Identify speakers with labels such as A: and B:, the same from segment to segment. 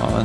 A: Ja,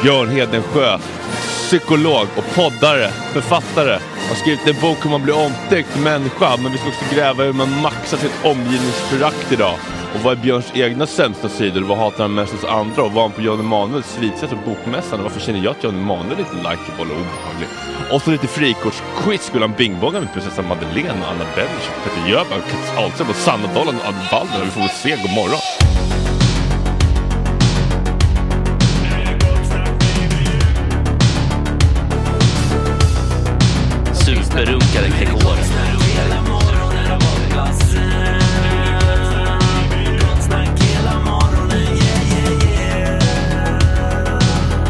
A: Björn Hedensjö, psykolog och poddare, författare. Har skrivit en bok hur man blir omtyckt människa, men vi ska också gräva hur man maxar sitt omgivningsförakt idag. Och vad är Björns egna sämsta sidor? Vad hatar han mest hos andra? Och var han på Jan Emanuels svitsätt och bokmässan? Och varför känner jag att Jan Emanuel är lite likeable och obehaglig? Och så lite frikortsquiz. Skulle han bingbonga med prinsessan Madeleine och Anna Beveridge, Peter Jöback, Kats Ahlström och Sanna Dollan och Ann Wallner? Vi får väl se. God morgon.
B: förunkade dekoren.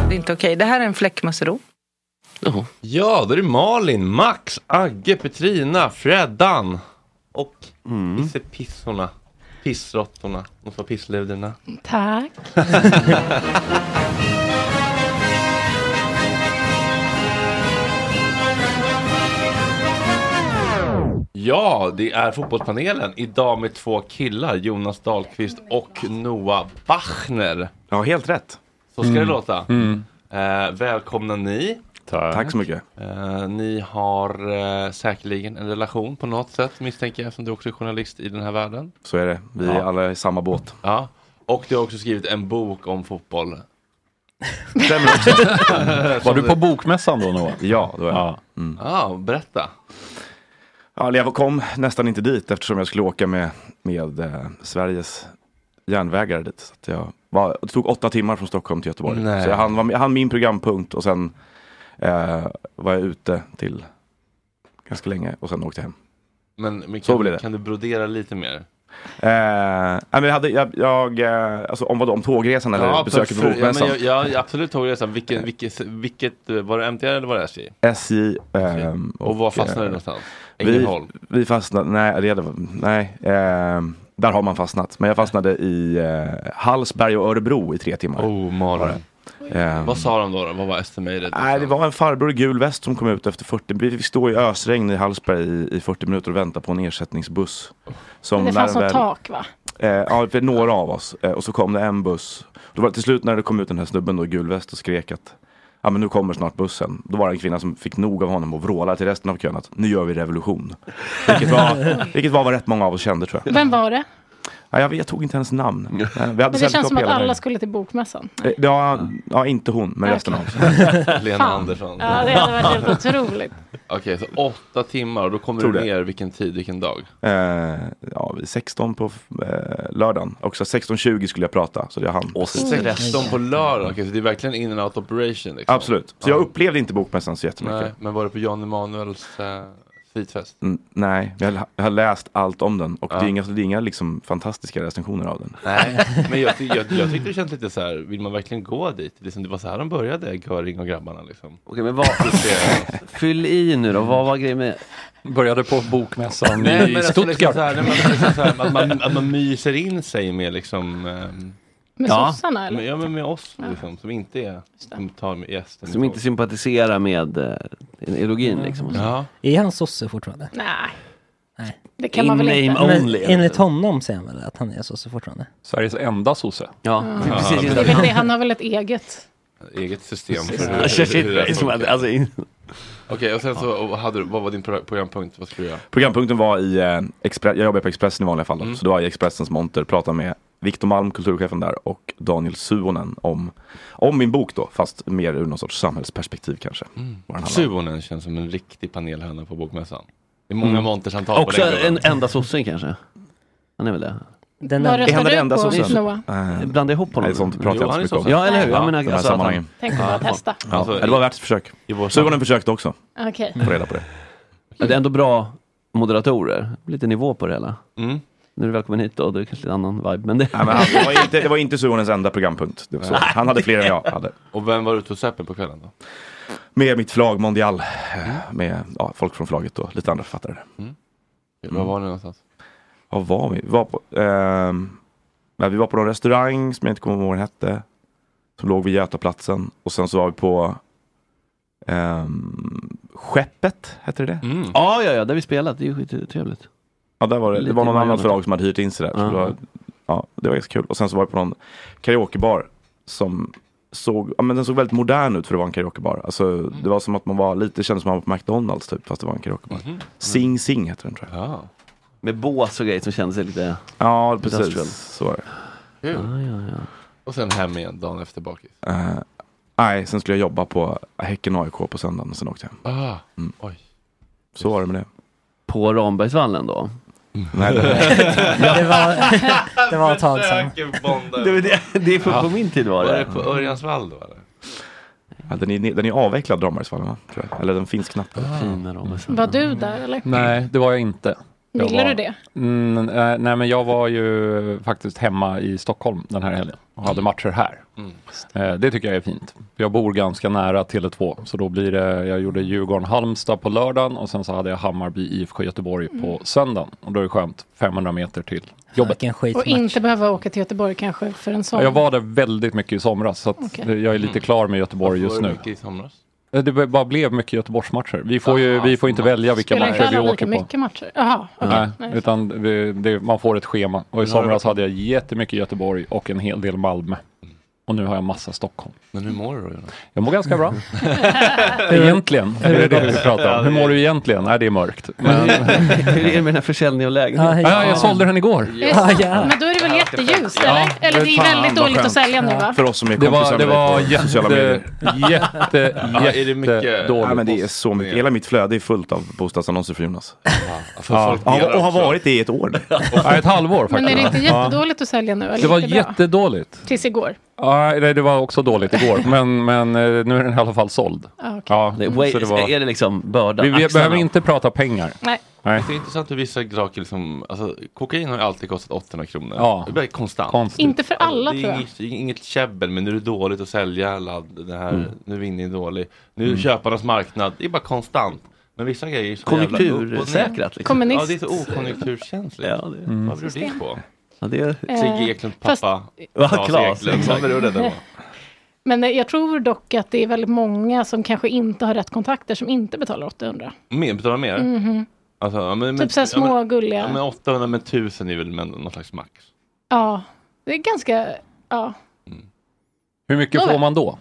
C: Det är inte okej. Det här är en fläckmössero.
B: Jaha.
A: Ja, då är det Malin, Max, Agge, Petrina, Freddan och pissorna. Pissråttorna. De får pissluderna.
C: Tack.
A: Ja, det är fotbollspanelen. Idag med två killar, Jonas Dahlqvist och Noah Bachner.
D: Ja, helt rätt.
A: Så ska det låta. Eh, välkomna ni.
D: Mm. Tack så mycket.
A: Eh, ni har eh, säkerligen en relation på något sätt misstänker jag, som du också är journalist i den här världen.
D: Så är det. Vi är
A: Ja.
D: alla i samma båt.
A: Ja. Och du har också skrivit en bok om fotboll.
E: Var du på bokmässan då Noah?
D: Ja, då är jag. Mm.
E: Ja.
A: Ja, berätta.
D: Ja, eller jag kom nästan inte dit eftersom jag skulle åka med, med eh, Sveriges järnvägar dit. Så att jag var, det tog åtta timmar från Stockholm till Göteborg.
A: Nej.
D: Så jag hann, var, med- jag hann min programpunkt och sen eh, var jag ute till ganska länge och sen åkte jag hem.
A: Men, men
D: Så
A: kan,
D: blir det.
A: kan du brodera lite mer?
D: Eh, nej, men jag hade, jag, jag, eh, alltså, om vadå, om tågresan eller besöket på
A: för- ja,
D: bokmässan?
A: men jag, jag, jag absolut tågresan. Vilket, vilket, vilket, eh, var det MTR eller var det SJ?
D: SJ. ehm,
A: Och var fastnade du
D: eh,
A: någonstans?
D: Vi,
A: Ängelholm?
D: vi fastnade, nej, det, hade- nej ehm, där har man fastnat. Men jag fastnade i eh, Hallsberg och Örebro i tre timmar.
A: Oh, Malin.
D: Ehm,
A: Vad sa de då? då? Vad var estimated?
D: nej, det
F: Liksom.
D: var en farbror i gul väst som kom ut efter 40, vi fick stå i ösregn i Hallsberg i, i 40 minuter och vänta på en ersättningsbuss. Som
F: Det fanns
D: när
F: något
D: den
F: tak va?
D: Eh, ja, för några av oss. Eh, och så kom det en buss. Då var det till slut när det kom ut den här snubben då i gul väst och skrek att Ja men nu kommer snart bussen. Då var det en kvinna som fick nog av honom och vrålade till resten av kön att nu gör vi revolution. Vilket var, vilket var vad rätt många av oss kände tror jag.
F: Vem var det?
D: Ja, jag, vet- jag tog inte hennes namn. Eh, Vi hade
F: Men det
D: sällskap
F: känns som att
D: hela
F: alla Ah,
D: vägen.
F: skulle till bokmässan.
D: Eh, Ja, ja, inte hon, men resten av oss.
A: Lena
F: Fan.
A: Andersson.
F: Ja, det hade varit helt otroligt.
A: Okej, så åtta timmar och då kommer
D: Tror
A: du
D: det.
A: ner vilken tid, vilken dag?
D: Eh, ja, vi 16 på eh, lördagen. Också 16.20 skulle jag prata, så jag hann.
B: Och stress.
A: 16 på lördag, okej så det är verkligen in and out operation liksom.
D: Absolut. Så jag upplevde inte bokmässan så jättemycket.
A: Nej, men var det på Jan Emanuels eh, svitfest?
D: Mm, nej, jag har- jag har läst allt om den och det
A: Ja.
D: är inga, det är inga liksom, fantastiska recensioner av den.
A: Nej, men jag, ty- jag, jag tyckte det kändes lite så här, vill man verkligen gå dit? Liksom, det var så här de började, Göring och grabbarna liksom.
B: Okej, men vad... Fyll i nu då, vad var grejen med...
E: Började på bokmässan
A: Nej,
E: i
A: men alltså,
E: Stuttgart.
A: liksom så här, nej, men
B: alltså,
A: liksom så här, att, man, att man myser in sig med liksom, ehm,
F: Med
E: Ja.
F: sossarna eller?
A: men, ja, men med oss liksom, som inte är, som tar med gästen. i
B: Som inte
A: tåg.
B: sympatiserar med eh, ideologin
D: Mm.
B: liksom.
A: Ja,
G: Är han sosse fortfarande?
F: Nej.
G: Nej.
F: Det kan man väl
B: In-name
F: inte.
G: Men
B: only.
G: enligt honom säger han väl att han är sosse fortfarande?
E: Sveriges enda sosse.
B: Ja, precis.
F: Det är väl det, han har väl ett eget.
A: eget system för
B: Ja, shit,
A: hur, hur det
B: shit,
A: här
B: som att-
A: funkar.
B: alltså, in-
A: Okej, och sen så, och hade, du- vad var din pro- programpunkt? Vad skulle du göra?
D: Programpunkten var i, eh, Expre- jag jobbar på Expressen i vanliga fall, då.
A: Mm.
D: så det var i Expressens monter, pratade med Viktor Malm, kulturchefen där, och Daniel Suonen om, om min bok då, fast mer ur någon sorts samhällsperspektiv kanske.
A: Mm.
D: Vad den handlar om.
A: Suonen känns som en riktig panelhöna på bokmässan. Det är många
D: Mm.
A: monters han tar
B: Också
A: på den gubben.
B: en enda sossen kanske. Han är väl det.
G: Den
F: Vad
D: Är han
F: röstar
D: den
F: du
D: enda
F: på,
D: sossen?
F: Noah?
D: Eh,
B: Blanda ihop honom.
D: nej, sånt pratar
A: Jo,
D: jag
A: han är
D: inte så mycket om.
A: sosse.
B: Ja, eller hur?
D: Ja,
B: Jag menar,
D: de här
B: alltså, att han,
D: sammanhangen.
F: Tänkte bara testa.
D: Ja,
A: Alltså,
D: det var värt ett försök.
A: I vår
D: Suonen försökte också
F: Okej.
D: få reda på det.
B: Ja, det är ändå bra moderatorer. Lite nivå på det hela.
A: Mm.
B: Nu är du välkommen hit då, det är kanske lite annan vibe. Men det...
D: Nej, men han, det, var inte, det var inte Suonens enda programpunkt. Det var så. Han hade fler än jag hade.
A: Och vem var ute och söp på kvällen då?
D: Med mitt förlag Mondial, eh, med ja, folk från förlaget och lite andra författare. Mm.
A: Var var ni någonstans?
D: Vad var vi? Vi var på, ehm, nej, vi var på någon restaurang som jag inte kommer ihåg vad den hette. Som låg vid Götaplatsen. Och sen så var vi på ehm, Skeppet, hette det det?
A: Mm.
B: Ja, ja, ja, där vi spelat. Det är ju skittrevligt.
D: Ja, där var det. Det
B: Lite
D: var någon
B: i
D: annan
B: Majorna,
D: förlag
B: typ.
D: som hade hyrt in sig där. Så
B: Ja.
D: det, var, ja, det var ganska kul. Och sen så var vi på någon karaokebar som såg, ja, men den såg väldigt modern ut för att vara en karaokebar. Alltså,
B: Mm.
D: Det var som att man var lite, det kändes som att man var på McDonalds typ, fast det var en karaokebar.
B: Mhm.
D: Sing Sing heter den tror jag.
A: Ja.
B: Med bås och grejer som kändes lite...
D: Ja,
B: Industrial.
D: precis. Så var det.
B: Ja, ja, ja.
A: Och sen hem igen dagen efter bakis.
D: Eh, Nej, sen skulle jag jobba på Häcken AIK på söndagen och sen åkte jag hem.
A: Ah.
D: Mm.
A: Oj.
D: Så var det med det.
B: På Rambergsvallen då.
D: Nej, det,
G: Det var, det var ett tag sedan.
A: Försöker bonda.
B: Det, det, det är på, på min tid var
A: Var
B: det.
A: det på Örjansvall då eller?
D: Ja, den, är, den är avvecklad Rambergsvallen va? Tror jag. Eller den finns knappt.
E: Fina
F: Var du där eller?
E: Ah. Nej, det var jag inte. Jag
F: Ville
E: var...
F: du det?
E: Mm, eh, nej, men jag var ju faktiskt hemma i Stockholm den här helgen och
A: Mm.
E: hade matcher här. Eh, det tycker jag är fint. Jag bor ganska nära Tele2, så då blir det, jag gjorde Djurgården-Halmstad på lördagen och sen så hade jag Hammarby IFK Göteborg
F: Mm.
E: på söndagen. Och då är det skönt, 500 meter till jobbet.
F: Och inte behöva åka till Göteborg kanske för en sån.
E: Jag var där väldigt mycket i somras, så att
F: Okej.
E: jag är lite klar med Göteborg just nu. Eh, Det bara blev mycket Göteborgsmatcher. Vi får ju vi får inte välja vilka
F: Spelar inte
E: matcher vi
F: alla
E: åker
F: lika
E: på.
F: mycket matcher? Jaha, okej.
E: Nej, utan det, det, man får ett schema. Och i
A: Men har
E: somras hade jag jättemycket Göteborg och en hel del Malmö. Och nu har jag massa Stockholm.
A: Men hur mår du då?
E: Jag mår ganska bra. egentligen. Det är det vi pratar om. Hur mår du egentligen? Nej, det är mörkt. Men...
H: Hur är det med den här försäljningen av
E: Ja,
H: lägenheter?
E: jag sålde den igår.
F: Visst. Men då är det väl jätteljust eller? eller det är väldigt dåligt att sälja nu va?
E: Det var, det var
D: dig på sociala
E: jätte,
D: medier.
E: jätte, jätte
D: Ja,
E: dåligt.
D: men det är så mycket. Hela mitt flöde är fullt av bostadsannonser för Jonas.
E: för
D: Ja.
E: folk
D: Ja,
E: delar
D: och har
E: också.
D: varit det i ett år nu.
E: Ja, ett halvår
F: Men är
E: faktiskt.
F: det inte
E: Ja.
F: jättedåligt att sälja nu? Eller
E: Det var
F: lite bra?
E: jättedåligt.
F: Tills igår.
E: Ja, nej, det var också dåligt igår, men, men eh, nu är den i alla fall såld.
F: Ah, okej.
E: Ja,
F: Det är way-
E: var-
A: är det liksom bördan,
E: Vi, vi
A: axlarna?
E: behöver inte prata pengar.
F: Nej.
E: Nej.
A: Det är intressant hur vissa saker liksom, alltså kokain har ju alltid kostat 800 kronor.
E: Ja.
A: Det blir konstant.
E: Konstigt.
F: Inte för alla,
A: det
F: tror
A: är
F: jag.
A: inget, inget käbbel, men nu är det dåligt att sälja, ladd, det här,
E: Mm.
A: nu är vi inne i dålig. Nu är
E: Mm.
A: köparnas marknad, det är bara konstant. Men vissa grejer är så jävla upp och ner.
H: Konjunktursäkrat. Liksom.
A: Ja, det är så okonjunkturkänsligt.
H: Ja, det-
A: Mm. Vad beror det på?
H: Ja, det är...
A: Sigge Eklunds
F: Eh, fast- Mm-hmm.
A: pappa,
H: Ja,
A: Claes
H: Claes,
A: Eklund. Vad
H: exakt.
A: beror det på?
F: Men eh, jag tror dock att det är väldigt många som kanske inte har rätt kontakter som inte betalar 800.
A: Mer, betalar mer?
F: Mhm.
A: Alltså, ja, men, men-
F: typ så här små
A: ja, men,
F: gulliga.
A: ja, men 800 men 1000 är väl men- någon slags max.
F: Ja, det är ganska... Ja.
E: Hur mycket
F: Nåväl.
E: får man då?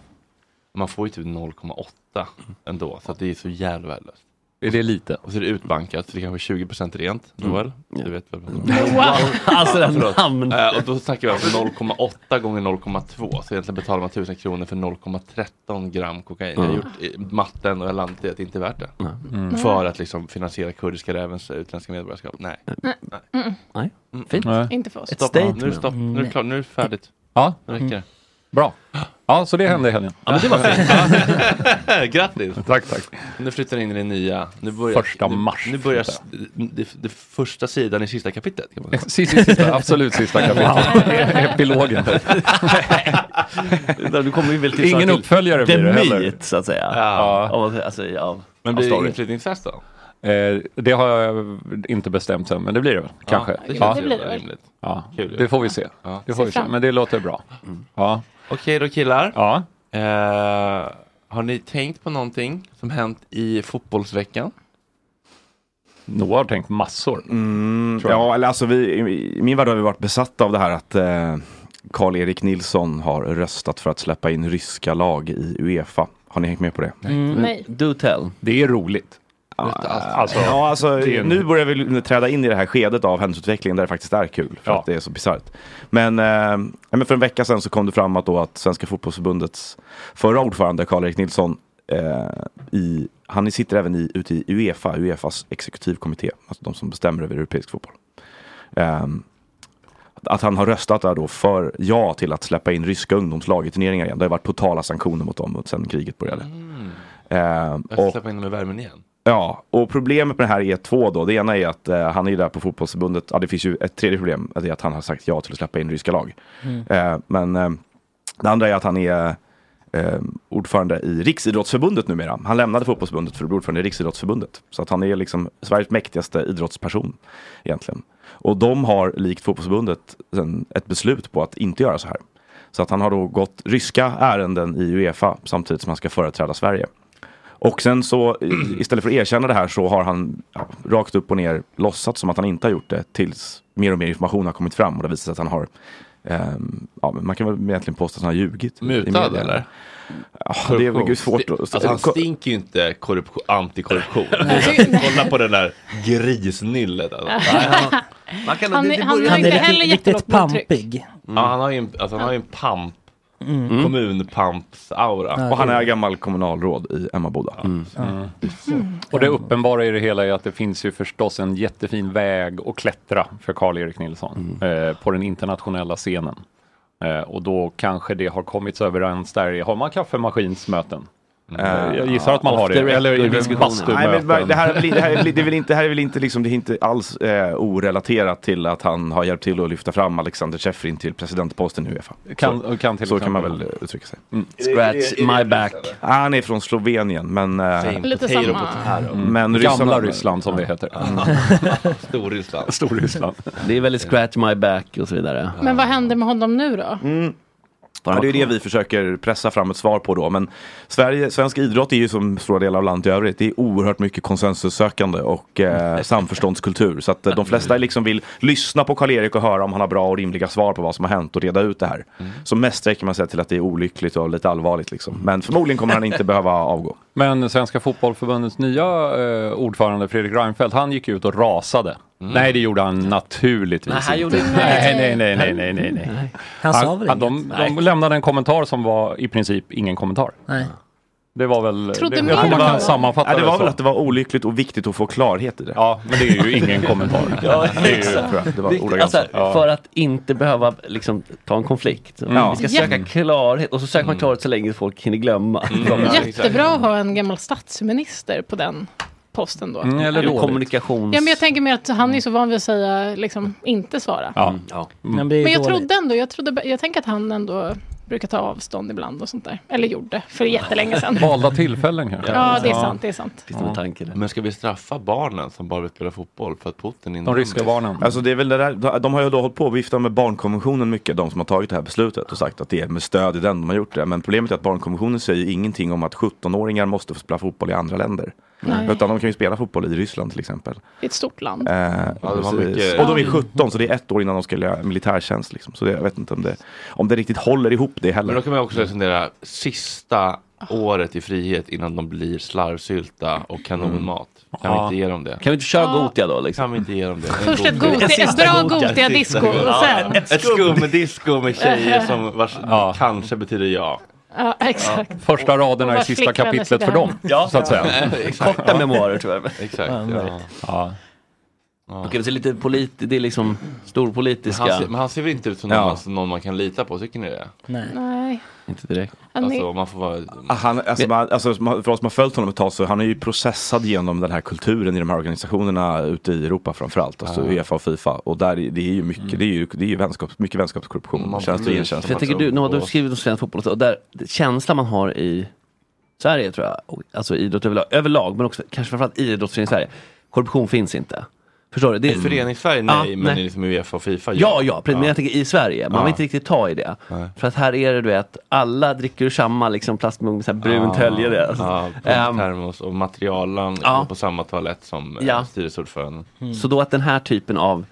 A: Man får ju typ 0,8 ändå, så att det är så jävla värdelöst.
E: Är det lite? Mm.
A: Och så är det utbankat, så det är kanske är 20% rent. Noel, du vet väl? Wow!
H: Alltså, det här namn.
A: och då snackar vi alltså 0,8 gånger 0,2. Så egentligen betalar man 1000 kronor för 0,13 gram kokain. Jag har
H: Mm.
A: gjort eh, matten och jag landat i att det inte är värt det.
H: Mm.
A: För att liksom finansiera kurdiska rävens utländska medborgarskap. Nej.
F: Nej. Mm.
H: Nej,
A: Mm.
H: fint.
E: Nej.
F: Inte för oss. Mm.
A: Stopp, nu, nu, är det stopp, nu är det klart, nu är det färdigt.
E: Ja, Mm.
A: Nu räcker det.
E: bra. Ja, så det hände i helgen.
A: Ja, men det var fint. Grattis!
E: Tack, tack.
A: Nu flyttar ni in i det nya. Nu börjar,
E: Första
A: nu,
E: mars
A: Nu börjar
E: flyttar
A: det, det första sidan i sista kapitlet. Kan man säga.
E: Sista, sista, absolut sista kapitlet. Epilogen.
H: Du kommer ju väl till
E: Ingen
H: till
E: uppföljare
H: the
E: blir det heller.
H: meat, så att säga.
E: Ja.
H: Av, alltså, av,
A: Men
H: av
A: blir det
H: story.
A: inflyttningsfest då?
E: Eh, det har jag inte bestämt än, men det blir det väl? Kanske.
A: det
E: Ja.
A: känns ju
F: blir det väl.
A: rimligt.
E: Ja,
A: Kul ju.
E: det får vi se.
A: Ja.
E: Det får
A: Se
E: vi se.
A: fram.
E: Men det låter bra. Ja.
A: Okej då killar.
E: Ja.
A: Eh, har ni tänkt på någonting som hänt i fotbollsveckan?
E: Noah har tänkt massor.
D: Mm,
E: Tror jag.
D: ja, eller alltså vi, i- i min värld har vi varit besatta av det här att eh, Karl-Erik Nilsson har röstat för att släppa in ryska lag i Uefa. Har ni hängt med på det? Ah.
F: Nej.
H: Do tell.
E: Det är roligt. Alltså,
D: Ja, alltså,
E: det är en-
A: Mm.
D: nu börjar vi träda in i det här skedet av händelseutvecklingen där det faktiskt är kul. För
E: Ja.
D: att det är så bisarrt. Men, eh, ja, men för en vecka sedan så kom det fram att, då att Svenska fotbollsförbundets förra ordförande Karl-Erik Nilsson, eh, i, han sitter även i, ute i Uefa, Uefas exekutivkommitté, alltså de som bestämmer över europeisk fotboll. Ehm, att han har röstat där då för ja till att släppa in ryska ungdomslag i turneringar igen. Det har varit totala sanktioner mot dem sedan kriget började.
E: Mm.
D: Ehm,
A: Mm. Jag ska
D: och-
A: släppa in dem i värmen igen.
D: Ja, och problemet med det här är två då. Det ena är att eh, han är ju där på fotbollsförbundet. Ja, det finns ju ett tredje problem. Det är att han har sagt ja till att släppa in ryska lag.
B: Mm.
D: Eh, men eh, det andra är att han är eh, ordförande i Riksidrottsförbundet numera. Han lämnade fotbollsförbundet för att bli ordförande i Riksidrottsförbundet. Så att han är liksom Sveriges mäktigaste idrottsperson egentligen. Och de har, likt fotbollsförbundet, sen ett beslut på att inte göra så här. Så att han har då gått ryska ärenden i Uefa samtidigt som han ska företräda Sverige. Och sen så i-
A: Mm.
D: istället för att erkänna det här så har han ja, rakt upp och ner låtsats som att han inte har gjort det tills mer och mer information har kommit fram och det visar sig att han har ehm, ja, men man kan väl egentligen påstå att han har ljugit. i- i
A: Mutad,
D: media.
A: eller?
D: Ja, det är väl gud svårt att...
A: Alltså han stinker ju inte korruption, antikorruption. Alltså, Kolla på den där grisnyllet. Alltså. Nej, han har- man kan-
F: Han
A: det-
F: är-
A: det
F: han
A: borde-
F: har inte
A: det-
F: heller jättelågt blodtryck.
A: Ja, han har ju en, alltså, han har ju en pamp.
D: Mm.
A: Kommunpampsaura.
D: Och han är gammal kommunalråd i Emmaboda.
E: Mm. Och det uppenbara i det hela är att det finns ju förstås en jättefin väg att klättra för Karl-Erik Nilsson eh, på den internationella scenen. Eh, och då kanske det har kommits överens där i, har man kaffemaskinsmöten?
D: Eh,
E: Jag gissar att man har det,
D: off the
E: eller i
D: record
E: bastumöten.
D: Nej, men vad- det, här, är väl- det, här, är väl- det, är väl inte, det här är väl inte, liksom, det är inte alls eh, orelaterat till att han har hjälpt till att lyfta fram Alexander Tjeffrin till presidentposten i Uefa.
E: Kan-
D: så
E: kan till
D: så kan man
E: exempel. Mm.
D: väl eh, uttrycka sig.
E: Scratch Är det- är det- är det my back.
D: Ah, han är från Slovenien, men... eh,
E: Same Lite potato, samma. potato.
D: Men
E: Gamla
D: ryssarna-
E: Ryssland, som det heter.
A: Storryssland.
E: Storryssland.
B: Det är väldigt scratch my back och så vidare.
F: Men vad händer med honom nu då?
D: Mm. Ja, det är det vi försöker pressa fram ett svar på då. Men Sverige, svensk idrott är ju som stora delar av landet i övrigt. Det är oerhört mycket konsensussökande och eh, samförståndskultur. Så att eh, de flesta liksom vill lyssna på Karl-Erik och höra om han har bra och rimliga svar på vad som har hänt och reda ut det här. Så mest sträcker man sig till att det är olyckligt och lite allvarligt liksom. Men förmodligen kommer han inte behöva avgå.
E: Men Svenska Fotbollförbundets nya eh, ordförande Fredrik Reinfeldt, han gick ut och rasade.
D: Mm.
E: Nej, det gjorde han naturligtvis
B: Nej, han gjorde
E: inte.
B: inte
E: Nej, nej,
B: det.
E: nej, nej, nej, nej, nej.
G: Han sa väl
E: de, de lämnade en kommentar som var i princip ingen kommentar.
G: Nej.
E: Det var väl...
G: Trodde
E: det,
G: mer
E: jag tror
G: att
E: man
G: det var-
E: kan sammanfatta
D: Ja, det var väl
E: så.
D: att det var olyckligt och viktigt att få klarhet i det.
E: Ja, men det är ju ingen kommentar.
B: Ja,
E: det är ju,
B: exakt.
E: tror jag. Det var
B: Viktigt.
E: ordagrant
B: alltså,
E: så. Ja.
B: För att inte behöva liksom, ta en konflikt.
E: Ja. Mm.
B: Vi ska söka
E: Ja.
B: klarhet och så söker man klarhet så länge folk hinner glömma.
E: Mm.
F: Jättebra att ha en gammal statsminister på den posten då.
B: Mm, eller
F: ja,
B: kommunikations...
F: men jag tänker mer att han är så van vid att säga, liksom, inte svara.
E: Ja.
G: Men, det är ju
F: Mm. Men jag
G: dåligt.
F: trodde ändå, jag, trodde, jag tänker att han ändå brukar ta avstånd ibland och sånt där. Eller gjorde, för jättelänge sedan.
E: Valda tillfällen kanske.
F: Ja, det är sant, det är sant.
A: Men ska vi straffa barnen som bara vill spela fotboll för att Putin inte...
D: Alltså det är väl det där, de har ju då hållit på och viftat med barnkonventionen mycket, de som har tagit det här beslutet och sagt att det är med stöd i den de har gjort det. Men problemet är att barnkonventionen säger ju ingenting om att 17-åringar måste få spela fotboll i andra länder.
F: Nej. Mm.
D: Utan de kan ju spela fotboll i Ryssland till exempel.
F: Det är ett stort land.
D: Eh,
A: har
D: precis.
A: mycket-
D: Och de är 17 så det är ett år innan de ska göra militärtjänst. Liksom. Så det, jag vet inte om det, om det riktigt håller ihop det heller.
A: Men då kan man
B: Mm.
A: också resonera sista
B: Ah.
A: året i frihet innan de blir slarvsylta och kanonmat. Kan vi
B: Mm. Ja.
A: inte ge dem det?
B: Kan vi inte köra
F: Ja.
B: Gothia då? Liksom?
A: Kan vi inte ge dem det? En
F: Först ett
A: god-
F: Gothia- ett
A: sista
F: bra
A: Gothia,
F: Gothia-disco
A: sista
F: och
A: Gothia.
F: sen-
A: Ett skumdisco med tjejer som vars kanske betyder ja.
F: Ja, exakt.
E: Första raderna
F: Och
E: i
F: vars
E: sista
F: flickvänner
E: kapitlet
F: sitter
E: för dem,
F: hemma. Ja.
E: så att säga.
A: Exakt.
B: Korta memoarer tyvärr. eh,
A: Exakt.
B: Ja,
A: Ja.
E: Ja.
B: Okej, så lite polit, det är liksom storpolitiska...
A: Men han ser- men han ser väl inte ut som någon
B: Ja.
A: man- som någon man kan lita på, tycker ni det?
F: Nej.
B: Inte direkt.
F: Han är-
A: Alltså, man får vara...
D: Ah, Han, alltså, man, alltså, man- för oss som har följt honom ett tag så han är ju processad genom den här kulturen i de här organisationerna ute i Europa framförallt. Alltså
B: Ah.
D: Uefa och Fifa. Och där är- det är ju mycket, det är ju, det är ju vänskaps, mycket vänskapskorruption.
B: Mm. Man
D: Tjänst och
B: blir-
D: gentjänst.
B: Mm. För jag tycker du, nu har du skrivit om svensk fotboll och så, och där, det- känslan man har i Sverige tror jag, och- alltså idrott överlag, överlag men också kanske framförallt idrottsförening i Sverige, korruption finns inte. Förstår du? Det
A: I föreningssverige, nej, men i liksom Uefa och Fifa,
B: Mm. Ja, ja, precis,
A: Ja.
B: men jag tänker i Sverige, man
A: Ja.
B: vill inte riktigt ta i det. För att här är det du vet, alla dricker ur samma liksom, plastmugg med så här brunt hölje. där, Alltså.
A: Ja,
B: Ehm,
A: termos och materialen går på samma toalett som eh,
B: Ja.
A: styrelseordföranden.
D: Hmm.
B: Så då att den här typen av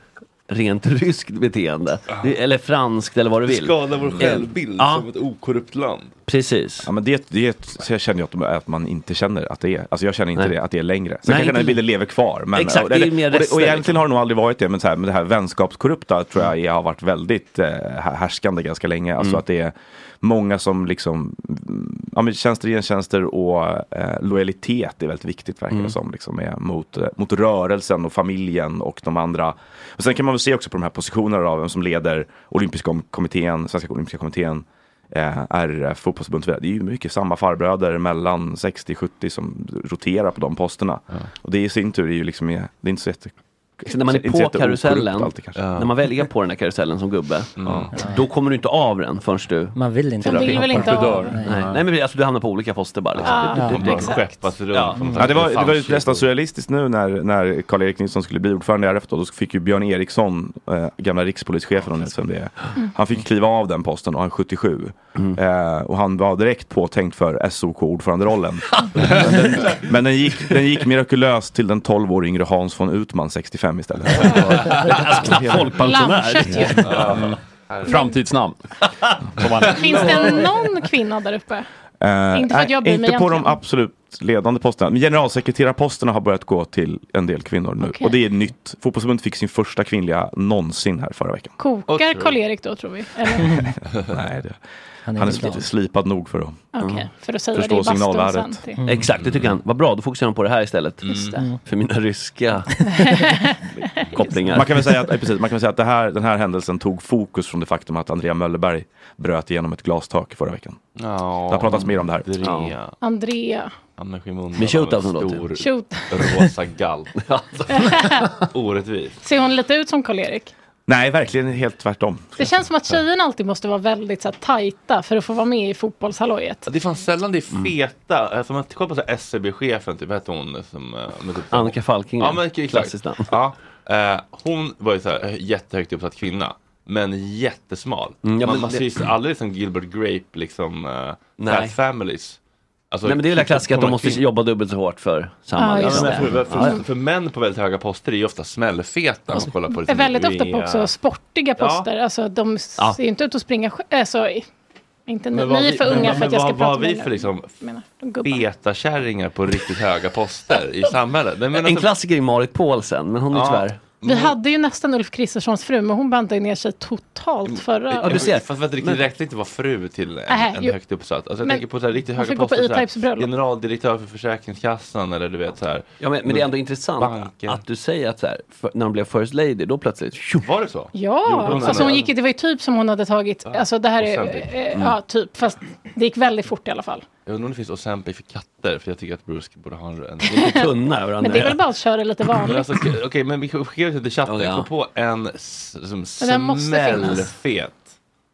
B: rent ryskt beteende,
D: Ah.
B: det- eller franskt eller vad du vill. Eh, Ja,
A: ett okorrupt land.
B: Precis.
D: Ja, men det, det så jag känner ju att, de- att man inte känner att det är. Alltså jag känner inte
B: Nej.
D: det, att det är längre. Sen
B: Nej,
D: kanske den här
B: inte-
D: bilden lever kvar. Men,
B: Exakt,
D: och,
B: det är mer
D: och, det,
B: rester,
D: och
B: liksom.
D: egentligen har det nog aldrig varit det. Men, så här, men det här vänskapskorrupta tror jag är, har varit väldigt eh, här- härskande ganska länge. Alltså
B: Mm.
D: att det är många som liksom, mm, ja men tjänster, gentjänster och eh, lojalitet är väldigt viktigt verkar det
B: Mm.
D: som. Liksom, är mot, eh, mot rörelsen och familjen och de andra. Och sen kan man väl se också på de här positionerna av vem som leder olympiska kom- kommittén, Svenska olympiska kommittén eh, RF, fotbollsförbundet, det är ju mycket samma farbröder mellan 60-70 som roterar på de posterna. Och det i sin tur är ju liksom, eh, det är inte så jätte...
B: Så när man är
D: inte
B: på
D: jätteokorrupt
B: karusellen,
D: alltid kanske.
B: när man väljer på den här karusellen som gubbe, då kommer du inte av den förrän du
G: Man vill inte.
B: drar
G: Man vill
B: till.
G: väl inte
B: Du dör.
G: av den.
B: Nej.
G: Nej.
B: Nej, men alltså, du hamnar på olika poster bara. Liksom.
F: Ah.
G: Ja,
B: Du- du-
G: man
B: du-
G: bara
B: exakt.
A: skeppas runt
B: Ja.
A: som
D: Ja, det, var, det var ju nästan surrealistiskt nu när, när Karl-Erik Nilsson skulle bli ordförande i RF då, då fick ju Björn Eriksson, eh, gamla rikspolischefen om ni vet vem det är,
A: Mm.
D: han fick kliva av den posten och han är 77.
F: Mm.
D: Eh, och han var direkt påtänkt för SOK-ordföranderollen. men den, men den, gick, den gick mirakulöst till den 12 år yngre Hans von Utman, 65 istället.
E: Alltså, knappt folkpensionär.
F: Lammkött ju.
E: Ja. Framtidsnamn. Som man-
F: Finns det någon kvinna där uppe?
D: Eh,
F: Inte för att jag bryr mig
D: Inte på de
F: egentligen.
D: absolut ledande posterna. Men generalsekreterarposterna har börjat gå till en del kvinnor nu.
F: Okej.
D: Och det är nytt. Fotbollsförbundet fick sin första kvinnliga någonsin här förra veckan.
F: Kokar Karl-Erik då tror vi? Eller?
D: Nej, det,
F: Han
D: han
F: är
D: är,
F: glad.
D: sli- slipad nog för att
F: Okej,
D: mm.
F: för att säga det i bastun sen. till-
A: Mm.
B: Exakt, det tycker han. Vad bra, då fokuserar de på det här istället.
F: Just det. Mm.
B: För mina ryska kopplingar.
D: Man kan väl säga att, eh, precis, man kan väl säga att det här, den här händelsen tog fokus från det faktum att Andrea Möllerberg bröt igenom ett glastak förra veckan. det har pratats mer om det här.
A: Andrea.
F: Andrea.
A: Hamnar i skymundan
D: Men shootout
A: av en
D: hon då,
A: stor
D: typ.
F: Shoot.
A: rosa galt. Orättvist.
F: Ser hon lite ut som Karl-Erik?
D: Nej, verkligen helt tvärtom.
F: Det känns som att tjejerna alltid måste vara väldigt så här, tajta för att få vara med i fotbollshallojet.
A: Det fanns sällan det
B: Mm.
A: är feta. Alltså, man kollar på så här SCB-chefen, typ, vad hette hon? Som, eh, med typ,
B: Annika Falking,
A: Ja, men exakt.
B: klassiskt namn.
A: Ja, eh, hon var ju så här eh, jättehögt uppsatt kvinna. Men jättesmal.
B: Mm, ja,
A: man
B: men
A: man
B: det-
A: syns aldrig som Gilbert Grape, liksom eh,
B: Nej.
A: Fat Families. Alltså,
B: Nej men det är väl det klassiska att de måste
A: kvin-
B: jobba dubbelt så hårt för samma.
A: Ja,
B: liksom.
A: men för,
B: Ja, ja.
A: för, för män på väldigt höga poster är ju ofta smällfeta. Alltså, kollar på
F: Är väldigt ofta
A: Rea.
F: på också sportiga
A: Ja.
F: poster. Alltså de
A: Ja.
F: ser ju inte ut att springa själv. Alltså, i- inte ni,
A: Men
F: ni
A: vad
F: är
A: vi-
F: för
A: men-
F: unga
A: men
F: för att jag ska
A: vad- vad
F: prata
A: har vi
F: med
A: för liksom
F: menar, de gubbarna.
A: feta kärringar på riktigt höga poster i samhället. Nej, men alltså-
B: En klassiker är Marit Paulsen, men hon är tyvärr...
F: Vi
A: Mm.
F: hade ju nästan Ulf Kristerssons fru, men hon bantade ner sig totalt förra
A: Mm. Ja, du ser. Fast vänta, det räcker inte att vara fru till en,
F: Nej,
A: en
F: jo.
A: högt uppsatt. Alltså, jag
F: Men
A: tänker på så här, riktigt
F: man
A: höga
F: fick gå på
A: poster. så här,
F: E-Types bröllop.
A: generaldirektör för Försäkringskassan eller du vet så här. Mm.
B: Ja, men, men det är ändå intressant att du säger att så här, för, när hon blev first lady, då plötsligt...
A: Var det så?
F: Ja,
B: Jo, hon
F: alltså hon
B: hade-
F: gick, det var ju typ som hon hade tagit. Alltså det här
A: och
F: är,
A: sen typ.
F: eh,
A: Mm.
F: ja typ, fast det gick väldigt fort i alla fall.
A: Jag undrar om det finns Ozempic för katter, för jag tycker att Bruce borde ha en... en
B: tunna över
F: Men det är väl bara att köra lite
A: Men
F: vanligt.
A: alltså, Okej, men vi skickar ut det i chatten.
B: Ja, ja.
A: Kom på en s- som
F: Men den måste finnas.
A: smällfet.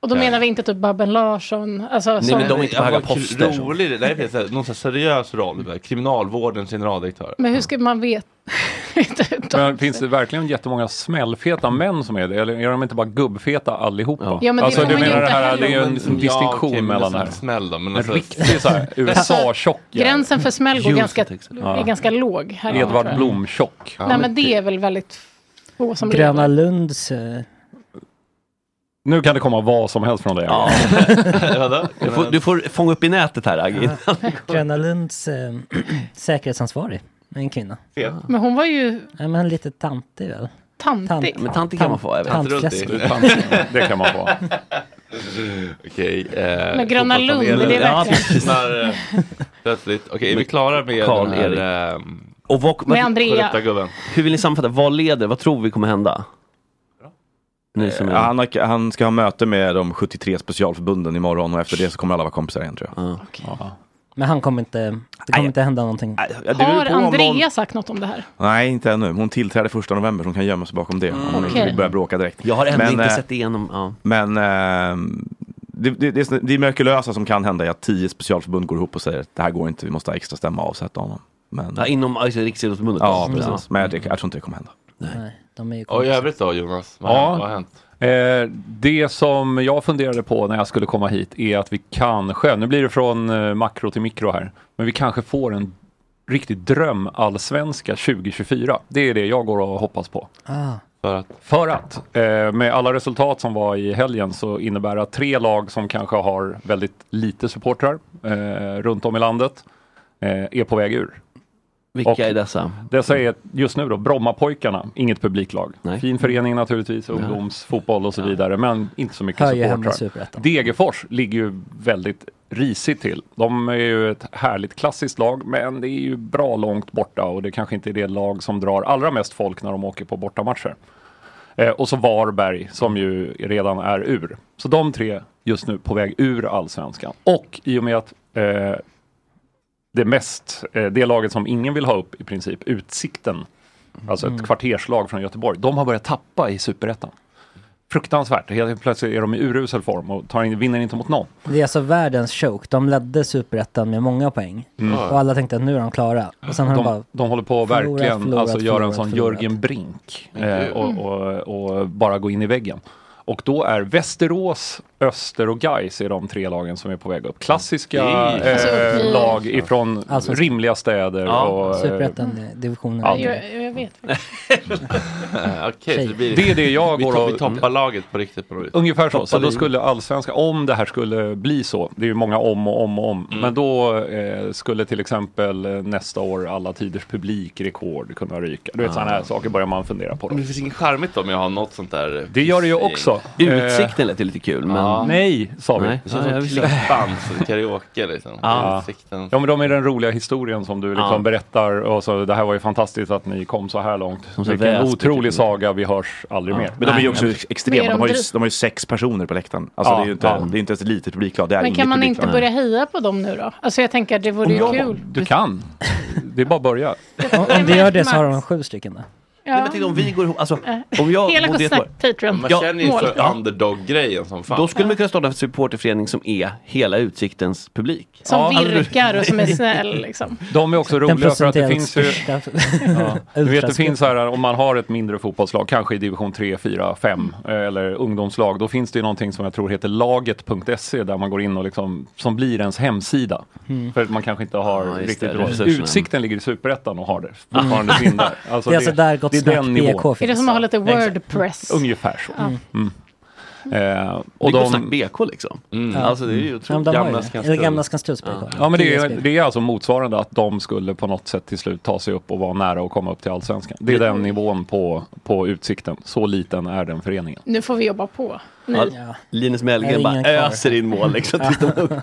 F: Och då
A: Ja.
F: menar vi inte typ Babben Larsson. Alltså, som,
A: jag var
B: höga
A: kul-
B: poster, så.
A: Rolig, nej, det finns någon så här seriös roll. där. Kriminalvårdens generaldirektör.
F: Men hur ska man veta?
E: Men finns det verkligen jättemånga smällfeta män som är det? Eller är de inte bara gubbfeta allihopa?
F: Ja, men det
E: alltså,
F: får
E: du
F: man ju
E: menar det
F: inte
E: här, det är ju
F: heller.
E: en liksom
F: Men-
E: distinktion
A: okej, men
E: mellan det
A: nästan
E: här.
A: smäll då, men
E: en
A: alltså-
E: riktig så här USA-tjock.
F: Gränsen för smäll går
E: Just
F: ganska,
E: det.
F: är ganska låg. Här inne, tror
E: Edvard
F: jag.
E: Blom-tjock.
F: Nej men det är väl väldigt få som
G: Gröna
F: lever.
G: Lunds... eh,
E: Nu kan det komma vad som helst från dig.
B: Du får, du får fånga upp i nätet här, Agge.
G: Gröna Lunds eh, säkerhetsansvarig. En kvinna.
F: Men hon var ju
G: Nej, men lite tantig väl?
F: tantig.
G: Tant-
B: Men tantig kan man få, jag vet.
G: Tantfläsk.
E: Det kan man få.
A: Okej. Eh,
F: Men Gröna Lund, det är
A: fotbollspanelen.
F: verkligen-
A: Ja, precis. När, eh, Plötsligt. Okej, är vi klara med
B: Karl
A: den här...
B: Erik.
A: ehm,
B: Och vad, vad,
F: Med Andrea. korrupta
A: gubben.
B: Hur vill ni sammanfatta? Vad leder? Vad tror vi kommer hända? Ni som
D: Ja,
B: är...
D: Eh, han, har, han ska ha möte med de 73 specialförbunden imorgon och efter det så kommer alla vara kompisar igen tror jag.
G: Men han kommer inte... Det kommer inte hända någonting.
D: Ja, det beror
F: Har
D: på om
F: Andrea
D: någon-
F: sagt något om det här?
D: Nej, inte ännu. Hon tillträder första november, så hon kan gömma sig bakom det. Om hon
F: Okej.
D: inte börjar bråka direkt.
B: Jag har ändå inte
D: eh,
B: sett igenom... Ja.
D: Men eh, det, det, det, är- det mirakulösa som kan hända är att tio specialförbund går ihop och säger att det här går inte, vi måste ha extra stämma och avsätta honom. Men,
B: Ja, inom alltså, Riksidrottsförbundet?
D: ja,
B: Mm.
D: precis. Men jag, jag tror inte det kommer hända.
G: Nej, de är ju
A: Och i
G: kompisar.
A: övrigt då Jonas? Vad har-
E: Ja.
A: vad har hänt?
E: Eh, det som jag funderade på när jag skulle komma hit är att vi kanske, nu blir det från eh, makro till mikro här, men vi kanske får en riktig drömallsvenska 2024. Det är det jag går och hoppas på.
G: Ah.
A: För att?
E: För att, eh, med alla resultat som var i helgen så innebär det att tre lag som kanske har väldigt lite supportrar eh, runt om i landet eh, är på väg ur.
B: Vilka
E: Och
B: är dessa?
E: Dessa är just nu då Brommapojkarna, inget publiklag. Fin förening naturligtvis, ungdomsfotboll och så vidare, men inte så mycket
G: Hör ju hemma i
E: supportrar.
G: Superettan.
E: Degerfors ligger ju väldigt risigt till. De är ju ett härligt klassiskt lag, men det är ju bra långt borta och det kanske inte är det lag som drar allra mest folk när de åker på bortamatcher. Eh, och så Varberg som ju redan är ur. Så de tre just nu på väg ur allsvenskan. Och i och med att eh, det mest, eh, det laget som ingen vill ha upp i princip, Utsikten, alltså ett
A: Mm.
E: kvarterslag från Göteborg, de har börjat tappa i superettan. Fruktansvärt, helt plötsligt är de i urusel form och tar in, vinner inte mot någon.
G: Det är alltså världens choke. De ledde superettan med många poäng.
E: Mm.
G: Och alla tänkte att nu är de klara. Och sen har de,
E: de,
G: bara...
E: de håller på att
G: förlorat,
E: verkligen
G: förlorat,
E: alltså, göra en
G: förlorat,
E: sån
A: Mm.
G: förlorat.
E: Jörgen Brink
G: Men
E: eh,
G: gud.
E: och, och, och bara gå in i väggen. Och då är Västerås, Öster och Gais är de tre lagen som är på väg upp. Klassiska
G: Mm.
E: eh,
G: Alltså, mm.
E: lag ifrån
G: Alltså-
E: rimliga städer.
G: Ja.
E: och, eh,
G: Superettan, eh, divisionen.
E: Ja.
F: Jag, jag vet.
A: Okej, så det, blir,
E: Det är det jag
A: vi
E: går
A: to-
E: och- Mm.
A: Vi toppar laget på riktigt på något vis.
E: Ungefär så.
A: Toppar
E: Så då
A: ligan.
E: skulle allsvenskan, om det här skulle bli så, det är ju många om och om och om, men då eh, skulle till exempel eh, nästa år alla tiders publikrekord kunna ryka. Du vet
A: Ah. Mm.
E: sådana här saker börjar man fundera på. Då.
A: Men det finns inget charmigt om jag har något sånt där.
E: Det gör det ju också. Eh,
A: Utsikten
B: lät ju lite kul.
A: men-
E: Nej, sa vi.
A: Nej. Det känns som klippband, karaoke liksom.
E: Ja.
A: Utsikten.
E: ja, men de är den roliga historien som du liksom
A: Ja.
E: berättar. Och så, det här var ju fantastiskt att ni kom så här långt.
D: Som så
E: Vilken
D: väst,
E: otrolig
D: tycker
E: saga, vi hörs aldrig mer.
D: Men de är ju också extrema, de har ju,
F: dryg-
D: de har ju sex personer på läktaren. Alltså
E: Ja,
D: det är ju inte,
E: ja.
D: det är inte ens ett litet publiklag, det är
F: Men
D: inget
F: kan man inte
D: publiklag.
F: börja heja på dem nu då? Alltså jag tänker att det vore ju kul.
E: Du kan. Det är bara att börja.
G: Om vi gör det så har de sju stycken. där.
F: Ja.
B: men tänk om vi går ihop, alltså, om jag
F: Hela
B: bodde i
F: Gottesnack
B: Göteborg-
F: Patreon.
A: Man känner ju för underdog-grejen som fan.
B: Då skulle man kunna starta en supporterförening som är hela Utsiktens publik.
F: Som
B: Ja, hade du-
F: virkar och som är snäll liksom.
E: De är också roliga för att det
G: procentuellt
E: finns ju...
G: största-
E: Ja. Du vet det
G: Ultraspelet.
E: finns så här om man har ett mindre fotbollslag, kanske i division 3, 4, 5 eh, eller ungdomslag. Då finns det ju någonting som jag tror heter laget.se där man går in och liksom, som blir ens hemsida.
G: Mm.
E: För att man kanske inte har
G: just
E: riktigt
G: det,
E: råd.
G: resurserna.
E: Utsikten ligger i superettan och har det fortfarande sin där.
G: Det är alltså där Gott
E: det är
G: Snack
E: den
G: BK
E: nivån.
F: Är det som att ha lite Wordpress?
E: Ungefär så.
F: Ja.
E: Mm. Eh,
B: Det är
E: och
B: Gott
E: de...
B: Snack BK liksom.
E: Mm.
B: Ja. Alltså, det är ju otroligt.
G: Ja, men de har ju
E: Gamla
G: det.
E: Skanstull.
G: Eller gamla Skanstulls BK.
E: Ja men det är,
G: TSB.
E: det är alltså motsvarande att de skulle på något sätt till slut ta sig upp och vara nära och komma upp till allsvenskan. Det är den nivån på, på utsikten. Så liten är den föreningen.
F: Nu får vi jobba på. Ni.
B: Ja. Linus
E: Det är
B: Mellgren bara
E: ingen kvar.
B: öser in mål liksom. tills de-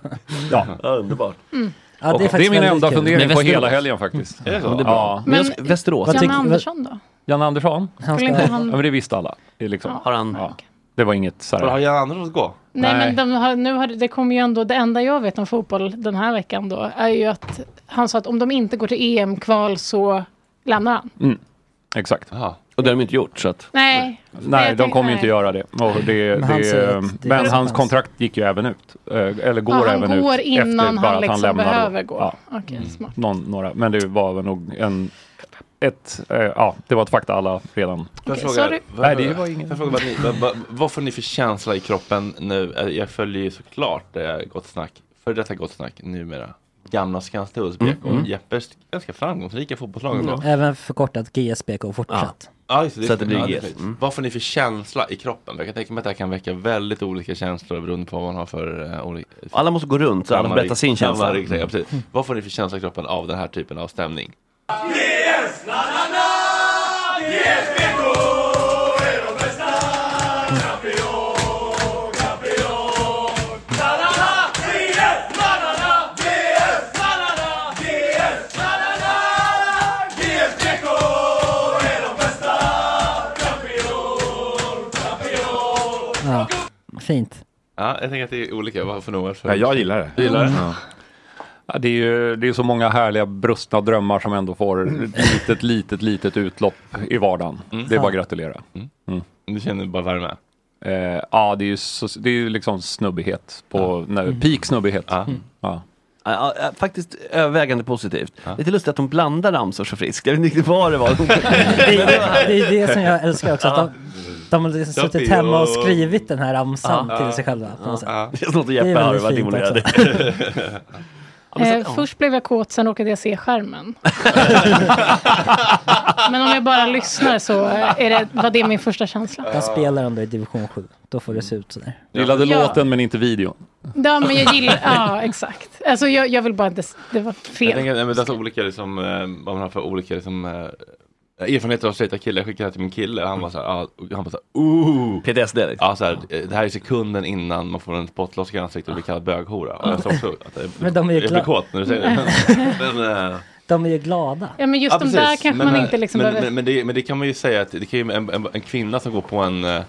E: Ja.
B: underbart.
F: Mm.
G: Ja, det är
E: Och
G: faktiskt
E: det är min
G: väldigt
E: enda
G: kul.
E: fundering
G: Men
E: på
G: Västerås.
E: hela helgen faktiskt.
G: Är det så?
E: Ja,
G: Ja, det är bra.
E: ja.
F: Men Men- Västerås. Janne Andersson då?
E: Janne Andersson?
F: Han Skulle ska- inte han-
E: Ja, men det visste alla. Det, är liksom,
B: Har han...
E: Ja. det var inget så här...
A: Har Janne Andersson fått gå?
F: Nej, men de har, nu har, det- det kommer ju ändå, det enda jag vet om fotboll den här veckan då, är ju att han sa att om de inte går till EM-kval så lämnar han.
E: Mm. Exakt.
B: Och det har de inte gjort så att...
F: Nej.
E: Alltså, Nej,
F: jag
E: de
F: tänk-
E: kommer ju inte
F: nej.
E: göra det. Och det,
B: Men han
E: det,
B: säger att det
E: men
B: är
E: hans
B: hans.
E: kontrakt gick ju även ut. Eh, Eller går
F: Ja, han
E: även ut.
F: går innan
E: efter
F: han
E: bara att
F: liksom
E: lämnar då.
F: behöver gå.
E: Ja.
F: Okej,
B: Mm.
F: smart.
E: Någon, några. Men det var väl nog en... Ett, eh, ja, det var ett fakta alla redan.
A: Får jag
F: sorry.
A: fråga, vad,
E: Nej, det var
A: får jag fråga vad, ni, vad, vad, vad får ni för känsla i kroppen nu? Eh, Jag följer ju såklart eh, Gott Snack, före detta Gott Snack, numera gamla Skanstulls BK.
G: Mm.
A: Jeppers ganska framgångsrika fotbollslag
G: Mm.
A: ändå.
G: Även förkortat GSBK fortsatt.
A: Ja, just det,
G: Så att det blir
A: ja,
G: GS.
A: definitivt.
B: Mm.
A: Vad får ni för känsla i kroppen? Jag kan tänka mig att det här kan väcka väldigt olika känslor beroende på vad man har för eh, olika...
B: Alla måste gå runt, så alla
A: Samma
B: berättar
A: rik-
B: sin känsla. Mm.
A: samma rik- ja, precis. Vad får ni för känsla i kroppen av den här typen av stämning?
G: Ja. Fint.
A: Ja, jag tänker att det är olika. Vad får ni för...
E: Ja, jag gillar det. Mm.
A: Du gillar det?
E: Ja. Ja, det är ju det är så många härliga brustna drömmar som ändå får ett litet, litet, litet utlopp i vardagen.
A: Mm.
E: Det är bara att
A: Ja.
E: gratulera.
A: Mm. Du känner bara värme?
E: Eh, ja, det är ju, så, det är ju liksom snubbighet. På, när,
B: Mm.
E: Peak snubbighet. Ja.
B: Ja, ja, Faktiskt övervägande positivt. Lite lustigt att de blandar ramsor så friskt. Jag vet inte riktigt vad det var.
G: Det är det som jag älskar också. Att de, de har liksom suttit
B: Duffy
G: hemma och
B: och-
G: skrivit den här ramsan
B: Ja.
G: till sig själva. På något sätt.
B: Ja. Det är som att Jeppe
G: Det är
B: har
G: väldigt
B: varit
G: fint
B: involverad.
G: också.
F: Eh, först blev jag kåt, sen råkade jag se skärmen. Men om jag bara lyssnar så är det, var det min första känsla.
G: Där spelar de då i division 7. Då får det se ut sådär.
E: Gillade
F: Ja.
E: låten men inte videon.
F: Ja, men jag gillar, ja exakt. Alltså jag, jag vill bara inte, s- det var
A: Jag
F: fel.
A: tänker, nej, men det är så olika liksom, eh, vad man har för olika liksom, eh, erfarenheter av straighta killar. Jag skickade det här till min kille och han var såhär, ah, och han var såhär, ooh!
B: PTSD liksom.
A: Ja, såhär, eh, det här är sekunden innan man får en spottloska i ansiktet och blir kallad böghora. Och jag sa också att jag,
G: Men de är ju
A: jag blir
G: kla-
A: kåt när du säger det. Men, men, eh,
G: De är ju glada.
F: Ja, men just
A: ja,
F: de
A: precis.
F: där kanske
A: Men,
F: man
A: eh,
F: inte liksom
A: men,
F: behöver...
A: Men, men, det, men det kan man ju säga att det kan ju en, en, en kvinna som går på en, eh,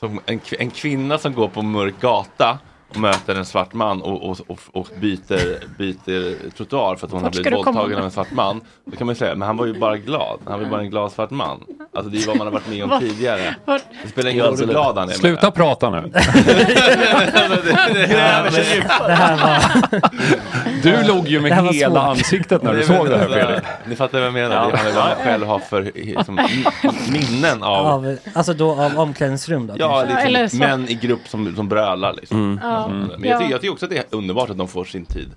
A: som en, kvi- en kvinna som går på en mörk gata och möter en svart man och, och, och, och byter, byter trottoar för att hon har
F: Vart ska
A: blivit
F: du komma
A: våldtagen
F: med?
A: av en svart man. Då kan man ju säga, men han var ju bara glad. Han var ju bara en glad svart man. Alltså det är ju vad man har varit med om
F: Vad-
A: tidigare.
F: vad-
A: Det spelar ingen roll hur
E: Absolut.
A: glad han är.
E: Sluta prata nu.
G: Det här var...
E: Du log ju med
A: Det här var
E: hela
A: svårt.
E: ansiktet när du
A: Nej,
E: såg
A: men
E: det här
A: alltså,
E: Fredrik.
A: Ni fattar vad jag menar. Det handlar om vad man själv har för liksom, minnen av,
G: Av, alltså då av omklädningsrum då?
A: ja,
G: kanske.
A: liksom, män i grupp som, som brölar. Liksom.
G: Ja.
A: Mm. Men jag,
G: Ja.
A: tycker, jag tycker också att det är underbart att de får sin tid.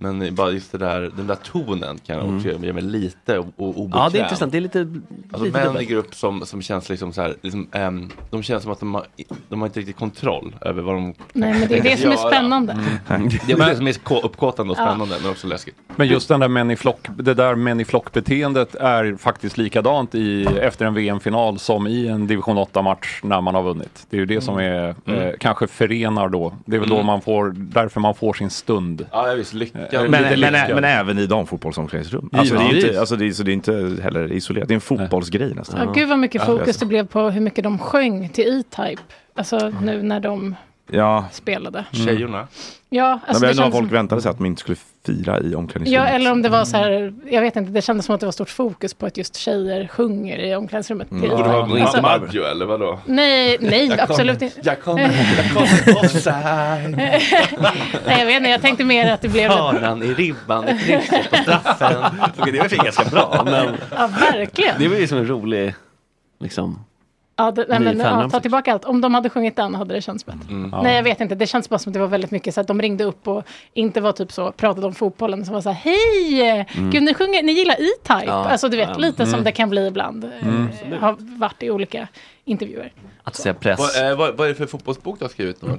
A: Men bara just det där, den där tonen kan jag också göra mig lite o- o- obekväm.
B: Ja, det är intressant. Det är lite...
A: Alltså
B: lite
A: män i
B: dubbelt.
A: grupp som, som känns liksom så här, liksom, ehm, de känns som att de har, de har inte riktigt kontroll över vad de
F: Nej, men det är det som är spännande.
A: Mm. Det är väl det som är så uppkåtande och
F: Ja.
A: spännande men också läskigt.
E: Men just den där män i flock, det där män i flock-beteendet är faktiskt likadant i, efter en VM-final som i en division 8-match när man har vunnit. Det är ju det som är, eh,
A: Mm.
E: kanske förenar då. Det är väl då
A: Mm.
E: man får, därför man får sin stund.
A: Ja, visst, lyckan.
E: Eh,
D: Men,
E: lite
D: men, men,
E: lyckan.
D: även i damfotbollsomklädningsrum. Alltså, det är ju
E: Givetvis.
D: inte, alltså, det är, så det är inte heller isolerat. Det är en fotbollsgrej nästan.
F: Ja, gud vad mycket
D: Ja.
F: fokus det blev på hur mycket de sjöng till E-Type. Alltså nu när de
D: Ja. Mm.
F: spelade.
A: Mm. Tjejorna.
F: Ja,
D: Alltså, jag
F: alltså det
D: vet inte om
F: kändes
D: folk
F: som,
D: väntade sig att de inte skulle fira i omklädningsrummet.
F: ja, eller om det var så här, jag vet inte, det kändes som att det var stort fokus på att just tjejer sjunger i omklädningsrummet.
A: Mm.
F: till
A: Borde
F: E-Type.
A: vara
F: Alltså,
A: Maggio eller vadå?
F: Nej, nej,
A: Jag kommer-
F: absolut inte.
A: Jag kommer, jag kommer offside.
F: Nej, jag vet inte, jag tänkte mer att det blev...
A: Hörnan i ribban, i krysset på straffen.
B: Okej, det var i och för sig ganska bra, men
F: Ja, verkligen.
B: det var ju som en rolig... Liksom.
F: Ja, det, nej, men,
B: Ni är fan
F: ja,
B: av
F: ta
B: sex.
F: tillbaka allt. Om de hade sjungit den hade det känts bättre.
A: Mm.
B: Ja.
F: Nej, jag vet inte. Det känns bara som att det var väldigt mycket så att de ringde upp och inte var typ så, pratade om fotbollen, som var så här, hej!
B: Mm.
F: Gud, ni, sjunger, ni gillar E-Type.
B: Ja.
F: Alltså, du vet,
B: Ja.
F: lite
B: Mm.
F: som det kan bli ibland. eh,
B: Mm.
F: Har varit i olika intervjuer.
B: Att säga press.
A: Vad, eh, vad, vad är det för fotbollsbok du har skrivit Noel?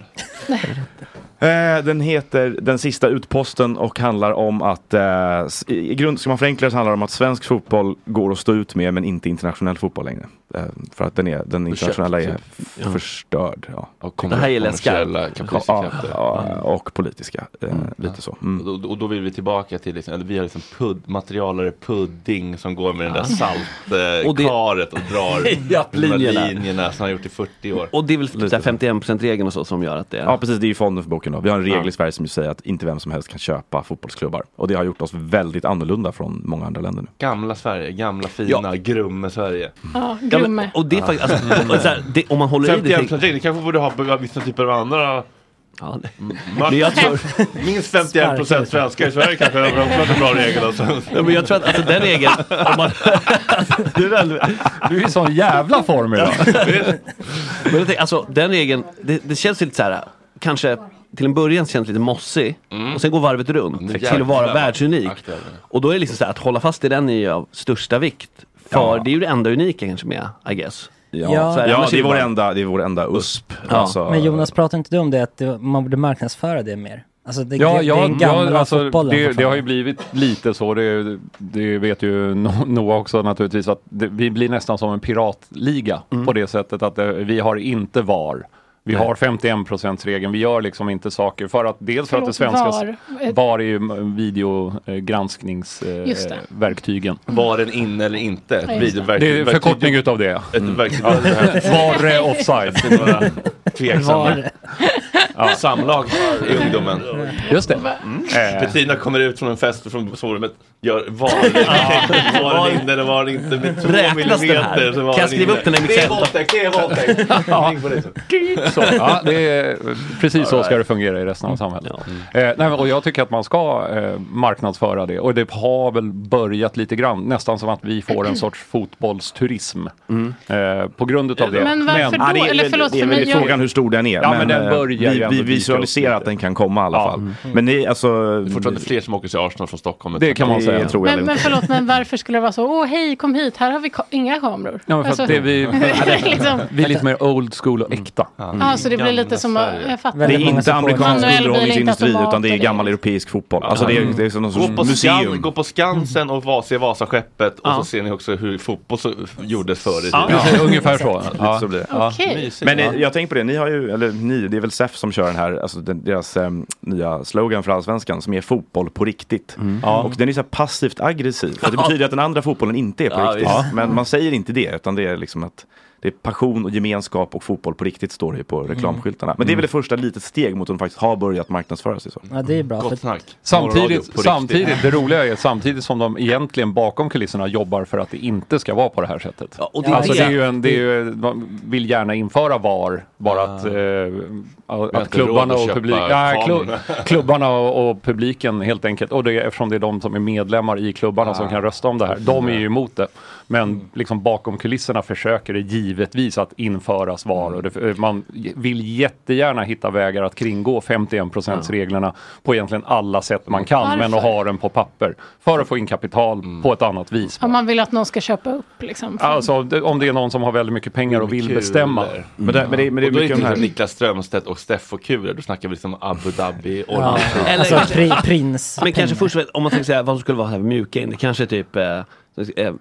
D: Eh, den heter Den sista utposten och handlar om att, eh, s- i i grund, ska man förenkla det så handlar det om att svensk fotboll går att stå ut med men inte internationell fotboll längre. Eh, för att den, är, den internationella är
A: Förköpt,
D: f-
A: ja.
D: förstörd. Ja.
A: typ. Och Det här gillar jag skarpt. kommersiella Mm. kapitalistiska krafter.
D: Ja, ja, och politiska. Eh, Lite så. Mm.
A: Och, då, och då vill vi tillbaka till, liksom, eller vi har liksom pud, materialare pudding som går med den där
B: Ja.
A: saltkaret eh,
B: Och det-
A: karet och drar
B: Ja,
A: de där
B: linjerna.
A: linjerna som han har gjort i 40 år.
B: Och det är väl typ så här 51%-regeln och så som gör att det...
D: Ja precis, det är ju fonden för boken då. Vi har en regel
B: Ja.
D: i Sverige som ju säger att inte vem som helst kan köpa fotbollsklubbar. Och det har gjort oss väldigt annorlunda från många andra länder nu.
A: Gamla Sverige, gamla fina, grumme Sverige.
F: Ja,
B: Ja, men-
F: Grumme.
B: och det är faktiskt, alltså, och så här, det, om man håller i det...
A: 51 procent, ni kanske borde ha b- vissa typer av andra
B: Ja, det-
A: matcher.
B: Men jag tror-
A: Minst 51 procent svenskar i Sverige kanske har också en bra regel. Alltså.
B: Ja, men jag tror att alltså, den regeln... Om man, du, är väl,
E: du är i sån jävla form idag.
B: men jag tänker, alltså, den regeln, det, det känns lite så här, kanske till en början känns lite mossig
D: Mm.
B: och sen går varvet runt
A: Det är
B: till att vara
A: jäkla
B: världsunik.
A: aktuellt.
B: Och då är det liksom så här, att hålla fast i den är ju av största vikt. För det är ju det enda unika kanske med, I guess.
D: Ja, ja.
B: Sverige, annars
D: det, är vår
B: bara-
D: enda, det är vår enda USP.
B: Ja.
D: Alltså,
G: Men Jonas, pratar inte du om det att det, man borde marknadsföra det mer? Alltså det, det, det är den
E: ja,
G: gamla
E: alltså,
G: fotbollen.
E: Det,
G: för fan.
E: det har ju blivit lite så. Det, det vet ju No- Noah också naturligtvis. Att det, vi blir nästan som en piratliga
G: Mm.
E: på det sättet att eh, vi har inte VAR. Vi
B: Nej.
E: har 51 regeln. Vi gör liksom inte saker för att dels för att det
F: Förlåt,
E: svenska
F: VAR. Eh,
E: VAR är ju videogranskningsverktygen.
F: Just det.
E: Eh, verktygen.
A: Var den inne eller inte? Ett
F: Ja, just det.
A: videoverktyg.
E: det är förkortning utav det. Mm.
A: Ett verktyg.
E: VAR är offside.
A: Efter några tveksamma
E: Var.
A: ja. samlag i ungdomen.
E: Just det.
A: Eh. Petrina kommer ut från en fest från sovrummet, gör var, var den inne eller var den inte med två
B: Räknas den här?
A: millimeter. så var
B: Kan jag skriva
A: inne.
B: upp den här i mitt
A: Det är
B: center?
A: våldtäkt, det är våldtäkt. Ring på det så.
E: Så, ja, det är, precis så ska det fungera i
D: Mm.
E: resten av samhället. Eh, nej, men- och jag tycker att man ska eh, marknadsföra det och det har väl börjat lite grann, nästan som att vi får en sorts fotbollsturism eh, på grund av det.
F: Men varför då?
D: Mm. det är
F: Eller
D: väl-
F: förlåt,
D: det är
F: för
D: väl
F: mig, jag-
D: frågan hur stor den är.
E: Ja, men den
D: eh,
E: börjar ju
D: vi,
E: ändå dyka
D: vi
E: upp Mm.
D: visualiserar att den kan komma i alla fall. Men ni, alltså...
A: Fortfarande fler som åker till Arsenal från Stockholm.
E: Det kan man säga.
D: Det tror jag väl.
F: Men, men förlåt, men varför skulle det vara så? Åh, hej, kom hit, här har vi ka- inga kameror.
E: Ja, men för
F: Alltså,
E: att det vi,
F: liksom.
E: vi är lite mer old school och äkta.
D: Mm.
F: Ja, så det blir lite som, att- jag fattar.
D: Det är inte amerikansk
F: Manuel blir inte
D: underhållningsindustri
F: automat
D: utan det är
F: och
D: gammal europeisk fotboll. Alltså det är, det är som någon
A: Gå på,
D: sorts
A: Skan,
D: museum.
A: gå på Skansen och va, se Vasaskeppet och så ser ni också hur fotboll så, gjordes förr i tiden.
E: Ja, ungefär så.
D: Lite så blir det.
F: Okej.
A: Mysigt.
D: Men
A: Ja.
D: eh, jag tänker på det, ni har ju, eller ni, det är väl SEF som kör den här, alltså den, deras eh, nya slogan för allsvenskan som är fotboll på riktigt.
E: Mm.
A: Ja.
D: Och den är så här passivt aggressiv. För det
A: Ja.
D: betyder att den andra fotbollen inte är på
A: Ja,
D: riktigt.
A: visst.
D: Men man säger inte det utan det är liksom att det är passion och gemenskap och fotboll på riktigt står det ju på reklamskyltarna.
A: Mm.
D: Men det är väl det första litet steg mot att de faktiskt har börjat marknadsföra sig så.
G: Ja, det är bra. för-
E: Samtidigt, samtidigt, det roliga är samtidigt som de egentligen bakom kulisserna jobbar för att det inte ska vara på det här sättet.
B: och det är
E: alltså
B: det-
E: det är ju en, det är ju, man vill gärna införa VAR, bara att, eh, att,
A: har inte råd
E: klubbarna,
A: att
E: och
A: köpa
E: publik, ja, klubb,
A: kameror.
E: klubbarna och, och publiken helt enkelt, och det, är- eftersom det är de som är medlemmar i klubbarna som kan rösta om det här, de är ju emot det.
A: Mm.
E: Men liksom bakom kulisserna försöker det givetvis att införas VAR och
A: Mm.
E: det, man vill jättegärna hitta vägar att kringgå 51 reglerna på egentligen alla sätt man kan, men att
F: Varför?
E: ha den på papper för att få in kapital
A: Mm.
E: på ett annat vis.
F: Om man vill att någon ska köpa upp liksom. för-
E: Alltså om det- om det är någon som har väldigt mycket pengar och vill
A: Kulor.
E: bestämma.
A: Men det, men det, men det och då är det
E: mycket
A: inte
E: om
A: liksom
E: det här.
A: Niklas Strömstedt och Steffo Kulor, då snackar vi liksom Abu Dhabi,
B: Ja.
A: Ormskog.
F: Alltså,
B: Eller-
G: prins.
B: Men kanske först, om man tänker säga vad som skulle vara här mjuka in, det kanske är typ eh, eh,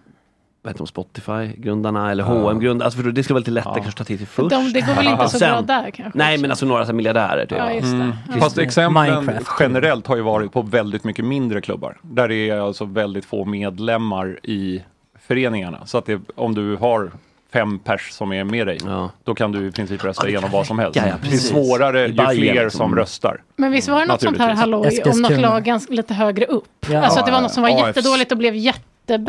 B: vad heter de, Spotify-grundarna eller
E: Ja.
B: hm grundarna alltså förstår du, det skulle vara lite lättare kanske att ta till sig först.
F: De- det går väl inte så bra där kanske?
B: Nej men alltså några så här miljardärer typ.
F: Ja, just det.
E: Mm.
F: Ja.
E: Fast exemplen
B: Minecraft.
E: generellt har ju varit på väldigt mycket mindre klubbar. Där det är alltså väldigt få medlemmar i föreningarna. Så att det, om du har fem pers som är med dig, då kan du i princip rösta igenom vad som helst.
B: räcka, ja,
E: det är
B: precis.
E: svårare
B: I
E: ju
B: Bayern,
E: fler
B: liksom.
E: som röstar.
F: Men visst var det något sånt här
E: Naturligtvis.
F: halloj om något
E: Eskilstuna.
F: lag ganska, lite högre upp?
D: Ja.
F: Alltså att det var något som var
D: AFC.
F: jättedåligt och blev jättebra.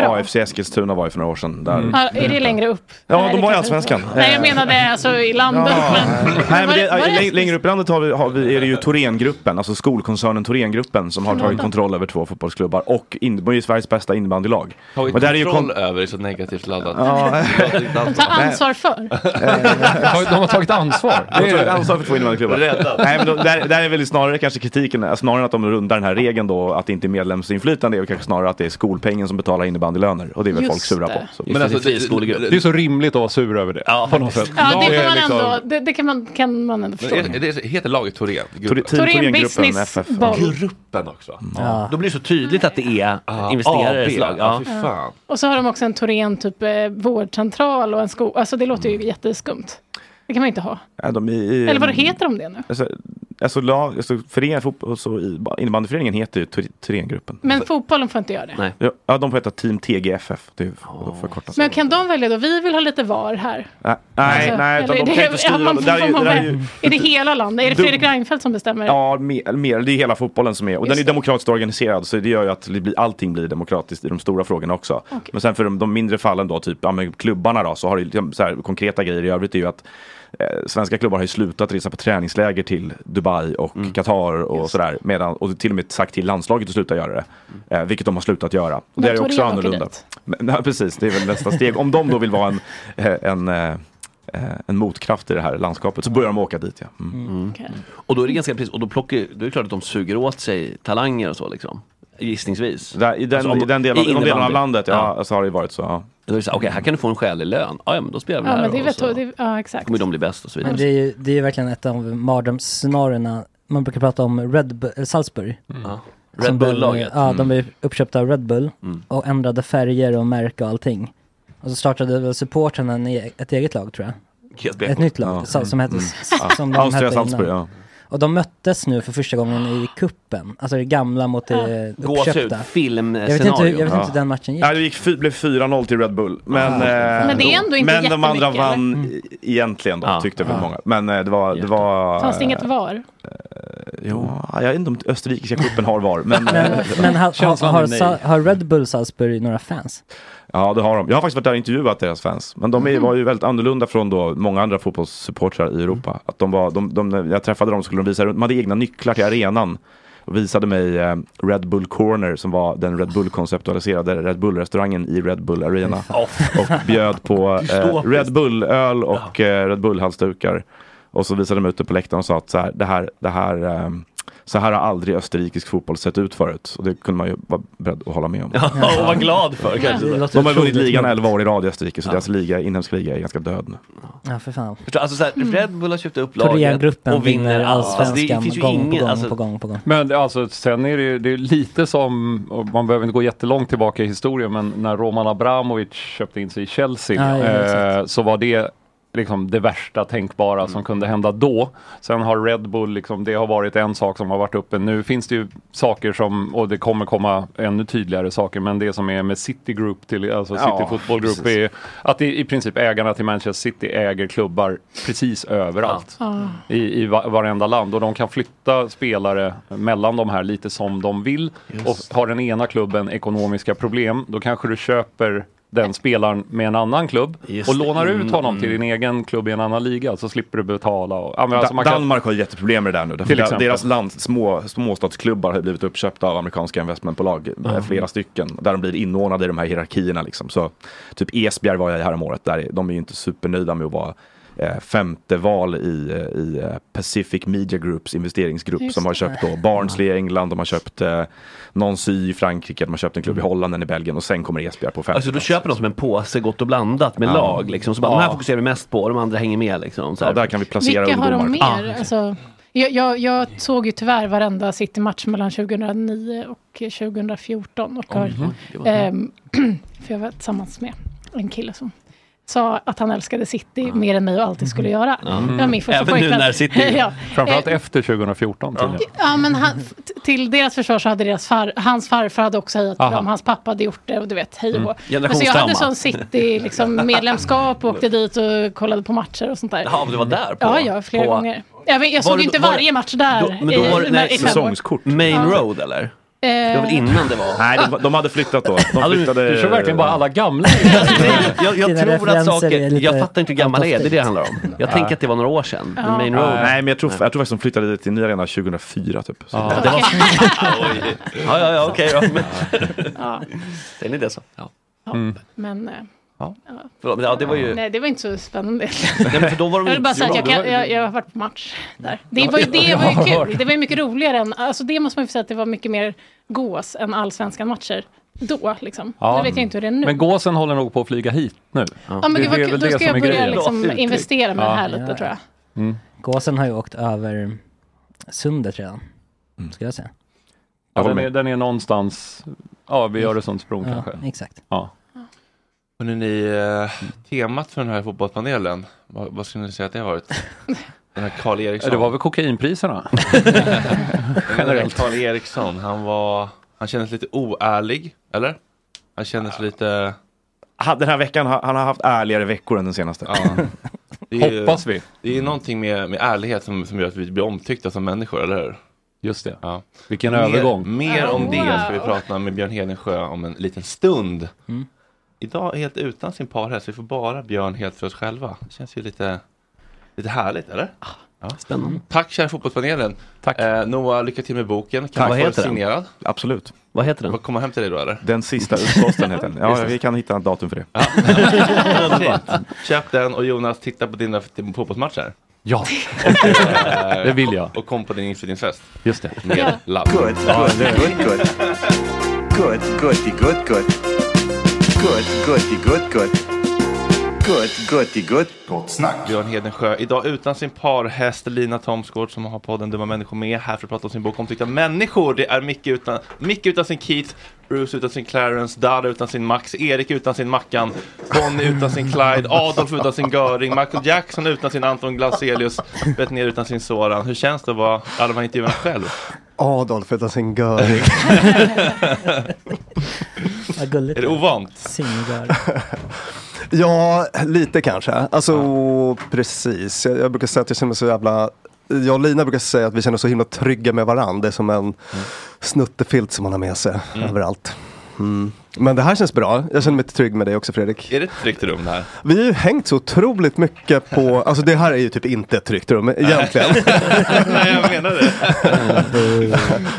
D: AFC Eskilstuna var ju för några år sedan. Där.
F: Mm. Ja, är det längre upp? Nej,
D: Mm. Ja,
F: det
D: de var i
F: kanske
D: Allsvenskan. Eh.
F: inte- Nej, jag menade alltså i landet. Men,
D: Nej, men det,
F: var det-
D: läng- längre upp i landet har vi, har vi, är det ju Thorengruppen, alltså skolkoncernen Thorengruppen som har
F: Förlåt.
D: tagit kontroll över två fotbollsklubbar och in, de är ju Sveriges bästa innebandylag.
A: Har vi
D: Men där är ju
A: kontroll
D: kon-
A: över det så negativt laddat?
D: Ja.
F: de tar ansvar för.
E: De har tagit ansvar.
D: De har tagit
E: alltså-
D: ansvar för två innebandyklubbar.
A: Räddat.
D: Nej, men då, där, där är väl snarare kanske kritiken, alltså, snarare än att de rundar den här regeln då, att det inte är medlemsinflytande, är väl kanske snarare att det är skolpengen som betalar innebandylöner och det är väl
F: Just
D: folk sura
F: det.
D: på. Så.
E: Men alltså, det, det är så rimligt att vara sur över det. på något sätt.
F: Ja, det,
A: är
F: får man
A: liksom-
F: ändå, det, det kan, man, kan man ändå förstå.
A: Men är- är det- Heter laget Thorén?
D: Thorén- Team
F: Thorén Thorén Gruppen, Business FF. Boll.
A: Gruppen också?
B: Ja. Då blir det så tydligt att det är
A: AB,
B: investerare slag.
A: ja, fy
F: Ja. Och så har de också en Torén typ eh, vårdcentral och en skola. Alltså det låter ju jätteskumt. Det kan man ju inte ha.
D: Ja, de är i,
F: Eller vad heter de det nu?
D: Alltså, alltså, lag, alltså föreningen, fotboll, så i, innebandyföreningen heter ju Thor- Thorengruppen.
F: Men fotbollen får inte göra det.
D: Nej. Ja, de får heta Team TGFF. Det är då förkortas
F: Men kan de välja då? Vi vill ha lite var här.
D: Nej, nej,
F: Alltså,
D: nej utan
F: eller
D: de
F: är
D: kan ju inte
F: det- ja,
D: styra.
F: man
D: Det
F: får-
D: där är ju-
F: man
D: det där är
F: får
D: ju-
F: väl- Är det hela landet? Är det
D: Dum-
F: Fredrik Reinfeldt som bestämmer?
D: Ja, mer, mer, det är hela fotbollen som är, och den är
F: Just
D: ju
F: det.
D: demokratiskt organiserad så det gör ju att det blir, allting blir demokratiskt i de stora frågorna också. Men sen för de, de mindre fallen då, typ ja, men klubbarna då, så har det ju liksom så här, konkreta grejer i övrigt är ju att eh, svenska klubbar har ju slutat resa på träningsläger till Dubai och Qatar och sådär. Medan, och till och med sagt till landslaget att sluta göra det. Eh, vilket de har slutat göra. Och
F: Men
D: det är ju
F: Torén
D: också
F: åker
D: annorlunda.
F: dit.
D: Men, ja, precis, det är väl nästa steg. Om de då vill vara en, eh, en, eh, eh, en motkraft i det här landskapet så börjar de åka dit ja. Mm.
B: Och då är det ganska precis, och då, plockar, då är det klart att de suger åt sig talanger och så liksom. Gissningsvis.
D: I den,
B: Alltså, om-
D: i den delen,
B: i
D: i de delarna av
B: innebandy.
D: landet ja, Så har det ju varit så. Ja.
B: Då är det så här, Okej, här kan du få en skälig lön. Ja, ja men då spelar vi
F: Ja,
B: här
F: men det är
B: och
F: väl
B: så
D: Alltså-
F: to- det, ja, exakt.
B: kommer de bli bäst och så vidare.
G: Men det är ju, det är ju verkligen ett av mardrömsscenarierna. Man brukar prata om Red Bu- eh, Salzburg.
B: Ja.
G: Som
B: Mm. Red
G: blev-
B: Bull-laget.
G: Ja, de
B: Mm.
G: blev uppköpta av Red Bull och ändrade färger och märke och allting. Och så startade väl supportrarna en e- ett eget lag tror jag.
B: GSBK.
G: Ett nytt lag
B: Ja.
G: sa- som hette,
B: Mm.
G: s- som de
D: Austria
G: hette
D: Salzburg,
G: innan.
D: ja.
G: Och de möttes nu för första gången i kuppen. Alltså det gamla mot det
B: Ja. Gåshud,
G: eh, uppköpta.
B: filmscenario.
G: Jag vet inte, hur- jag vet inte hur
D: Ja.
G: den matchen gick.
D: Ja, det gick fy, blev 4-0 till Red Bull. Men, eh,
G: Ah. Mm. Men
F: det är ändå inte
D: men de andra
F: jättemycket,
D: vann e- egentligen då, tyckte väl
F: Ah.
D: många. Men eh, det var... Det var
F: Fanns det inget var?
D: Jo, jag vet inte om österrikiska cupen har VAR. Men, eh,
G: Men, men har, har, har, Sa- har Red Bull Salzburg några fans?
D: Ja, det har de. Jag har faktiskt varit där och intervjuat deras fans. Men de är, var ju väldigt annorlunda från då många andra fotbollssupportrar i Europa. Att de var, de, de, när jag träffade dem skulle de visa runt, de hade egna nycklar till arenan. Och visade mig eh, Red Bull Corner som var den Red Bull konceptualiserade Red Bull-restaurangen i Red Bull Arena. Och bjöd på eh,
A: Dystopiskt.
D: Red Bull-öl och eh, Red Bull-halsdukar. Och så visade de ut det på läktaren och sa att så här, det här, det här eh, så här har aldrig österrikisk fotboll sett ut förut. Och det kunde man ju vara beredd att hålla med om.
B: Ja, och vad glad för kanske.
D: De har ju vunnit ligan 11 år i rad i Österrike, så deras liga, inhemska liga är ganska död nu.
G: Ja, för fan.
B: Förstår, alltså så här,
F: Mm.
B: Red Bull har köpt upp laget
G: Thorengruppen
B: och vinner
G: allsvenskan
B: Alltså, det finns ju
G: gång,
B: ingen,
G: på gång,
B: alltså,
G: på gång på gång.
E: Men alltså, sen är det ju det är lite som, och man behöver inte gå jättelångt tillbaka i historien, men när Roman Abramovic köpte in sig i
G: Ja,
E: Chelsea
G: ja,
E: eh, så var det liksom det värsta tänkbara
G: Mm.
E: som kunde hända då. Sen har Red Bull, liksom, det har varit en sak som har varit uppe. Nu finns det ju saker som, och det kommer komma ännu tydligare saker, men det som är med City Group, till, alltså City
A: Ja,
E: Football Group,
A: precis.
E: är att i, i princip ägarna till Manchester City äger klubbar precis överallt
A: Ja.
E: i, i va- varenda land och de kan flytta spelare mellan de här lite som de vill.
A: Just.
E: Och har den ena klubben ekonomiska problem, då kanske du köper den spelaren med en annan klubb
D: Just
E: och
D: det.
E: lånar ut
D: Mm,
E: honom
D: mm.
E: till din egen klubb i en annan liga så slipper du betala. Och, ja, men alltså
D: Da-
E: man kan-
D: Danmark har jätteproblem med det där nu. Därför
E: Till
D: da-
E: exempel.
D: deras land, små, småstadsklubbar har blivit uppköpta av amerikanska investmentbolag. eh,
E: Ja.
D: Flera stycken. Där de blir inordnade i de här hierarkierna. Liksom. Så, typ Esbjerg var jag i häromåret. Där är- de är ju inte supernöjda med att vara eh, femte val i, eh, i eh, Pacific Media Groups investeringsgrupp
A: Just
D: som har
A: det.
D: köpt då Barnsley i England, de har köpt eh, Nancy i Frankrike, de har köpt en klubb i
A: Mm.
D: Holland, en i Belgien och sen kommer Esbjerg på femte.
B: Alltså då köper de som en påse gott och blandat med
D: Ja.
B: lag liksom. Så bara,
D: Ja.
B: de här fokuserar vi mest på och de andra hänger med liksom. Så här.
D: Ja, där kan vi
F: Vilka har de mer?
B: Ah.
F: alltså, jag, jag, jag såg ju tyvärr varenda City-match mellan 2009 och 2014. Och har,
I: Mhm. Det var-
F: ehm, för jag var tillsammans med en kille som sa att han älskade City
D: Ah.
F: mer än mig och alltid
D: Mm-hmm.
F: skulle göra.
E: Mm.
F: Det var min första
E: Även nu
F: pojkvän.
E: när City...
F: ja.
E: Framförallt
F: Eh,
E: efter 2014 tydligen.
F: Ja, men han, t- till deras försvar så hade deras far, hans farfar hade också hejat på
E: Aha.
F: dem, hans pappa hade gjort det och du vet, hej och
E: Mm.
F: hå. Men Så jag
B: Generationsdrama.
F: hade sån city liksom, medlemskap och åkte dit och kollade på matcher och sånt där.
B: Jaha, men du var där på?
F: Ja, ja, flera
B: på,
F: gånger. Jag, vet, jag
B: Var
F: såg
B: du-
F: ju inte
B: var-
F: varje match där.
B: Då, men då
F: i-
B: var det
F: men i
B: nej,
F: fem år.
B: Main
F: Ja.
B: Road eller?
F: Eh,
B: Det var väl innan det var?
D: Nej, de, hade flyttat då.
B: De
D: flyttade-
E: Du kör verkligen bara alla gamla.
B: jag, jag
E: Dina
B: tror att
E: referenser är
B: saker,
E: lite
B: jag fattar inte hur gammal det är, det är det det handlar om.
D: Ja.
B: Jag tänker att det var några år sedan. Men Main Road.
D: Nej, men jag tror, jag tror faktiskt de flyttade till nya arena 2004 typ. Så.
B: Ja, det var... ja, ja, ja, okej då.
F: Ja.
B: Det är en idé så. Ja.
F: Men, eh,
B: Ja. Förlåt, men ja, det var ju...
F: nej, det var inte så spännande.
B: Nej, men för då var de
F: Jag vill bara
B: inte så
F: säga att jag,
B: bra.
F: kan,
B: Det var-
F: jag, jag har varit på match där. Det
B: Ja,
F: var ju,
B: ja,
F: det
B: jag
F: var
B: har
F: ju kul.
B: hört.
F: Det var ju mycket roligare än, alltså det måste man ju få säga att det var mycket mer gås än allsvenskan matcher då liksom.
E: Ja.
F: Nu vet jag inte hur det är nu.
E: Men gåsen håller nog på att flyga hit nu.
F: Ja, men gud, vad kul. då ska jag börja liksom investera med
E: Ja.
F: det här lite tror jag.
G: Gåsen har ju åkt över sundet redan,
J: Mm.
G: skulle jag säga.
E: Ja, den, är, den är någonstans ja, vid Öresundsbron
G: Mm. Ja,
E: kanske.
G: exakt.
E: Ja.
A: Hörrni, ni, eh, temat för den här fotbollspanelen, vad, vad skulle ni säga att det har varit? Den här Karl Eriksson.
E: Det var väl kokainpriserna?
A: Generellt.
E: Generellt.
A: Karl Eriksson, han var, han kändes lite oärlig, eller? Han kändes lite...
D: Han- Den här veckan, har- han har haft ärligare veckor än den senaste.
A: det är ju-
D: Hoppas vi.
A: Det är någonting med, med ärlighet som, som gör att vi blir omtyckta som människor, eller hur?
E: Just det.
A: Ja.
E: Vilken
A: mer,
E: övergång.
A: Mer om
E: Oh,
A: det ska vi
E: wow.
A: prata med Björn Hedensjö om en liten stund.
E: Mm.
A: Idag helt utan sin parhäst, vi får bara Björn helt för oss själva. Det känns ju lite, lite härligt, eller?
E: Ah,
A: Ja.
B: Spännande.
A: Tack kära fotbollspanelen. Tack. Eh, Noah, lycka till med boken. Kan
D: Tack.
A: man
D: Vad
A: få den
D: heter den?
A: signerad?
D: Absolut.
B: Vad heter den?
A: Kommer hem till dig då eller?
D: Den sista utposten heter den. Ja, vi kan hitta ett datum för det.
A: Fint. Köp den och Jonas, titta på dina f- fotbollsmatcher.
E: Ja,
A: det
E: vill jag.
A: Och kom på din inflyttningsfest.
E: Just det.
A: Med
E: Ja.
A: love. Oh,
K: Good, good, good, good. Good, goody, good, good. Good, goody, good, good. Good, goody, good. Gott snack.
A: Björn Hedensjö, idag utan sin parhäst Lina Thomsgård som har podden Dumma Människor med här för att prata om sin bok Omtyckta Människor. Det är Micke utan, Micke utan sin Keith, Bruce utan sin Clarence, Dada utan sin Max, Erik utan sin Mackan, Bonnie utan sin Clyde, Adolf utan sin Göring, Michael Jackson utan sin Anton Glaselius, Betnér utan sin Soran. Hur känns det att vara alla de här intervjuerna själv?
J: Adolf utan sin göring.
G: Vad gulligt.
A: Är det ovant?
G: Singlar.
J: ja, lite kanske. Alltså precis. Jag, jag brukar säga att jag känner mig så jävla... Jag och Lina brukar säga att vi känner oss så himla trygga med varandra. Det är som en snuttefilt som man har med sig
A: Mm.
J: överallt. Mm. Men det här känns bra. Jag känner mig trygg med dig också Fredrik.
A: Är det ett tryggt rum det här?
J: Vi har ju hängt så otroligt mycket på, alltså det här är ju typ inte ett tryggt rum egentligen.
A: Nej, jag menar det.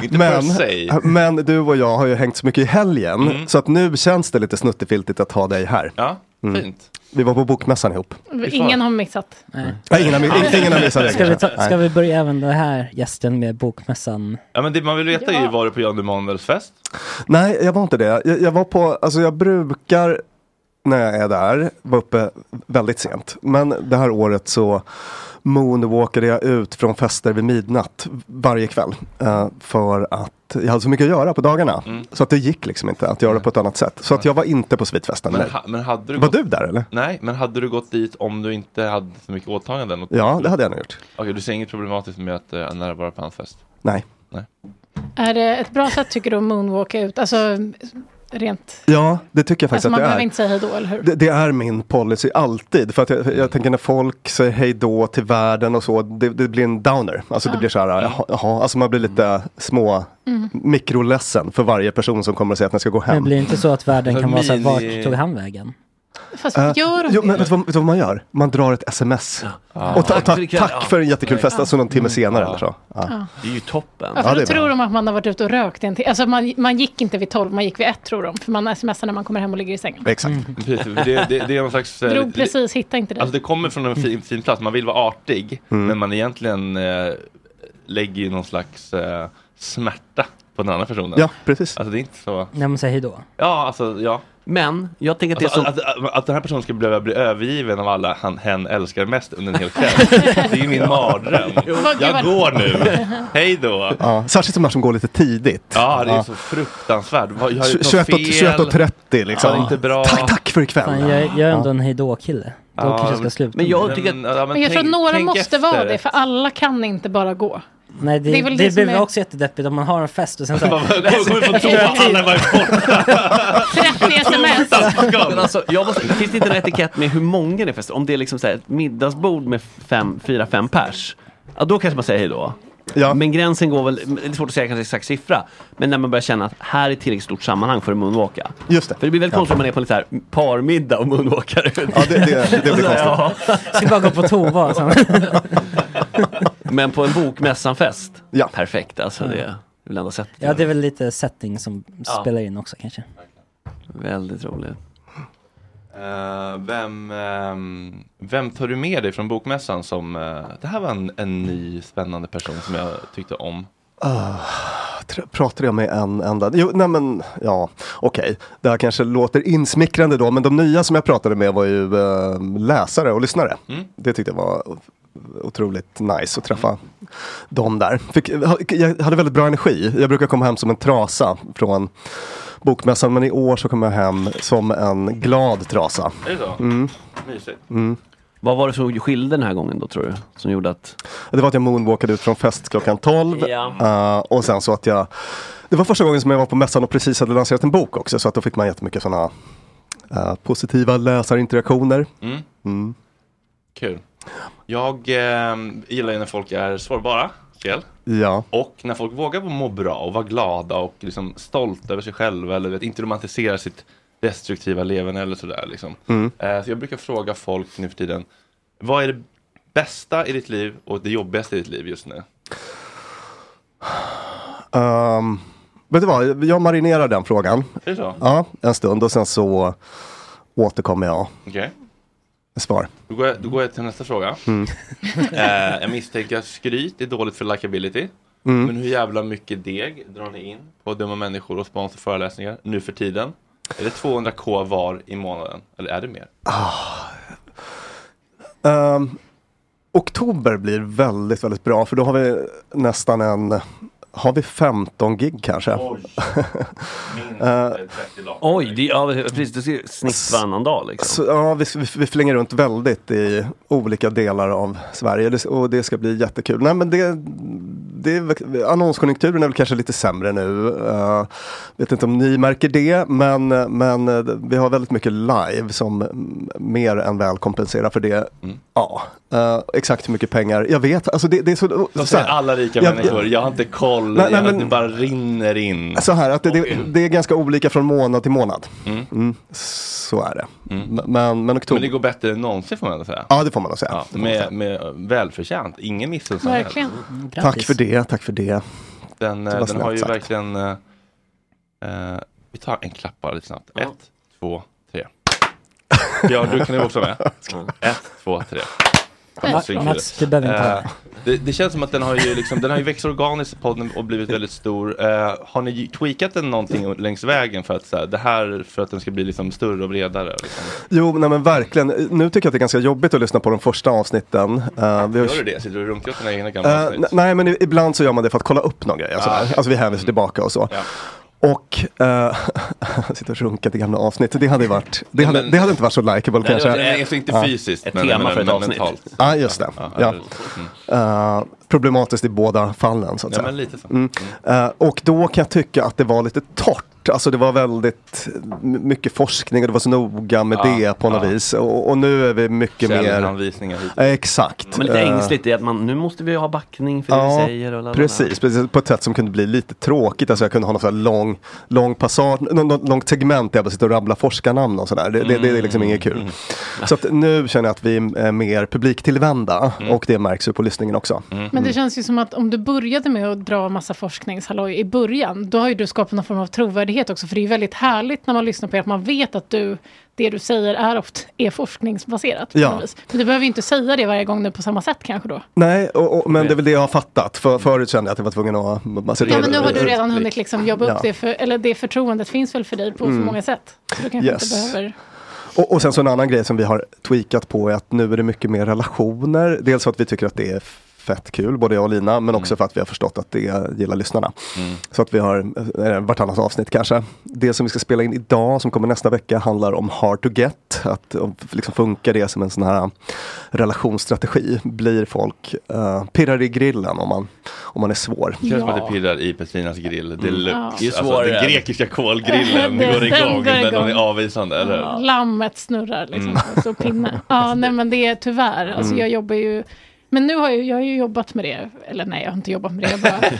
A: Inte
J: men,
A: per se. Mm.
J: men du och jag har ju hängt så mycket i helgen så att nu känns det lite snuttefiltigt att ha dig här. Mm.
A: Ja, fint.
J: Vi var på bokmässan ihop.
F: Ingen har missat.
J: Nej, ingen har mi- ingen har missat det.
G: Ska vi,
J: kanske.
G: ta, ska
J: Nej.
G: vi börja även den här gästen med bokmässan?
A: Ja, men det man vill veta är ju, var du på Jan Emanuels fest?
J: Nej, jag var inte det. Jag, jag var på, alltså jag brukar när jag är där, var uppe väldigt sent. Men det här året så moonwalkade jag ut från fester vid midnatt varje kväll. eh, för att jag hade så mycket att göra på dagarna.
A: Mm.
J: Så att det gick liksom inte att göra på ett annat sätt. Så att jag var inte på svitfesten.
A: Men,
J: nej.
A: ha, men hade du
J: Var
A: gått...
J: du där eller?
A: Nej, men hade du gått dit om du inte hade så mycket åtaganden?
J: Ja, det hade jag nog gjort.
A: Okej, du ser inget problematiskt med att eh, närvara på hans fest?
J: Nej.
A: Nej.
F: Är det ett bra sätt tycker du att moonwalka ut? Alltså rent...
J: Ja, det tycker jag faktiskt
F: Alltså, man
J: att det är.
F: behöver inte säga hej då, eller hur?
J: Det, det är min policy alltid. För att jag, jag tänker när folk säger hej då till världen och så, det, det blir en downer. Alltså det
F: Ja. Mm.
J: blir så här, jaha, jaha, alltså man blir lite små
G: Mm.
J: mikroledsen för varje person som kommer och säger att den ska gå hem.
G: Men blir det inte så att världen kan vara så här, vart tog han vägen?
F: Fast
J: Eh,
F: gör de
J: jo,
F: det?
J: men vet du, vad, vet du vad man gör? Man drar ett sms. Och ta, ta, tack för en jättekul fest, alltså någon
G: Mm.
J: timme senare eller så.
F: Ja.
B: Mm. Det är ju toppen.
F: Ja, för då tror de att man har varit ute och rökt en till. Alltså man, man gick inte vid tolv, man gick vid ett tror de. För man smsar när man kommer hem och ligger i sängen.
J: Exakt.
A: Mm. Precis, för det, det, det är någon slags... eh,
F: Drog
A: li-
F: precis, hitta inte dig.
A: Alltså det kommer från en
J: Mm.
A: fin, fin plats, man vill vara artig men man egentligen eh, lägger ju någon slags eh, smärta på den andra personen.
J: Ja, precis.
A: Alltså det är inte så...
G: Nej men säg hejdå.
A: Ja, alltså ja.
B: Men jag tänker
A: att alltså, att, att, att den här personen ska behöva bli övergiven av alla han hen älskar mest under en hel kväll. det är ju min mardröm. Jag går nu. Hej då.
J: Ja, särskilt de här som går lite tidigt.
A: Ja, det är så fruktansvärt. Vad- Jag har gjort något
J: 21 och,
A: fel.
J: 21 och 30 liksom.
A: Ja, det är inte bra.
J: Tack, tack för ikväll.
G: Fan, jag, jag är ändå en hejdå-kille. Då
A: Ja,
G: kanske jag ska
A: men-
G: sluta.
A: men jag
G: med det.
A: tycker att- ja,
F: Men jag tror att några måste vara det, för alla kan inte bara gå.
G: Nej, det,
F: Det
G: det,
F: är väl det
G: det
F: som
G: blir väl
F: är-
G: också jättedeppigt om man har en fest och sen så
A: Bara, kommer från toa, alla var
F: sms.
B: Men alltså, jag måste, finns det inte en etikett med hur många det är fest? Om det är liksom så här ett middagsbord med fem, fyra, fem pers. Ja, då kanske man säger hej då. Men gränsen går väl, det är svårt att säga kanske exakt siffra. Men när man börjar känna att här är tillräckligt stort sammanhang för att moonwalka.
J: Just det.
B: För det blir väldigt konstigt om man är på en lite så här parmiddag och moonwalkar ut. Alltså,
J: Ja, det, det, det blir
B: konstigt.
G: Ska bara gå på toa alltså? sen.
B: Men på en bokmässanfest,
J: ja.
B: perfekt alltså. Det är väl enda sättet.
G: Ja, det är väl lite setting som
B: Ja.
G: spelar in också kanske.
B: Väldigt roligt.
A: Eh, vem, ehm, vem tar du med dig från bokmässan som, eh, det här var en, en ny spännande person som jag tyckte om.
J: Ah, tr- Pratade jag med en enda? Jo, nej men ja, okej. Det här kanske låter insmickrande då, men de nya som jag pratade med var ju eh, läsare och lyssnare.
A: Mm.
J: Det tyckte jag var o- otroligt nice att träffa dem där. Fick, ha- jag hade väldigt bra energi. Jag brukar komma hem som en trasa från bokmässan, men i år så kom jag hem som en glad trasa.
A: Är det så?
J: Mm.
A: Mysigt.
J: Mm.
B: Vad var det som skilde den här gången då tror du? Som gjorde att...
J: Det var att jag moonwalkade ut från fest klockan 12.
B: Ja.
J: Eh, och sen så att jag... Det var första gången som jag var på mässan och precis hade lanserat en bok också. Så att då fick man jättemycket sådana positiva läsarinteraktioner.
A: Mm.
J: Mm.
A: Kul. Jag ehm, gillar ju när folk är sårbara, Kjell.
J: Ja.
A: Och när folk vågar må bra och vara glada och liksom stolta över sig själva eller vet, inte romantisera sitt destruktiva leverne eller sådär. Liksom.
J: Mm.
A: Eh, så jag brukar fråga folk nu för tiden, vad är det bästa i ditt liv och det jobbigaste i ditt liv just nu?
J: Ehm, vet du vad, jag marinerar den frågan.
A: Är det så?
J: Ja, en stund och sen så återkommer jag
A: Okej,
J: med svar.
A: då, går jag, då går jag till nästa fråga.
J: Mm.
A: eh, jag misstänker att skryt är dåligt för likability.
J: Mm.
A: Men hur jävla mycket deg drar ni in på att döma människor och sponsra föreläsningar nu för tiden? Är det 200k var i månaden? Eller är det mer?
J: Ah. Ehm, oktober blir väldigt, väldigt bra för då har vi nästan en, har vi 15 gig kanske? Eh,
B: Oj, det, ja, precis, det är snitt varannan dag liksom.
J: Så, ja, vi, vi, vi flänger runt väldigt i olika delar av Sverige det, och det ska bli jättekul. Nej, men det, det, är väl- annonskonjunkturen är väl kanske lite sämre nu. Eh, vet inte om ni märker det, men, men eh, vi har väldigt mycket live som mm, mer än väl kompenserar för det.
A: Mm.
J: Ja, eh, exakt hur mycket pengar, jag vet. Alltså det, det är så,
A: De
J: så
A: säger
J: här.
A: alla rika
J: Jag-
A: människor, jag har inte koll,
J: Nej, nej,
A: jag,
J: men-
A: det bara rinner in.
J: Så här, att det, det, det är ganska olika från månad till månad.
A: Mm.
J: Mm, så är det. M- Men, men oktober...
A: Men det går bättre än någonsin får man ändå säga.
J: Ja, det får man nog säga. Det får man
A: med, med välförtjänt, ingen missunnsam
F: Verkligen.
J: Tack för det, tack för det.
A: Den,
J: Det var
A: eh, den
J: snällt
A: har ju
J: sagt.
A: verkligen... eh, eh, vi tar en klapp bara lite snabbt. Ett, två, tre. Ja, du kan ju också vara med. Ett, två, tre. Han var svinkul.
G: Mats, du behöver inte ha.
A: Eh, det, det känns som att den har ju, liksom, den har ju växt organiskt podden och blivit väldigt stor. Eh, har ni tweakat den någonting längs vägen för att, så här, det här, för att den ska bli liksom större och bredare? Liksom?
J: Jo, nej men verkligen. Nu tycker jag att det är ganska jobbigt att lyssna på de första avsnitten. Eh, vi har-
A: Gör du det? Sitter du och runkar åt dina egna gamla
J: Eh,
A: avsnitt?
J: n- nej, men i- ibland så gör man det för att kolla upp någon grej. Alltså,
A: Ah, okej.
J: alltså vi hänvisar tillbaka och så. Och eh, sitta och runka till gamla avsnitt. Det hade, ju varit, det hade,
A: men-
J: det hade inte varit så likeable
A: Nej, det
J: kanske.
A: var- nej, alltså inte
J: Ja.
A: fysiskt, Ett men- tema men- för ett men avsnitt. mentalt.
J: Ja, just det.
A: Ja, Mm.
J: Ja. Eh, problematiskt i båda fallen så att
A: Ja,
J: säga.
A: men lite så.
J: Mm. Eh, och då kan jag tycka att det var lite torrt. Alltså det var väldigt m- mycket forskning och det var så noga med
B: Ja,
J: det på något
B: ja.
J: vis. Och, och nu är vi mycket mer...
A: Källhänvisningar hit.
J: Eh, Exakt.
B: Men lite
J: Eh,
B: ängsligt i att man, nu måste vi ha backning för det vi säger. Och la, la, la.
J: precis, precis. På ett sätt som kunde bli lite tråkigt. Alltså jag kunde ha någon sån här lång, lång passage, någon, någon långt segment där jag bara sitter och rabblar forskarnamn och sådär. Det, det, det är
B: Mm.
J: liksom inget kul. Så att nu känner jag att vi är mer publiktillvända
B: Mm.
J: och det märks ju på lyssningen också. Mm.
F: Men det känns ju som att om du började med att dra massa forskningshalloj i början, då har ju du skapat någon form av trovärdighet också, för det är ju väldigt härligt när man lyssnar på er, att man vet att du, det du säger är ofta är forskningsbaserat. på
J: Ja.
F: något vis. Men du behöver ju inte säga det varje gång nu på samma sätt kanske då.
J: Nej, och,
B: Mm.
J: och, men det är väl det jag har fattat. För, förut kände jag att jag var tvungen att... Man sitter
F: Ja,
J: och-
F: men nu har du redan hunnit liksom jobba upp
J: Ja.
F: det, för, eller det förtroendet finns väl för dig på
J: Mm.
F: så många sätt. Så du kanske
J: Yes.
F: inte behöver...
J: Och, och sen så en annan grej som vi har tweakat på är att nu är det mycket mer relationer. Dels för att vi tycker att det är fett kul, både jag och Lina, men
B: Mm.
J: också för att vi har förstått att det gillar lyssnarna. Så att vi har eh, vartannat avsnitt kanske. Det som vi ska spela in idag, som kommer nästa vecka, handlar om hard to get. Att om, liksom funkar det som en sån här relationsstrategi? Blir folk eh, pirrar i grillen om man, om man är svår?
A: Det känns som att det pirrar i Petrinas grill deluxe.
F: Mm. Ja.
A: Alltså,
F: Det är svårare
A: den
F: än-
A: grekiska kolgrillen
F: Den-
A: går igång
F: den går
A: när någon är
F: igång.
A: avvisande, eller hur?
F: Lammet snurrar liksom
A: Mm.
F: på en stor pinne. Ja, nej men det är tyvärr. Alltså,
A: Mm.
F: jag jobbar ju... Men nu har jag, jag har ju jobbat med det. Eller nej, jag har inte jobbat med det. Jag bara...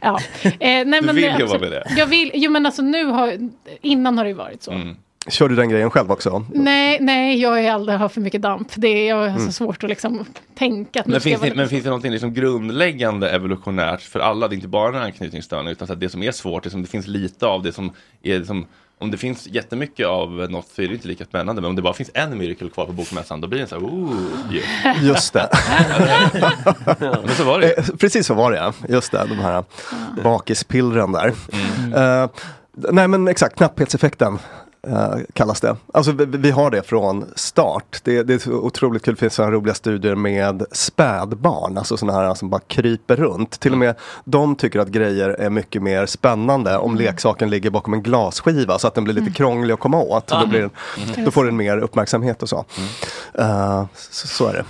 F: ja. eh, nej,
J: Du
F: men
J: vill
F: det-
J: jobba med det.
F: Jag vill, jo men alltså nu har... Innan har det ju varit så.
A: Mm.
J: Kör du den grejen själv också?
F: Nej, nej, jag är aldrig, har för mycket damp. Det är, jag har så
A: Mm.
F: svårt att liksom tänka. Att nu
A: Men
F: ska
A: finns,
F: jag vara
A: det, men finns det någonting liksom grundläggande evolutionärt för alla? Det är inte bara en anknytningsstörning utan så att det som är svårt, det, som, det finns lite av det som är liksom, om det finns jättemycket av något så är det inte lika spännande. Men om det bara finns en mirakel kvar på bokmässan då blir det så här, ooh, yeah.
J: Just det.
A: Men så var det
J: Eh, Precis så var det, ja. just det. De här bakispillren där.
A: Mm.
J: Eh, d- nej men exakt, knapphetseffekten eh, kallas det. Alltså vi, vi har det från start. Det, det är så otroligt kul, det finns sådana roliga studier med spädbarn, alltså sådana här som bara kryper runt. Till och med de tycker att grejer är mycket mer spännande
A: Mm.
J: om leksaken ligger bakom en glasskiva så att den blir lite krånglig att komma åt. Då, blir den,
A: Mm.
J: då får den mer uppmärksamhet och så. Eh, så, så är det.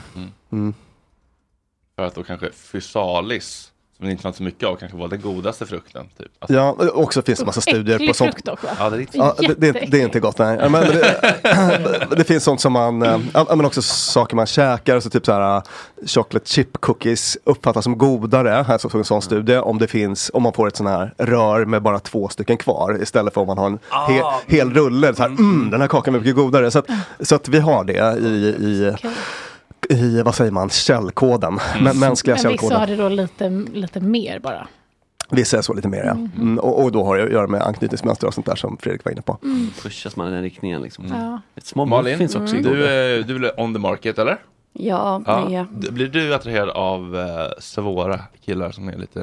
J: Mm.
A: För att då kanske fysalis, som det inte fanns så mycket av, kanske var den godaste frukten. Typ. Alltså,
J: Ja, och också finns det massa
A: Äcklig
J: studier på sånt.
A: frukt dock, va? Ja, det är inte-
J: Ja, det, det, det är inte
A: Jätteäcklig.
J: gott, nej. Ja, Men, men det, det finns sånt som man, eh, ja, men också saker man käkar, så typ så här eh, chocolate chip cookies uppfattas som godare, här så såg en
A: Mm.
J: sån studie, om det finns, om man får ett sån här rör med bara två stycken kvar istället för om man har en
A: Ah,
J: he,
A: mm.
J: hel rulle, så här, mm, den här kakan är mycket godare. Så att, så att vi har det i, i, i, vad säger man, källkoden, mm. mänskliga
F: Men vissa
J: källkoden.
F: har det då lite, lite mer bara.
J: Vissa är så lite mer, ja.
F: Mm.
J: Mm, och, och då har det att göra med anknytningsmönster och sånt där som Fredrik var inne på.
F: Mm.
B: Pushas man i den riktningen liksom.
A: Mm.
F: Ja.
B: Ett små
A: Malin,
B: finns också i
A: du,
B: Google.
A: är, du är on the market eller?
I: Mm. Ja, det är jag.
A: D- Blir du attraherad av eh, svåra killar som är lite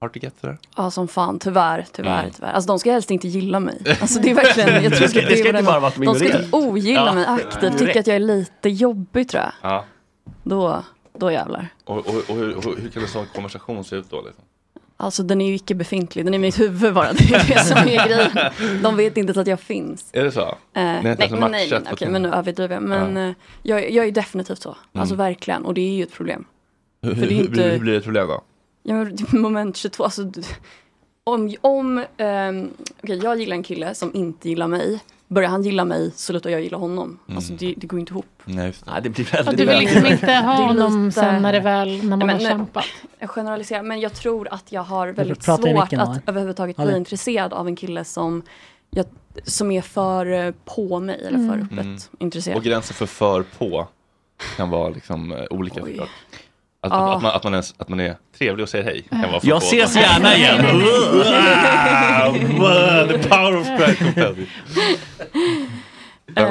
A: Hard to get there.
I: Ja, som fan. Tyvärr, tyvärr,
A: Mm.
I: tyvärr. Alltså de ska helst inte gilla mig. Alltså det är verkligen, jag tror
A: Det ska-
I: att
A: det ska
I: är
A: inte
I: den-
A: bara vara att de
I: De ska typ
A: ignorerar.
I: ogilla
A: Ja.
I: mig aktivt,
A: Direkt.
I: tycka att jag är lite jobbig tror jag.
A: Ja.
I: Då, då jävlar.
A: Och, och, och, hur, och hur kan en sån konversation se ut då? Liksom?
I: Alltså den är ju icke befintlig, den är i mitt huvud bara. Det är det som är grejen. De vet inte ens att jag finns.
A: Är det så? Eh,
I: Eh, nej, nej, nej, nej, okej, men nu överdriver jag. Men eh, jag, jag är definitivt så. Alltså verkligen, och det är ju ett problem.
A: Mm. hur,
I: för det är
A: hur,
I: inte-
A: hur blir det ett problem då?
I: Ja, men moment 22, alltså d- om, om ehm, okej, jag gillar en kille som inte gillar mig, börjar han gilla mig så slutar jag gilla honom. Alltså det, det går ju inte ihop.
A: Nej, just
B: det. blir
F: Och
B: väldigt...
F: du vill liksom inte ha
I: Det är lite-
F: honom sen när det väl, när man
I: Nej, men
F: har
I: nu-
F: kämpat.
I: Jag generaliserar, men jag tror att jag har väldigt
F: prata i
I: svårt
F: micken, Malin.
I: att överhuvudtaget
F: Malin.
I: bli intresserad av en kille som, jag, som är för eh, på mig eller för
F: Mm.
I: öppet
A: Mm.
I: intresserad.
A: Och gränsen för för på kan vara liksom eh, olika såklart. Att,
I: Ja.
A: att, att, man, att, man ens, att man är trevlig och säger hej kan vara för
B: Jag
A: på. Alltså,
B: ses gärna igen.
A: Wow, The power of pride compelling.
I: Eh,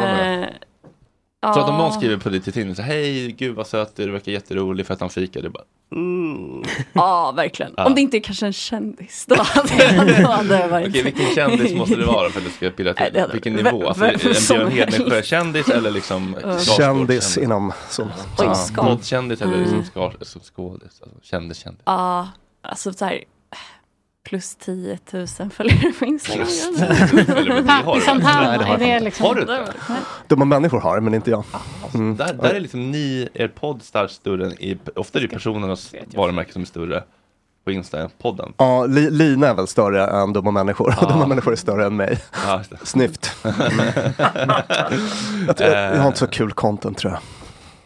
A: Så att om
I: ja.
A: någon skriver på ditt till Tinder så här, hej gud vad söt du är, du verkar jätterolig för att han fikade. Det är bara,
I: Mm. Ja, verkligen.
A: Ja.
I: Om det inte är kanske en kändis, då hade jag- då hade jag varit...
A: Okej, vilken kändis måste det vara för att du ska pilla
I: Nej, det
A: till?
I: hade-
A: Vilken
I: vem-
A: nivå? Alltså, är
I: vem
A: det
I: som
A: en Björn
I: helst.
A: Hedensjö-kändis eller liksom
J: Kändis inom så.
I: Oj,
A: Ja,
I: skal.
A: Poddkändis eller
I: Mm.
A: liksom skar- som skådis? Alltså, kändis, kändis.
I: Ja, alltså så här plus 10 000 följare på Instagram.
A: Plus 10 000 följare, men det har du Pappisan väl? Palm,
J: Nej, det har jag
A: är det
J: inte.
A: liksom- Har du inte?
J: Dumma människor har men inte jag. Mm.
A: Där, där är liksom ni, er podd starkt större än, i, ofta är det personernas varumärke som är större på Insta än podden.
J: Ja, li, Lina är väl större än dumma människor. Och
A: Ja.
J: dumma människor är större än mig.
A: Ja, just det.
J: Snyft. jag, tror, jag har inte så kul content tror jag.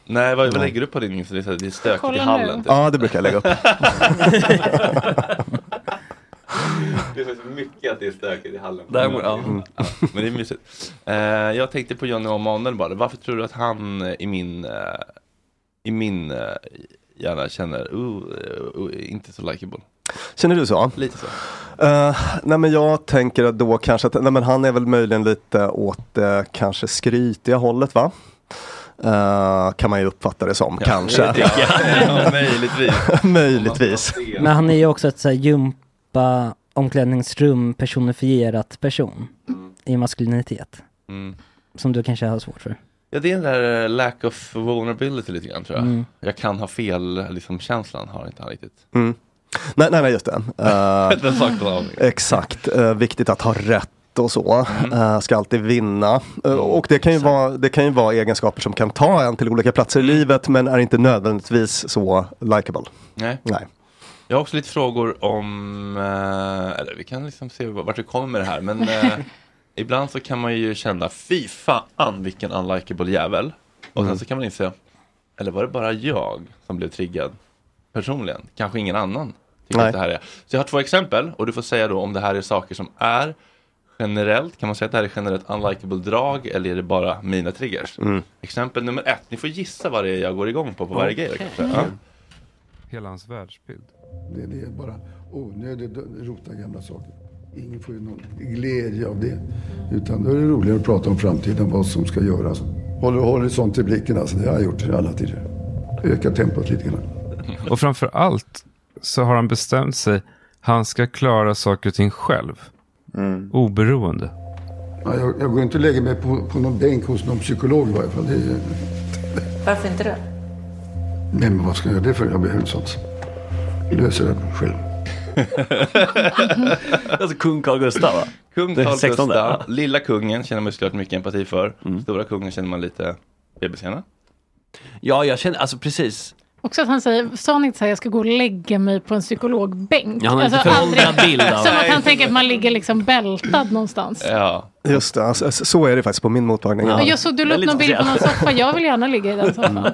A: Nej, vad, vad
J: Nej.
A: lägger du på din Insta? Det är så här, det är stökigt i
J: Kolla
A: hallen.
J: nu.
A: typ.
J: Ja, det brukar jag lägga upp.
A: det är så mycket att det är stökigt i hallen.
B: Där går- ja.
A: Mm. Ja, men det är mysigt. Eh, jag tänkte på Johnny O'Manuel bara. Varför tror du att han eh, i min, eh, i min eh, hjärna känner, "Ooh, eh, ooh, inte så likeable?
J: Känner du så?
A: Lite så.
J: Eh, nej men jag tänker att då kanske att nej men han är väl möjligen lite åt eh, kanske skrytiga hållet va? Eh, kan man ju uppfatta det som, kanske.
A: det tycker jag. Ja, möjligtvis.
J: möjligtvis.
G: Men han är ju också ett så här jumpa omklädningsrum personifierat person i maskulinitet.
A: Mm.
G: Som du kanske har svårt för.
A: Ja, det är den där eh, lack of vulnerability lite grann tror jag.
G: Mm.
A: Jag kan ha fel, liksom känslan har inte han riktigt.
J: Mm. Nej, nej, nej, just det. Eh,
A: Den saknar aning.
J: exakt, Eh, viktigt att ha rätt och så.
A: Mm.
J: Eh, ska alltid vinna. Eh, och det kan, ju vara, det kan ju vara egenskaper som kan ta en till olika platser
A: Mm.
J: i livet men är inte nödvändigtvis så likable.
A: Nej.
J: Nej.
A: Jag har också lite frågor om, eh, eller vi kan liksom se vart vi kommer med det här, men eh, ibland så kan man ju känna, fy fan vilken unlikable jävel. Och sen
J: Mm.
A: så kan man inse, eller var det bara jag som blev triggad personligen? Kanske ingen annan tycker
J: Nej.
A: att det här är. Så jag har två exempel och du får säga då om det här är saker som är generellt, kan man säga att det här är generellt unlikable drag eller är det bara mina triggers?
J: Mm.
A: Exempel nummer ett, ni får gissa vad det är jag går igång på på varje grej.
L: Okej.
A: Kanske. Ja.
L: Hela hans världsbild. Det, det är bara onödigt att rota i gamla saker. Ingen får ju någon glädje av det. Utan då är det roligare att prata om framtiden, vad som ska göras. Håller horisont i blicken alltså, det har jag gjort i alla tider. Ökar tempot lite grann.
M: Och framför allt så har han bestämt sig. Han ska klara saker och ting själv.
A: Mm.
M: Oberoende.
L: Ja, Jag, jag går inte och lägger mig på, på någon bänk hos någon psykolog i varje fall. Det är,
N: Varför inte det?
L: nej, men vad ska jag göra det för? Jag behöver sånt. Löser det själv.
B: alltså kung Carl Gustaf va?
A: Kung
B: Den
A: Carl
B: 16.
A: Gustaf, lilla kungen känner man ju såklart mycket empati för.
B: Mm.
A: Stora kungen känner man lite bebishjärna.
B: Ja, jag känner, alltså precis.
F: Också att han säger, sa han inte så här, jag ska gå och lägga mig på en psykologbänk?
B: Ja, han har en
F: Alltså,
B: lite föråldrad
F: aldrig-
B: bild av
F: Som att
B: det.
F: han tänker att man ligger liksom bältad någonstans.
A: Ja,
J: Just det, alltså, så är det faktiskt på min mottagning. Mm.
F: Men jag såg du la upp någon bild på någon soffa. Jag vill gärna ligga i den soffan.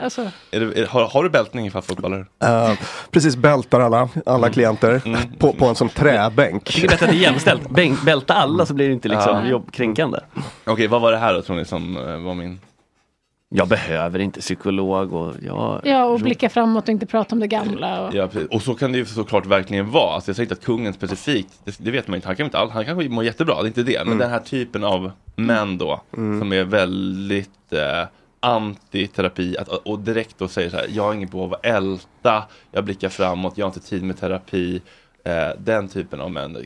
F: Alltså,
A: Är du, är, har, har du bältning ifall fotbollare?
J: Eh, precis, bältar alla, alla klienter På, på en sån träbänk.
B: Mm. Jag tycker bättre att det är jämställt. Bänk, bälta alla så blir det inte liksom
A: Ja.
B: jobbkränkande.
A: Okej, vad var det här då tror ni som eh, var min?
B: Jag behöver inte psykolog och jag...
F: ja, och blicka framåt och inte prata om det gamla. Och...
A: Ja, precis. och så kan det ju såklart verkligen vara. Alltså, jag säger inte att kungen specifikt, det, det vet man inte, han kan inte allt. Han kanske mår jättebra, det är inte det. Men
O: Mm.
A: den här typen av män då, som är väldigt eh, anti-terapi att, och direkt då säger så här, jag har inget behov av att älta, jag blickar framåt, jag har inte tid med terapi. Eh, den typen av män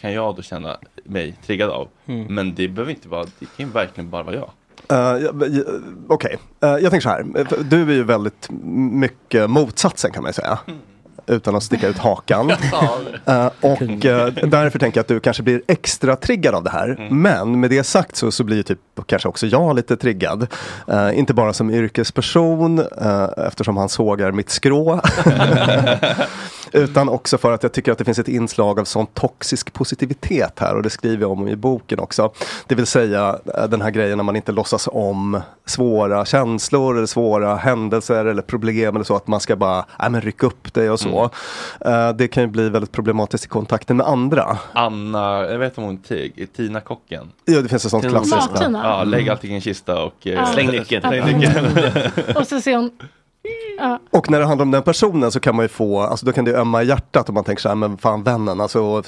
A: kan jag då känna mig triggad av.
J: Mm.
A: Men det behöver inte vara, det kan ju verkligen bara vara jag.
J: Eh, ja, men, eh, Okej, Eh, jag tänker så här. Du är ju väldigt mycket motsatsen kan man ju säga. Utan att sticka ut hakan. Eh, och eh, därför tänker jag att du kanske blir extra triggad av det här. Men med det sagt så, så blir ju typ kanske också jag lite triggad. Eh, inte bara som yrkesperson eh, eftersom han sågar mitt skrå. Utan också för att jag tycker att det finns ett inslag av sån toxisk positivitet här och det skriver jag om i boken också. Det vill säga eh, den här grejen när man inte låtsas om svåra känslor eller svåra händelser eller problem eller så att man ska bara äh, men rycka upp dig och så. Eh, Det kan ju bli väldigt problematiskt i kontakten med andra.
A: Anna, jag vet om hon Tig, Tina kocken.
J: Ja, det finns ett sånt
A: Tina-
J: klassiskt.
F: Mat-Tina.
A: Ja, lägg allting i en kista och eh,
F: Ja. Släng
B: nyckeln.
A: Släng
J: Mm.
A: nyckeln.
F: Och så ser hon... Ja.
J: Och när det handlar om den personen så kan man ju få, alltså då kan det ju ömma i hjärtat om man tänker så här, men fan vännen, alltså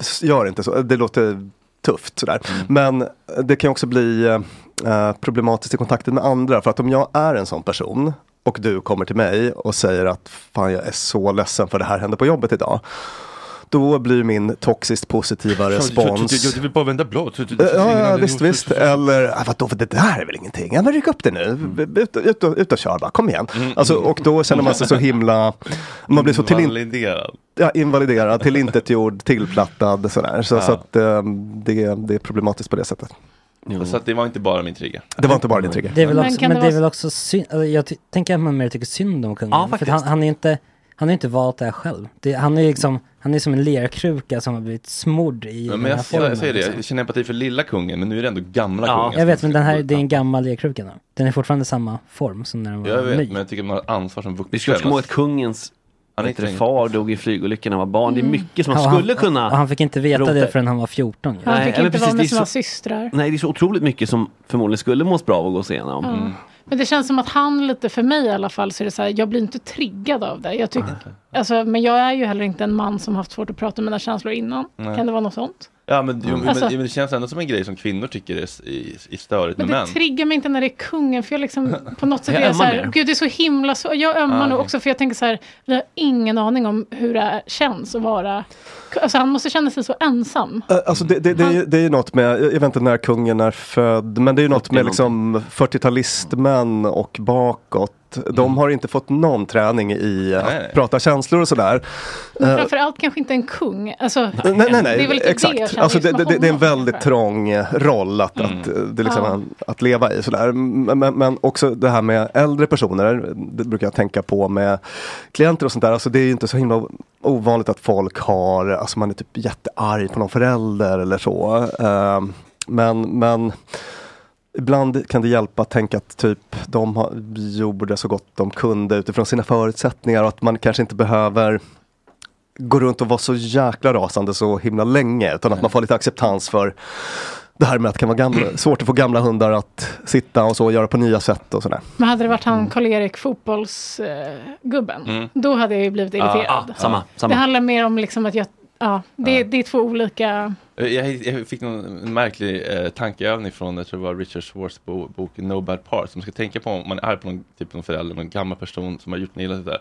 J: s- gör inte så, det låter tufft sådär.
A: Mm.
J: Men det kan ju också bli eh, problematiskt i kontakten med andra, för att om jag är en sån person och du kommer till mig och säger att fan jag är så ledsen för det här hände på jobbet idag. Då blir min toxiskt positiva respons.
A: Du vill bara vända blad.
J: Eh, Ja, ja visst, visst. Eller "Ah, vadå, för det där är väl ingenting. Ja, men ryck upp det nu.
F: Mm.
J: Ut, ut, och- ut och kör bara, kom igen. Alltså, och då känner man sig så himla... Man blir så till,
A: Validerad.
J: ja, invaliderad, tillintetgjord, tillplattad. Sådär. Så,
A: Ja.
J: så att, ehm, det, det är problematiskt på det sättet.
A: Så att det var inte bara min trigger.
J: Det var inte bara din trigger.
G: Det är väl
A: Men
G: också,
A: kan
G: Alltså, men det
A: det
G: är
A: vara-
G: väl också synd, eller jag ty- tänker att man mer tycker synd om kungen.
A: Ja,
G: för att
A: faktiskt.
G: han, han är inte, han har inte valt det här själv. Det, han är liksom, han är som en lerkruka som har blivit smord i
A: Ja,
G: den
A: men
G: här
A: jag, jag,
G: formen.
A: säger det,
G: liksom.
A: jag känner empati för lilla kungen, men nu är det ändå gamla
G: Ja.
A: kungen.
G: Jag vet, men den här, det är en gammal lerkruka nu. Den är fortfarande samma form som när den var
A: Jag vet,
G: ny.
A: men jag tycker man har ansvar som vuxen.
B: Vi ska också komma ihåg att kungens
A: Han är inte
B: bättre
A: längre.
B: far dog i flygolyckan när han var barn. Det är
F: Mm.
B: mycket som man
G: Ja, och
B: skulle
G: han,
B: kunna...
G: Och han fick inte veta
B: rota
G: det
B: i.
G: förrän han var 14.
F: Han
B: Nej,
F: fick
B: men
F: inte
B: precis,
F: vara
B: det är
F: med sina
B: så-
F: systrar.
B: Nej, det är så otroligt mycket som förmodligen skulle mås bra av att gås igenom.
F: Ja. Men det känns som att han lite, för mig i alla fall, så är det så här, jag blir inte triggad av det. Jag tyck, alltså, men jag är ju heller inte en man som haft svårt att prata om mina känslor innan.
A: Nej.
F: Kan det vara något sånt?
A: Ja, men, jo, men,
F: Alltså-
A: men det känns ändå som en grej som kvinnor tycker är, s- i- i störigt
F: Men
A: med
F: det
A: män.
F: triggar mig inte när det är kungen, för jag liksom på något sätt
A: Jag
F: är jag så
A: ömmar
F: här,
A: mer.
F: gud det är så himla så. Jag ömmar
A: Ah,
F: nog
A: okej.
F: också, för jag tänker så här, vi har ingen aning om hur det är- känns att vara, alltså han måste känna sig så ensam.
J: Eh, Alltså det, det, det, är ju, det är ju något med, jag jag vet inte när kungen är född, men det är ju något med liksom 40-talistmän och bakåt. De har inte fått någon träning i att
F: Mm. Nej.
J: prata känslor och sådär.
F: Men
J: Eh,
F: framförallt kanske inte en kung. Alltså,
J: Nej, nej, nej,
F: det är väl lite det jag
J: exakt.
F: känner
J: alltså, det,
F: just
J: det,
F: med
J: det är en
F: honom.
J: väldigt trång eh, roll att, att, eh, det är liksom
F: Ja.
J: en, att leva i. Sådär. Men, men- men också det här med äldre personer, det brukar jag tänka på med klienter och sånt där. Alltså, det är ju inte så himla ovanligt att folk har, alltså man är typ jättearg på någon förälder eller så. Eh, Men, men Ibland kan det hjälpa att tänka att typ, de har, gjorde så gott de kunde utifrån sina förutsättningar och att man kanske inte behöver gå runt och vara så jäkla rasande så himla länge utan att man får lite acceptans för det här med att det kan vara gamla, svårt att få gamla hundar att sitta och så och göra på nya sätt och sådär.
F: Men hade det varit han Karl-Erik fotbollsgubben,
J: Mm.
F: då hade jag ju blivit irriterad.
A: Ah, ah, samma, samma.
F: Det handlar mer om liksom att jag, ja, det, det är två olika,
A: Eh, Jag, jag fick någon, en märklig eh, tankeövning från, jag tror det var Richard Schwartz bo, bok No Bad Parts, som ska tänka på om man är arg på någon, typ någon förälder, någon gammal person som har gjort något illa. och sådär.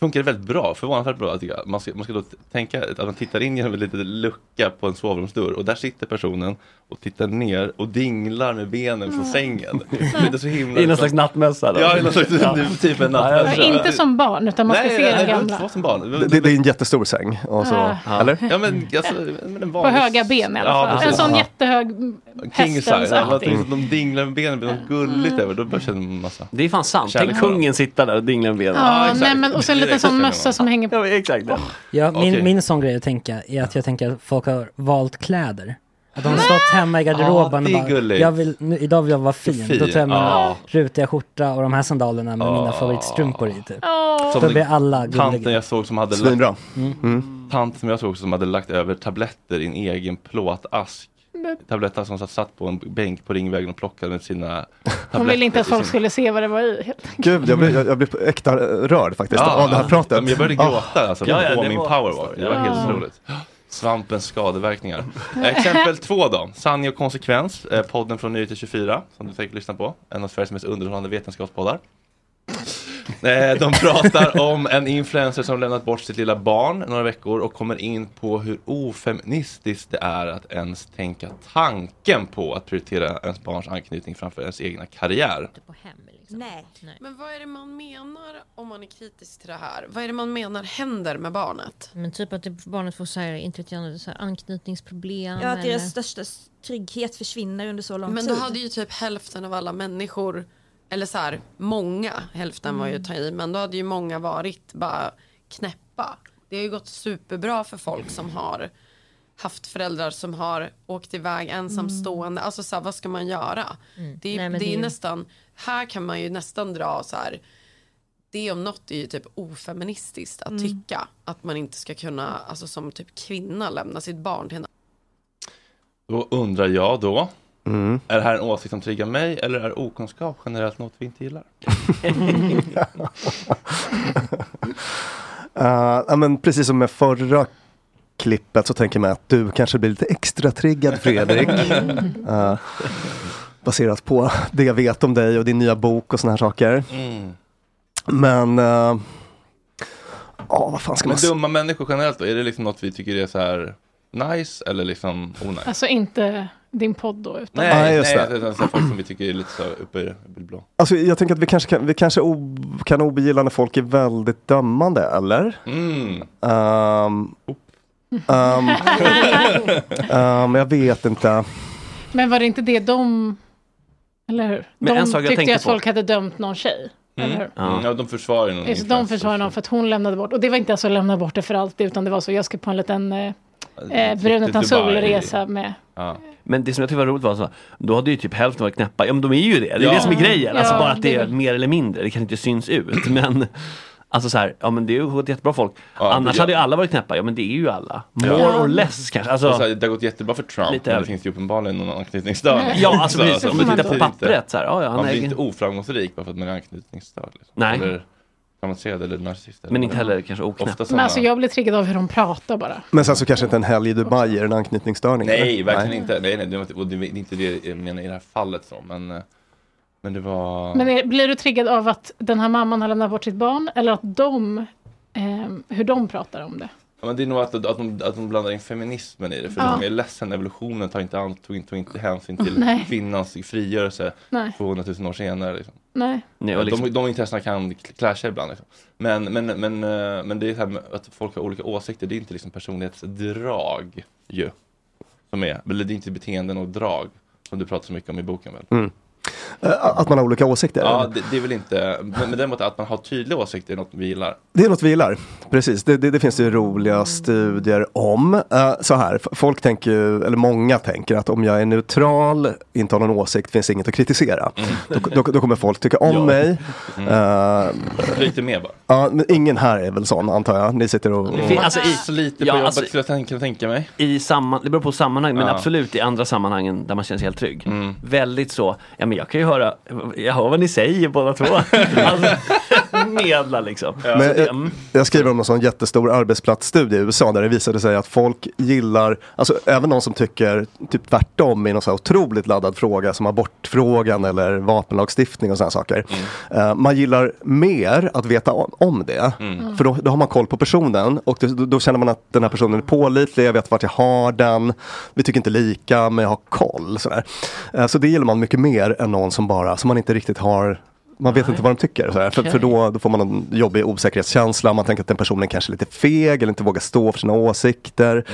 A: Funkar det väldigt bra, förvånansvärt bra. tycker jag. Man ska, man ska då t- tänka att man tittar in genom en liten lucka på en sovrumsdörr och där sitter personen och tittar ner och dinglar med benen från sängen. Det är så himla... liksom-
B: I någon slags nattmössa då?
A: Ja, i någon slags
B: Ja.
A: typ en
B: Ja, jag
A: nattmössa.
B: förstår.
F: inte som barn, utan man ska
A: Nej,
F: se
A: nej,
F: den
A: nej, det behöver
F: gamla.
A: inte vara som barn.
J: Det, det, det är en jättestor säng. Och så,
F: Ah.
J: Eller?
A: Ja, men, alltså, men en
F: På
A: vanlig...
F: höga ben i alla
A: Ja,
F: fall. en
A: precis.
F: sån
A: Ja.
F: jättehög
A: King size,
F: hästens
A: att
F: allting.
A: de dinglar med benen, blir något gulligt över, då känner man massa
B: Det är fan sant. Tänk
A: Kärlek för
B: kungen sitta där och dingla med benen.
F: Ja, nej, men, och så en liten sån mössa som hänger
B: på. Ja, exakt.
G: Ja, min,
B: Okej.
G: min sån grej att tänka är att jag tänker att folk har valt kläder. Att de har stått hemma i garderoben
A: Ja, det är
G: och bara,
A: gulligt.
G: jag vill, nu, idag vill jag vara fin.
A: Fin,
G: Då tar jag min
A: ja.
G: rutiga skjorta och de här sandalerna med mina
A: Ja.
G: favoritstrumpor i typ.
A: Som
G: Då
A: den
G: blir alla
A: tanten
G: gulliga.
A: jag såg som hade
J: Svinbra.
A: Tant som jag såg som hade lagt över tabletter i en egen plåtask.
F: Men-
A: Tablettask som satt- satt på en bänk på Ringvägen och plockade med sina tabletter.
F: Hon ville inte att
A: i
F: folk
A: sin-
F: skulle se vad det var i. helt-
J: Gud, jag blir, jag, jag blir äkta eh, rörd faktiskt
A: Ja,
J: av det här pratet. Ah.
A: men Jag började
J: Ja.
A: gråta alltså,
J: Ja, ja,
A: på
J: det
A: min
J: var-
A: powerwalk. Det var helt
J: Ja.
A: otroligt. Svampens skadeverkningar. Exempel två då. Sanning och konsekvens. eh, Podden från Nyheter 24 som du tänker lyssna på. En av Sveriges mest underhållande vetenskapspoddar. Eh, De pratar om en influencer som lämnat bort sitt lilla barn några veckor och kommer in på hur ofeministiskt det är att ens tänka tanken på att prioritera ens barns anknytning framför ens egna karriär.
P: liksom. Nej. Men vad är det man menar om man är kritisk till det här? Vad är det man menar händer med barnet?
Q: Men typ att det- barnet får så här, inte vet jag, så här anknytningsproblem.
P: Ja, eh, att deras
Q: största trygghet försvinner under så lång
P: Men då hade ju typ hälften av alla människor, eller så här, många, hälften var ju att ta i, men då hade ju många varit bara knäppa. Det har ju gått superbra för folk som har haft föräldrar som har åkt iväg ensamstående. Alltså så här, vad ska man göra?
Q: Mm.
P: Det, är-
Q: Nej, men
P: det
Q: det
P: är
Q: är ju-
P: nästan, här kan man ju nästan dra så här, det om något är ju typ ofeministiskt att
Q: Mm.
P: tycka att man inte ska kunna, alltså som typ kvinna lämna sitt barn till en
A: Då undrar jag då.
J: Mm.
A: Är det här en åsikt som triggar mig eller är okunskap generellt något vi inte gillar?
J: Eh, ja, men precis som med förra klippet så tänker man att du kanske blir lite extra triggad Fredrik.
A: Mm.
J: Eh, baserat på det jag vet om dig och din nya bok och såna här saker.
A: Mm.
J: Men, eh, ja vad fan ska
A: Men
J: man säga?
A: dumma människor generellt då? Är det liksom något vi tycker är så här nice eller liksom onajs?
F: Alltså inte din podd då. Utan
A: nej,
J: Nej,
A: nej,
J: just
A: just
J: det.
A: nej, det. är så här folk som vi tycker är lite så här uppe i uppe i det blå.
J: Alltså, jag tänker att vi kanske kan, vi kanske ob- kan ogilla när folk är väldigt dömande, eller?
A: Mm.
J: Ehm, ehm, ehm, jag vet inte.
F: Men var det inte det de... Eller hur?
J: Men
F: de
J: en sak jag
F: tyckte ju
J: tänkte
F: att
J: på-
F: folk hade dömt någon tjej.
A: Mm.
F: Eller hur?
A: Mm. Ja, de försvarar ju någon
F: Så de försvarade någon för att hon lämnade bort, och det var inte alltså lämna bort det för alltid, utan det var så jag ska på en liten eh, eh, brun utan sol-resa med...
B: Men det som jag tyckte var roligt var så, då hade ju typ hälften varit knäppa. Ja men de är ju det, det är det som är
F: Ja.
B: grejen. Alltså
F: Ja,
B: bara att det
F: det
B: är
F: är-
B: mer eller mindre, det kan inte syns ut. Men alltså så här, ja men det är ju ett jättebra folk. Annars
A: det-
B: hade ju alla varit knäppa, ja men det är ju alla. More
A: Ja.
B: or less kanske.
A: Och
B: Alltså,
A: så här, det har gått jättebra för Trump,
B: Lite
A: men
B: över.
A: det finns ju uppenbarligen någon anknytningsstörning.
B: Ja, alltså,
A: Så,
B: precis. Om man
A: det
B: tittar på
A: betyder inte-
B: pappret så här, ja, ja, han
A: Man blir
B: äger-
A: inte oframgångsrik bara för att man är anknytningsstörd. Liksom.
B: Nej.
A: Eller traumatiserad eller narcissist. eller
B: Men
A: vad
B: inte
A: det är.
B: heller kanske oknäpp.
A: Ofta
F: Men
A: sådana-
F: alltså jag blir triggad av hur de pratar bara.
J: Men sen så kanske inte en helg i Dubai är en anknytningsstörning.
A: Nej,
J: eller?
A: verkligen inte. Nej, nej, det var inte- och det är inte det jag menar i det här fallet. Så. Men, eh, men det var...
F: Men är, blir du triggad av att den här mamman har lämnat bort sitt barn, eller att de, ehm, hur de pratar om det?
A: Ja, men det är nog att, att, de, att de blandar in feminismen i det. För
F: Ja.
A: de är ledsen, evolutionen tar inte, an, tog, inte- tog inte hänsyn till
F: Nej.
A: kvinnans frigörelse
F: Nej.
A: 200 000 år senare. Liksom.
F: Nej.
B: Nej, och liksom-
A: de, de intressena kan clasha ibland. Liksom. Men, men, men, eh, men det är det här med att folk har olika åsikter, det är inte liksom personlighetsdrag ju. Som är, eller det är inte beteenden och drag som du pratar så mycket om i boken väl?
J: Mm. Eh, Att man har olika åsikter?
A: Ja,
J: eller?
A: det, det är väl inte, men, men däremot att man har tydliga åsikter är något vi gillar.
J: Det är något vi gillar. Precis, det, det, det finns ju roliga studier om. Eh, så här, f- folk tänker ju, eller många tänker att om jag är neutral, inte har någon åsikt, finns inget att kritisera. Då, då, då kommer folk tycka om
A: Mm. Ja.
J: mig.
A: Mm.
J: Eh,
A: Flyter med bara.
J: ja, men ingen här är väl sån antar jag. Ni sitter och...
A: Mm. Alltså, i, lite på
B: ja,
A: jobbet
B: alltså-
A: skulle jag tänka, tänka mig.
B: I samman, det beror på sammanhang, men
A: Ja. Mm.
B: absolut i andra sammanhangen där man känner sig helt trygg. Väldigt så, ja men jag kan ju höra, jag hör vad ni säger båda två. alltså, medla liksom. Så
J: Men
B: det-
A: eh,
J: jag, jag skriver om en sån jättestor arbetsplatsstudie i USA där det visade sig att folk gillar, alltså även någon som tycker typ tvärtom i någon så här otroligt laddad fråga som abortfrågan eller vapenlagstiftning och sådana saker. Eh, man gillar mer att veta om, om det,
H: Mm.
J: för då, då har man koll på personen och då, då känner man att den här personen är pålitlig, jag vet vart jag har den, vi tycker inte lika men jag har koll. Sådär. Eh, så det gillar man mycket mer än någon som bara, som man inte riktigt har man vet inte vad de tycker, sådär. för, för
B: Okej.
J: då då, då får man en jobbig osäkerhetskänsla. Man tänker att den personen kanske är lite feg eller inte vågar stå för sina åsikter.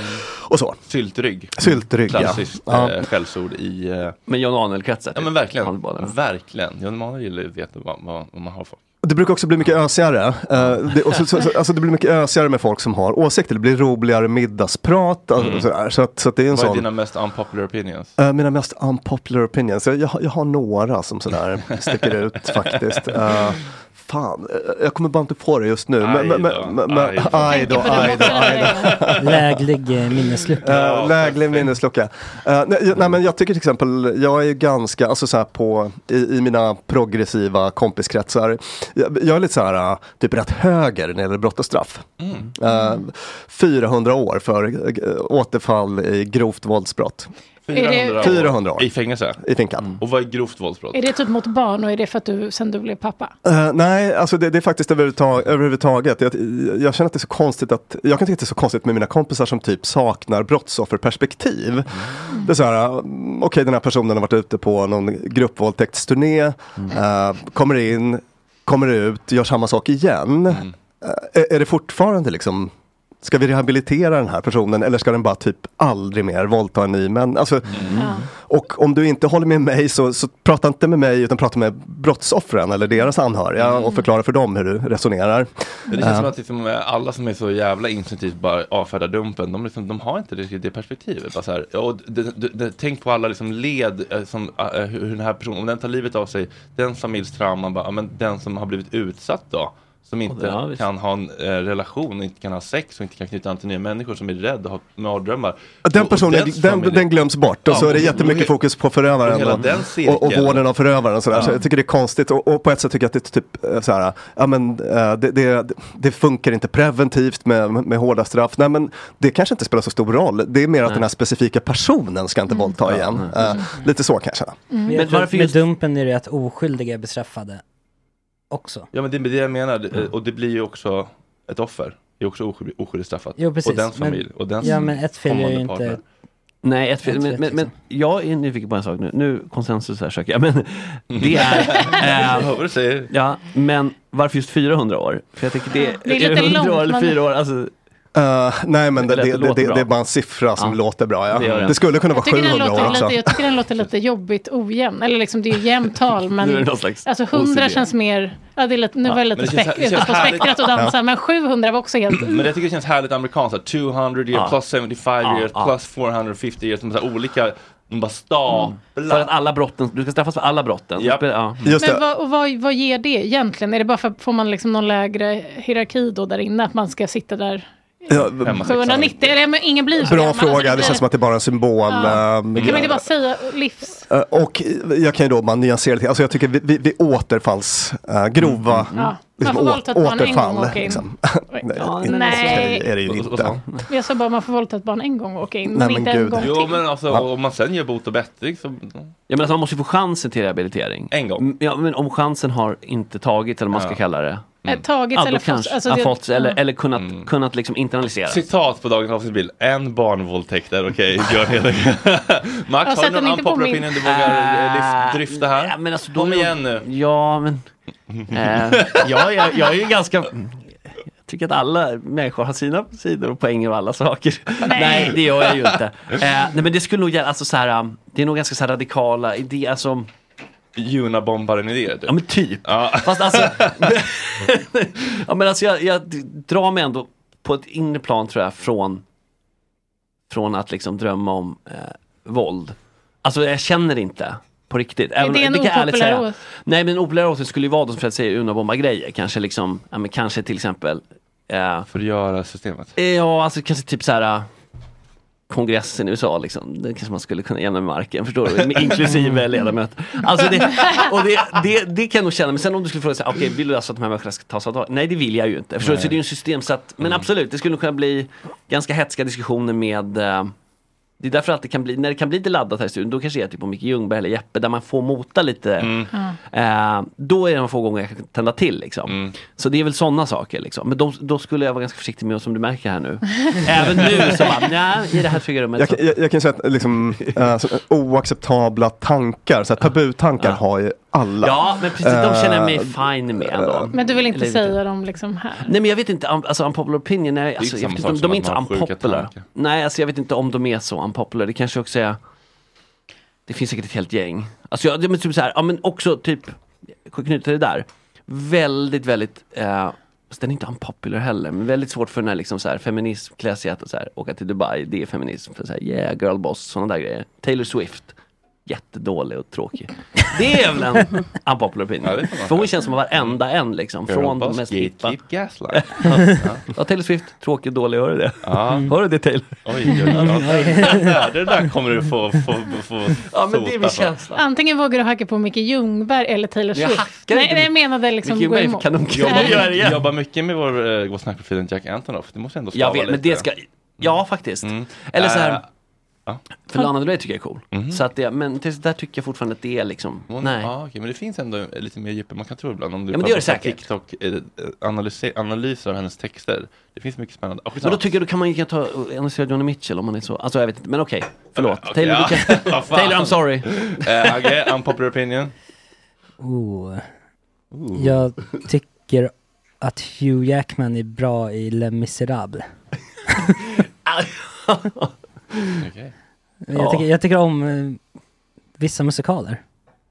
J: Och så.
A: Mm. Syltrygg.
J: Syltrygg, ja.
A: Klassiskt
J: Ja.
A: eh, skällsord i... Eh...
B: Men Jan Ahnell-kretsar?
A: Ja men verkligen. Verkligen. Jan Emanuel gillar ju att veta vad, vad, vad man har folk.
J: Det brukar också bli mycket ösigare. Eh, det, och så, så, så, alltså det blir mycket ösigare med folk som har åsikter. Det blir roligare middagsprat. Alltså,
A: Mm.
J: sådär. så, att, så att det är en
A: Vad är
J: sån...
A: dina mest unpopular opinions?
J: Eh, mina mest unpopular opinions. Jag, jag, har- jag har några som sådär sticker ut faktiskt. Eh, fan, eh, jag kommer bara inte på det just nu. Men, men, men, men, men, aj då, aj då, aj då.
G: Läglig eh, minneslucka.
J: Uh, läglig minneslucka. Eh, nej, jag- nej, men jag tycker till exempel, jag är ju ganska, alltså så här på, i, i mina progressiva kompiskretsar, jag, jag är lite så här, eh, typ rätt höger när det gäller brott och straff.
B: Mm.
J: Eh, 400 år för eh, återfall i grovt våldsbrott.
F: Är det-
J: 400 år.
A: I fängelse? Mm.
J: I finkan.
A: Och vad är grovt våldsbrott?
F: Är det typ mot barn och är det för att du, sen du blev pappa?
J: Eh, nej, alltså det, det är faktiskt överhuvudtaget. överhuvudtaget. Jag, jag känner att det är så konstigt att, jag kan tycka att det är så konstigt med mina kompisar som typ saknar brottsofferperspektiv. Det är så här, eh, okej den här personen har varit ute på någon gruppvåldtäktsturné, eh, kommer in, kommer ut, gör samma sak igen. Eh, är, är det fortfarande liksom Ska vi rehabilitera den här personen eller ska den bara typ aldrig mer våldta en ny man? Alltså,
A: Mm.
J: Och om du inte håller med mig så, så prata inte med mig utan prata med brottsoffren eller deras anhöriga och förklara för dem hur du resonerar.
A: Mm. Det känns
J: Eh,
A: som att liksom alla som är så jävla instinktivt bara avfärdar dumpen, de, liksom, de har inte riktigt det perspektivet. Bara så här, och det, det, det, tänk på alla liksom led, eh, som, eh, hur hur den här personen, om den tar livet av sig, den familjs trauma, bara, ja, men den som har blivit utsatt då, som inte
B: ja, visst.
A: kan ha en eh, relation, inte kan ha sex och inte kan knyta an till nya människor som är rädd och har mardrömmar.
J: Den
A: Och-
J: personen
A: och dens
J: den,
A: familj-
J: den glöms bort och
A: Ja,
J: så är det
A: och-
J: jättemycket
A: och-
J: fokus på
A: och
J: förövaren
A: hela den
J: och, och, och
A: cirkeln.
J: vården av förövaren. Och sådär. Så
A: Ja.
J: jag tycker det är konstigt och, och på ett sätt tycker jag att det är typ eh, så här, ja, men, eh, det, det, det funkar inte preventivt med, med hårda straff. Nej, men det kanske inte spelar så stor roll. Det är mer att
G: Nej.
J: den här specifika personen ska inte våldta igen. Eh, lite så kanske.
G: Mm. Men varför med Dumpen är det att oskyldiga är bestraffade också.
A: Ja men det är det jag menar, Eh, och det blir ju också ett offer. Det är också oskyldigt, oskyldigt straffat.
G: Jo, precis.
A: Och dens
G: Men-
A: familj. och dens
G: ja, men ett fel är ju
A: kommande
G: inte-
A: partner.
B: Nej, ett fel.
G: Ett
B: Men,
G: rätt,
B: men, men jag är nyfiken på en sak nu. Nu konsensus här söker jag. Men det är...
A: Mm.
B: eh,
A: Jag hör vad du säger.
B: Ja, men varför just 400 år? För jag tänker det,
F: Det är lite
B: 100
F: långt,
B: år eller
F: men-
B: 4 år. Alltså,
J: Eh, nej men det,
B: Det
J: det,
B: lät-
J: det,
B: låter
J: det,
B: bra.
J: är bara en siffra som
B: Ja.
J: låter bra. Ja.
B: Det gör
J: Det,
B: den.
J: skulle kunna vara
F: Jag tycker, den
J: 700 år
F: låter
J: också.
F: lite, jag tycker den låter lite jobbigt ojämn. Eller liksom det är ju jämnt tal
J: Nu är
F: men
J: det någon slags
F: alltså 100
A: OCD.
F: känns mer, ja, det är lite, nu
A: Ja,
F: var jag
A: men
F: lite
A: det känns-
F: späck,
A: det känns
F: ute på
A: härligt.
F: spektrat och dansa
A: Ja.
F: men 700 var också helt...
A: Men jag tycker det känns härligt amerikanskt, så här, 200 years
B: Ja.
A: plus 75
B: Ja,
A: years
B: ja.
A: plus 450 years, som så här olika, de bara staplar.
B: Mm. För att alla brotten, du ska straffas för alla brotten.
A: Japp.
B: Ja.
F: men vad, och vad, vad ger det egentligen? Är det bara för får man liksom någon lägre hierarki då där inne? Att man ska sitta där
J: Ja,
F: 790? Eller men ingen blir så
J: Bra
F: gammal. Alltså,
J: fråga, det känns som att det är bara en symbol.
F: Ja.
J: ehm,
F: Kan man inte bara säga livs...
J: Eh, Och jag kan ju då bara nyansera lite, alltså jag tycker vi, vi, vi återfalls, eh, grova
F: Ja.
J: liksom,
F: Man får
J: åt,
F: våldta ett barn en gång och
J: återfall.
F: åka in.
J: Liksom. nej,
F: Ja,
J: inte
F: nej.
J: okej är det ju
A: Vad- vad
J: inte.
A: sa
F: Jag sa bara man får våldta ett barn en gång och åka in, men, inte en gång
A: Jo
F: till.
A: men alltså om man sen gör bot och bättring så...
B: Ja, men alltså, man måste ju få chansen till rehabilitering. Mm,
A: En gång.
B: Ja, men om chansen har inte tagits, eller vad man ska
A: Ja.
B: kalla det.
F: Eh, Tagits
B: Ja, då
F: eller fått.
B: kanske.
F: Alltså,
B: Ja,
F: det-
B: fått eller,
F: ja.
B: eller kunnat, kunnat liksom internaliseras.
A: Mm. Citat på dagens avsnittsbild, en barnvåldtäkt är okej, Björn Hedengren. Max,
B: Ja,
A: har
B: sätt
A: du någon
B: den inte på
A: unpopular
B: min-
A: opinion du vågar eh, lyft- dryfta här?
B: Ja, men alltså, då
A: Kom
B: är-
A: igen nu.
B: Ja, men... Eh, jag, jag, jag är ju ganska... Jag tycker att alla människor har sina sidor och poänger och alla saker. Nej, det gör jag ju inte. Eh, nej, men det skulle nog gälla, alltså så här, um, det är nog ganska så här radikala idéer, alltså...
A: Junabombaren-idéer?
B: Ja, men typ. Fast alltså... ja, men alltså jag, jag drar mig ändå på ett inre plan tror jag från, från att liksom drömma om eh, våld. Alltså jag känner det inte på riktigt.
F: Är det en
B: kan jag ärligt
F: opopulär
B: säga.
F: ås-
B: Nej men en opopulär åsikt skulle ju vara de som Fred säger, Unabomba-grejer. Kanske liksom, ja, men kanske till exempel... Eh,
A: Förgöra systemet?
B: Ja, alltså kanske typ så här... eh, Kongressen i USA liksom, det kanske man skulle kunna jämna med marken, förstår du? Med- Inklusive ledamöter. Alltså det, och det, det, det kan jag nog känna, men sen om du skulle fråga så här, okej vill du alltså att de här människorna ska tas av Nej det vill jag ju inte, förstår du? Så
A: Nej.
B: det är ju en system så att,
J: Mm.
B: men absolut, det skulle nog kunna bli ganska hetska diskussioner med eh, det är därför att det kan bli, när det kan bli lite laddat här i studion, då kanske det är typ på Micke Ljungberg eller Jeppe där man får mota lite.
J: Mm.
B: Eh, då är det de få gånger jag kan tända till liksom.
J: Mm.
B: Så det är väl sådana saker liksom. Men de, då skulle jag vara ganska försiktig med, som du märker här nu. Även nu så bara, nej, i det här trygga rummet.
J: Jag,
B: så-
J: kan- jag, jag kan säga att liksom, eh, så- oacceptabla tankar, så här, tabutankar har ju alla.
B: Ja, men precis, de känner jag mig
J: Eh,
B: fine med ändå.
F: Men du vill inte
B: Eller-
F: säga dem liksom här?
B: Nej men jag vet inte, um, alltså unpopular opinion, nej,
A: inte
B: alltså, jag
A: samma
B: vet,
A: sak
B: de,
A: som
B: de är
A: att
B: inte så
A: man har sjuka
B: unpopular.
A: tankar.
B: Nej, alltså jag vet inte om de är så unpopular, det kanske också är Det finns säkert ett helt gäng. Alltså jag, det- men typ så här, ja men också typ, jag kan knyta det där. väldigt, väldigt, eh, fast den är inte unpopular heller, men väldigt svårt för den här liksom så här, feminism, klä sig i att så här, åka till Dubai, det är feminism, för så här, yeah, girl boss, sådana där grejer. Taylor Swift, jättedålig och tråkig. Det är väl en unpopular opinion. för hon känns som varenda en liksom,
A: Girl
B: från de
A: boss,
B: mest
A: gatekeep,
B: hippa. ja, Taylor Swift, tråkig, dålig, hör du det? Hör du det Taylor?
A: Oj, oj, oj. Det där kommer du få, få, få
B: Ja, men det är
A: sota för.
B: min känsla.
F: Antingen vågar du hacka på Micke Ljungberg eller Taylor
A: Men jag
F: Swift.
A: hackar
F: Nej,
A: inte
F: nej, jag menade liksom gå emot.
A: Jobbar,
F: Nej.
A: jobbar, mycket med vår uh, Gå och snacka profilen Jack Antonoff. Det måste ändå stava
B: Jag vet,
A: lite. Mm.
B: men det ska, ja faktiskt. Eller så här,
A: Äh, ja.
B: för Lana Del Rey tycker jag är cool. Så att det, men det där tycker jag fortfarande att det är liksom,
A: Hon-
B: nej.
A: Ja, okej, men det finns ändå lite mer djup än man kan tro ibland. Om du
B: Ja, men det gör
A: pratar
B: det
A: på TikTok, eh, analyse- analyser av hennes texter. Det finns mycket spännande. Oh,
B: Men då tycker jag då kan man ju ta och analysera Johnny Mitchell om man är så, alltså jag vet inte, men okej, förlåt.
A: Okej,
B: Taylor,
A: ja.
B: du kan,
A: Vad fan.
B: Taylor I'm sorry.
A: Eh, Agge, unpopular opinion.
G: Oh.
B: Mm.
G: Jag tycker att Hugh Jackman är bra i Les Misérables.
A: Okej.
G: jag, tycker, jag tycker om eh, vissa musikaler.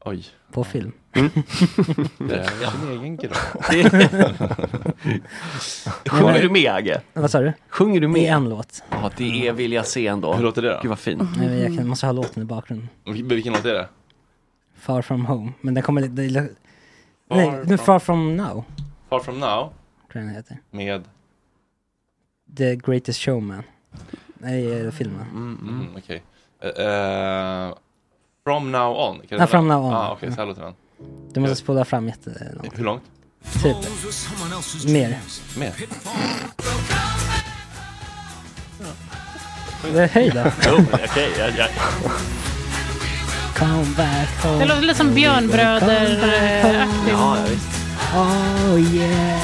A: Oj.
G: På film.
B: Mm.
A: Det är sin egen grav.
B: Sjunger du med Agge?
G: Vad sa du?
B: Sjunger du med?
G: I en låt.
B: Ja, det är vill jag se ändå.
A: Hur låter det då?
B: Gud vad fint.
G: Nej, men
B: Mm.
G: jag kan, måste ha låten i bakgrunden.
A: Vil- Vilken låt är det?
G: Far from home. Men den kommer... Det, det,
A: Far
G: nej, nu
A: from-
G: Far from now.
A: Far from now.
G: Tror jag den heter.
A: Med...
G: The greatest showman. Nej, eh, filmen.
A: Mm, mm, okej. Eh, eh, from now on? Kan det
G: Ja, From
A: hända?
G: Now On.
A: Ah, okej, så här låter den.
G: Du måste spola fram jätte...
A: Hur långt?
G: Typ. Mer.
A: Mer?
G: Det- Eh, Hej då. Oh, Come back home.
F: Det låter lite som eh,
B: Ja,
F: Björnbröder-aktigt.
B: ja, visst.
G: Oh yeah.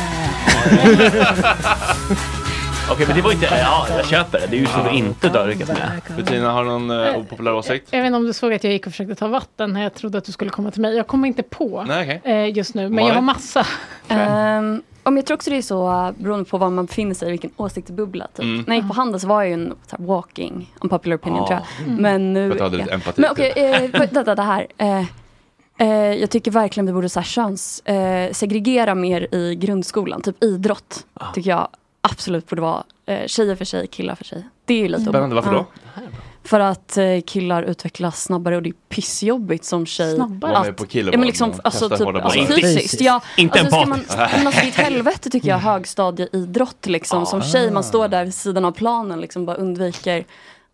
B: Okej, men det var inte, ja jag köper det. Det är ju så du inte har lyckats med.
A: Bettina, har du någon eh, opopulär åsikt?
F: Jag vet inte om du såg att jag gick och försökte ta vatten när jag trodde att du skulle komma till mig. Jag kommer inte på
A: Nej, okej.
F: eh, just nu, men jag har
A: Malin?
F: massa.
I: Ehm, om jag tror också det är så uh, beroende på var man befinner sig, vilken åsiktsbubbla. Typ.
A: Mm.
I: När jag gick på Handels var jag ju en så här, walking, unpopular opinion
A: Ja.
I: tror
Q: Ah.
I: jag.
A: Mm.
I: Men nu...
A: För att du hade lite empati,
I: Men okej,
A: typ.
I: eh, vänta, det här. Eh, eh, jag tycker verkligen vi borde så här, köns, eh, segregera mer i grundskolan. Typ idrott
A: Ah.
I: tycker jag absolut borde vara eh, tjejer för sig, killar för sig. Det är ju lite
A: Spännande, varför då?
I: För att eh, killar utvecklas snabbare och det är pissjobbigt som tjej.
F: Snabbare?
A: Vara med på killbollen
I: ja, men liksom,
A: och
I: alltså,
A: kasta
I: typ,
A: hårda
I: alltså,
A: bollar.
I: fysiskt. Ja,
A: Inte
I: alltså, ska man,
A: empatiskt.
I: man ska i ett helvete tycker jag högstadieidrott liksom.
A: Ah.
I: Som tjej man står där vid sidan av planen liksom bara undviker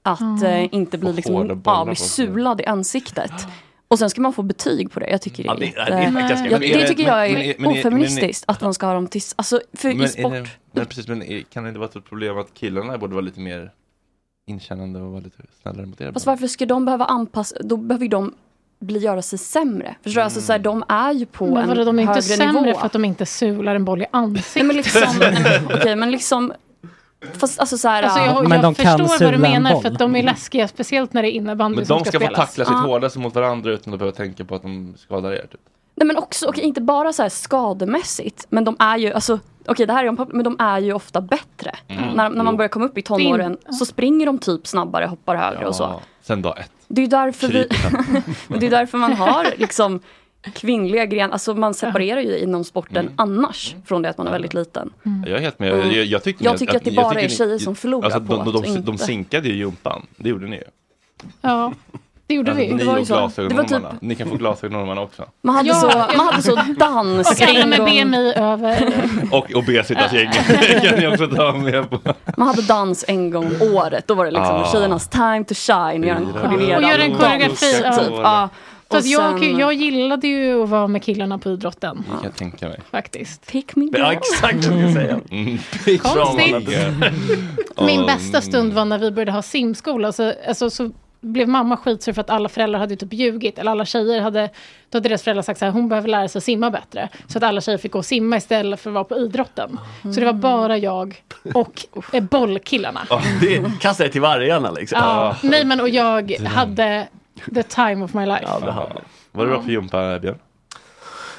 I: att
A: Ah.
F: Mm.
I: eh, inte
B: Få
I: bli,
B: hårda
I: liksom,
B: bollar
I: ja, bli
B: på sig.
I: sulad i ansiktet. Och sen ska man få betyg på det. Jag tycker det
B: Ja,
I: är,
B: det-
I: jätte-
B: ja, det är faktiskt ganska-
I: jag,
A: Men är
I: Det
A: det-
I: tycker jag
A: men- men
I: är
A: är- men är-
I: ofeministiskt att man ska ha dem tills, alltså för
A: Men är
I: i sport.
A: det- Men precis, men är- kan det inte vara ett problem att killarna borde vara lite mer inkännande och vara lite snällare mot er?
I: Fast varför ska de behöva anpassa, då behöver ju de bli, göra sig sämre. Förstår du? Alltså
A: Mm.
I: så här, de är ju på
F: Men
I: en
F: vadå, de är inte
I: högre
F: sämre
I: nivå.
F: för att de inte sular en boll i ansiktet.
I: Nej men liksom, okej men liksom, fast alltså så här,
F: Alltså jag,
I: ja.
F: jag förstår vad du
A: sula en
F: menar
A: boll.
F: för att de är läskiga, speciellt när det är innebandy
A: Men
F: som
A: de ska få
F: spelas.
A: tackla sitt
I: Ja.
A: hårdaste mot varandra utan att behöva tänka på att de skadar er. Typ.
I: Nej men också, okej inte bara så här skademässigt, men de är ju, alltså Okej det här är en men de är ju ofta bättre.
A: Mm.
I: När, när man
A: Jo.
I: börjar komma upp i tonåren så springer de typ snabbare, hoppar högre och så.
A: Sen dag ett.
I: Det är ju därför, vi,
A: Krypen.
I: men det är därför man har liksom kvinnliga grenar, alltså man separerar ju inom sporten
A: Mm.
I: annars från det att man är väldigt liten.
A: Jag är helt med. Jag, jag, tyckte
I: Mm. Jag
A: ni-
I: tycker att det bara är
A: ni-
I: tjejer som förlorar
A: alltså,
I: på
A: de,
I: att
A: de, de, de
I: inte-
A: sinkade ju jumpan. Det gjorde ni ju.
F: Ja, det gjorde vi.
A: Alltså, ni och glasögonormarna.
F: typ-
A: Ni kan få glasögonormarna också.
I: typ- Man hade,
F: Ja.
I: så, man hade så dans.
F: Och alla
I: en
F: med
I: gång.
F: BMI över.
A: Och obesitasgäng. det kan ni också ta med på.
I: Man hade dans en gång om året. Då var det liksom
A: Ah.
I: tjejernas time to shine. Göra en
A: Ja.
I: koordinerad
F: Och göra en
I: dans,
F: koreografi, ja.
I: Typ. Ja. Och
F: Fast jag,
I: sen-
F: jag gillade ju att vara med killarna på idrotten.
A: kan jag tänka mig.
F: Faktiskt.
I: Pick me
B: Ja, exakt vad jag skulle säga.
F: Mm. Konstigt. Min
C: Ehm.
A: Ja,
F: bästa
A: mm.
F: stund var när vi började ha simskola. Så, alltså, så blev mamma skitsur för att alla föräldrar hade ju typ ljugit. Eller alla tjejer hade, då hade deras föräldrar sagt så här, hon behöver lära sig simma bättre. Så att alla tjejer fick gå och simma istället för att vara på idrotten. Så det var bara jag och eh, bollkillarna.
B: Ja, det kastar jag till vargarna liksom.
F: Ja. Nej men och jag hade the time of my life.
A: Var det bra för jumpa, Björn?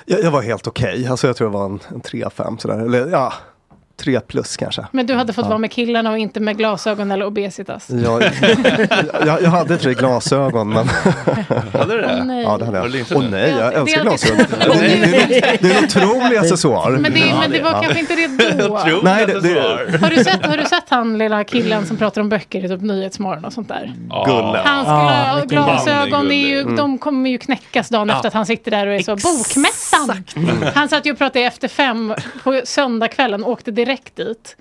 J: Jag, jag var helt okej. Alltså jag tror jag var en, en 3-5 sådär. Eller ja, tre plus kanske.
F: Men du hade fått
J: Ja.
F: vara med killarna och inte med glasögon eller obesitas.
J: Jag, jag, jag hade inte glasögon men...
A: Hade du det?
F: Åh, nej.
J: Ja det hade
A: Har
J: jag.
A: du linsat
J: Åh
A: det?
J: nej, jag
F: Det är
J: älskar
F: alltid-
J: glasögon. Det, det, det, det, det är en otrolig accessoar.
F: Men det, men det var kanske inte det då.
J: Nej, det, det,
F: Har du, sett, har du sett han lilla killen som pratar om böcker i typ Nyhetsmorgon och sånt där?
J: Gulle.
F: Hans
J: Ah,
F: gla-
J: vilken
F: glasögon,
J: gullig.
F: är ju,
J: Mm.
F: de kommer ju knäckas dagen
J: Ja.
F: efter att han sitter där och är så bokmässan.
J: Mm.
F: Han satt ju och pratade efter fem på söndagskvällen och åkte direkt dit.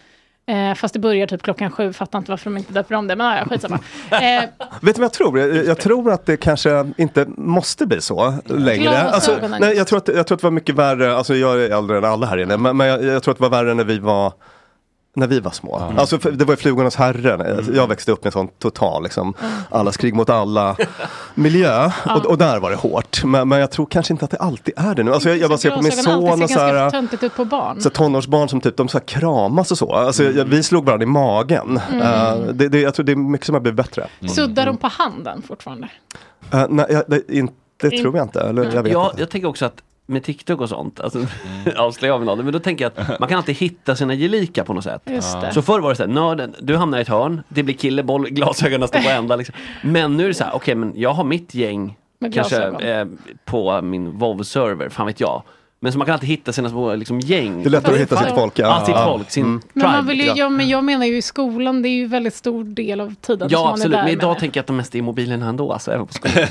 F: Eh, fast det börjar typ klockan sju, fattar inte varför de inte döper om det, men ah, ja, skitsamma. Eh,
J: Vet du vad jag tror? Jag, jag tror att det kanske inte måste bli så längre.
F: Glasögonen.
J: Alltså, nej, jag, tror att, jag tror att det var mycket värre, alltså jag är äldre än alla här inne, men, men jag, jag tror att det var värre när vi var när vi var små. Alltså, för det var ju Flugornas herre. när jag- Jag växte upp i en sån total, liksom, allas krig mot alla miljö. Och, och där var det hårt. Men, men jag tror kanske inte att det alltid är det nu. Alltså, jag, jag bara ser på min
F: glasögon alltid
J: son och
F: ser
J: så här.
F: ganska töntigt ut på barn.
J: Så tonårsbarn som typ, de så här kramas och så. Alltså, jag, vi slog varandra i magen.
F: Mm.
J: Eh, det, det, jag tror det är mycket som har blivit bättre.
F: Suddar
J: Mm.
F: de på handen fortfarande?
J: Eh, nej, jag, det, inte, det
F: In-
J: tror jag inte. Eller, jag vet
B: jag,
J: inte.
B: Mm. jag tänker också att med TikTok och sånt, alltså,
F: Mm.
B: avslöjar vi någon, men då tänker jag att man kan alltid hitta sina gelika på något sätt.
F: Just det.
B: Så förr var det såhär, nörden, du hamnar i ett hörn, det blir killeboll, glasögonen står på ända. Liksom. Men nu är det såhär, okej men jag har mitt gäng
F: Med
B: kanske
F: glasögon.
B: eh, på min WoW-server, fan vet jag. Men så man kan alltid hitta sina små liksom, gäng.
J: Det är lättare att hitta sitt folk, ja.
B: Ja, sitt
J: Ja.
B: folk, sin
J: Mm.
F: Men, man
B: tribe,
F: vill ju,
B: ja.
F: ja, men jag menar ju i skolan, det är ju väldigt stor del av tiden som
B: Ja
F: man
B: absolut,
F: är
B: men
F: där.
B: idag tänker jag att de mest är i mobilen ändå, alltså även på skolan.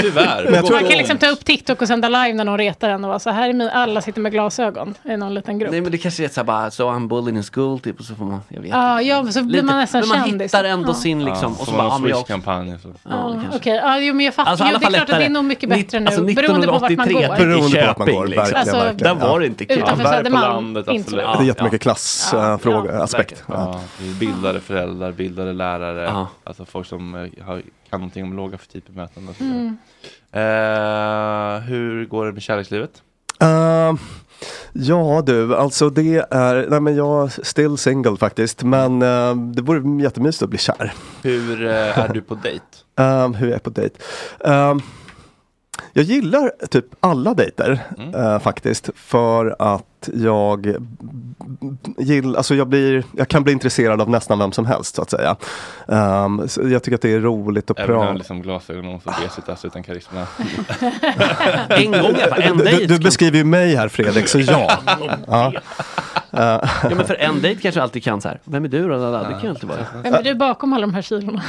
A: Tyvärr.
B: Men jag tror-
F: man kan liksom ta upp TikTok och sända live när någon retar en och vara så här är min, alla sitter med glasögon i någon liten grupp.
B: Nej men det kanske är såhär bara, so I'm bullied in school typ och så får man, jag vet
F: Ja, ja, men så blir
B: Lite-
F: man nästan
B: men man
F: kändis.
B: hittar ändå
F: Ja.
B: sin liksom,
A: Ja,
B: och
A: får
B: så
A: man
B: bara, ja
A: ha
B: men jag
A: Swish-kampanj så.
B: Ja, det
F: Okej,
B: kanske.
F: ja, jo, men jag fattar.
B: Alltså, i
F: jo,
B: alla
F: det är
B: fall
F: klart att det är
B: lättare.
F: nog mycket bättre nu,
B: Nitt- alltså,
F: beroende på vart man
B: 1983
F: går.
J: Beroende på vart man
B: Köping,
J: går,
B: liksom.
J: verkligen.
F: Alltså,
J: verkligen.
B: där var det inte kul.
F: Utanför
A: Värre på
F: Södermalm,
A: landet,
F: inte
A: absolut.
F: så
J: Det är jättemycket klassfråga, aspekt.
A: Ja. vi bildade föräldrar, bildade lärare, alltså folk som eh, har, kan någonting om låga bemötande och så vidare.
F: Mm.
A: Eh, hur går det med kärlekslivet?
J: Eh, ja du, alltså det är, nej men jag är still single faktiskt. Men eh, det vore jättemysigt att bli kär.
A: Hur eh, är du på dejt?
J: Ehm, hur jag är på dejt. Ehm, jag gillar typ alla dejter
A: Mm.
J: eh, faktiskt. För att jag gillar, alltså jag, blir, jag kan bli intresserad av nästan vem som helst så att säga. Ehm, så jag tycker att det är roligt att
A: Även när
J: prata.
A: liksom glasögon och obesitas utan karisma.
B: en gång i alla fall, en
J: Du, du,
B: dejt.
J: du beskriver ju mig här Fredrik, så ja. ja. Eh,
B: Ja men för en dejt kanske alltid kan så här. vem är du då? Det kan ju alltid vara.
F: Vem är du bakom alla de här kilorna?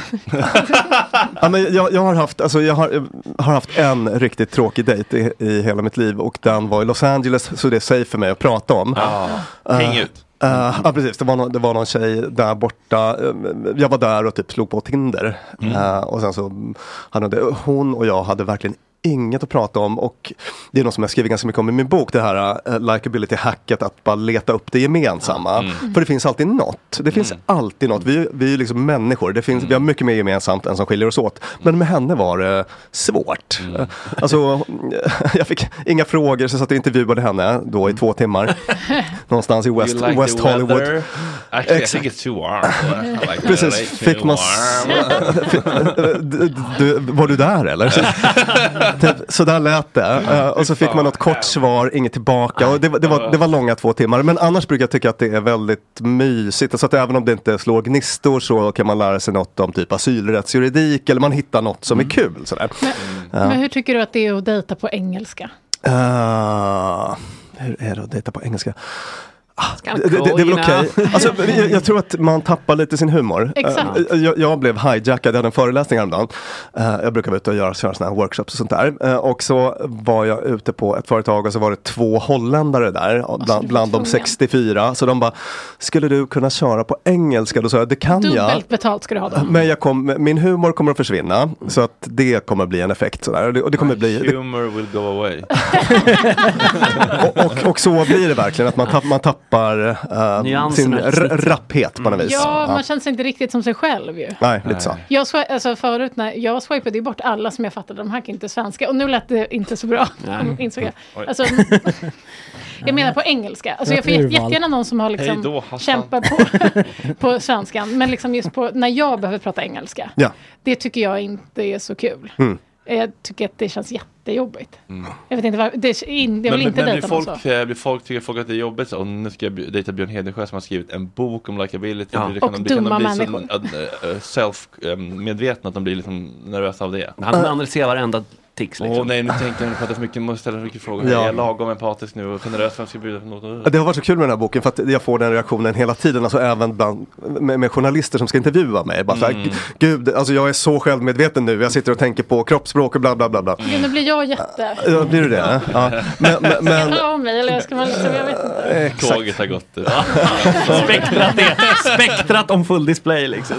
J: ja, men jag, jag, har haft, alltså, jag, har, jag har haft en riktigt tråkig dejt i, i hela mitt liv och den var i Los Angeles så det är safe för mig att prata om.
A: Ja.
J: Eh,
A: Häng ut.
J: eh, ja precis, det var, någon, det var någon tjej där borta. Eh, Jag var där och typ slog på Tinder. Eh, och sen så hade hon, det- hon och jag hade verkligen inget att prata om och det är något som jag skriver ganska mycket om i min bok, det här eh, likability-hacket, att bara leta upp det gemensamma. För det finns alltid något. Det finns alltid något. Vi, är- vi är ju liksom människor, det finns, vi har mycket mer gemensamt än som skiljer oss åt. Men med henne var det svårt. Eh, Alltså, jag fick inga frågor, så jag satt och intervjuade henne då i två timmar. Någonstans i West,
A: you like
J: West
A: the
J: Hollywood.
A: Weather? Actually,
J: Exakt.
A: I think it's too warm. I like
J: Precis,
A: the LA
J: fick
A: too
J: man...
A: warm.
J: du, du, var du där eller? Så, typ, så där lät det. Eh, och så fick man något kort svar, inget tillbaka. Och det, var- det, var, det var långa två timmar. Men annars brukar jag tycka att det är väldigt mysigt. Så att även om det inte slår gnistor så kan man lära sig något om typ asylrättsjuridik. Eller man hittar något som
A: Mm.
J: är kul. Sådär. Eh. Ja.
F: Men hur tycker du att det är att dejta på engelska?
J: Eh, hur är det att dejta på engelska? Ah,
F: Ska
J: Det, det, det är väl okej. Alltså, jag, jag tror att man tappar lite sin humor.
F: Exakt.
J: Eh, Jag, jag blev hijackad, jag hade en föreläsning häromdagen. Eh, Jag brukar vara ute och göra sådana här workshops och sånt där. Eh, Och så var jag ute på ett företag och så var det två holländare där, och bland, bland de 64. Så de bara, skulle du kunna köra på engelska? Då sa jag, det kan jag.
F: Dubbelt betalt ska du ha då.
J: Men jag kom, min humor kommer att försvinna, så att det kommer bli en effekt. Sådär. Och det- Och det kommer bli, det
A: Humor will go away.
J: och, och så blir det verkligen, att man, tapp, man tappar eh, sin
A: Nyanserna. Mm.
J: r- rapphet på något vis.
F: Ja, man känner sig inte riktigt som sig själv ju.
J: Nej, lite så.
F: Jag, swi- alltså förut när jag swipade ju bort alla som jag fattade, de här kan inte svenska. Och nu lät det inte så bra,
J: Nej.
F: insåg
J: Oj.
F: jag. Alltså, jag menar på engelska. Alltså jag får jätte-
G: Urval.
F: jättegärna någon som har liksom
G: Hej då, Hassan.
F: kämpat på, på svenskan. Men liksom just på när jag behöver prata engelska.
J: Ja.
F: Det tycker jag inte är så kul.
J: Mm.
F: Jag tycker att det känns jättejobbigt. Jag vet inte varför. Det är, in, jag
A: men,
F: vill inte
A: men blir
F: dejta någon
A: folk,
F: så.
A: eh, blir folk, tycker folk att det är jobbigt så, och nu ska jag bj- dejta Björn Hedensjö som har skrivit en bok om likability.
B: Ja.
A: Blir det-
F: Och
A: de- det kan de
F: dumma
A: bli så,
F: människor.
A: eh, eh, self-medvetna, att de blir liksom nervösa av det.
B: Han analyserar varenda tics
A: Åh
B: liksom.
A: nej, nu tänker jag på att så mycket, måste ställa så mycket frågor.
J: Ja.
A: Är jag lagom empatisk nu och generös? Vem ska jag bjuda på något?
J: Ja, Det har varit så kul med den här boken för att jag får den reaktionen hela tiden, alltså även bland, med, med journalister som ska intervjua mig. Bara så här,
A: Mm.
J: Gud, alltså jag är så självmedveten nu, jag sitter och tänker på kroppsspråk och bla bla bla. bla.
F: Gud, nu blir jag jätte...
J: Ja, blir du det? Ja. Men, men, men,
F: Ska jag av mig eller ska man liksom, jag vet inte.
J: exakt.
A: Tåget har gått.
B: Spektrat är, spektrat om full display liksom.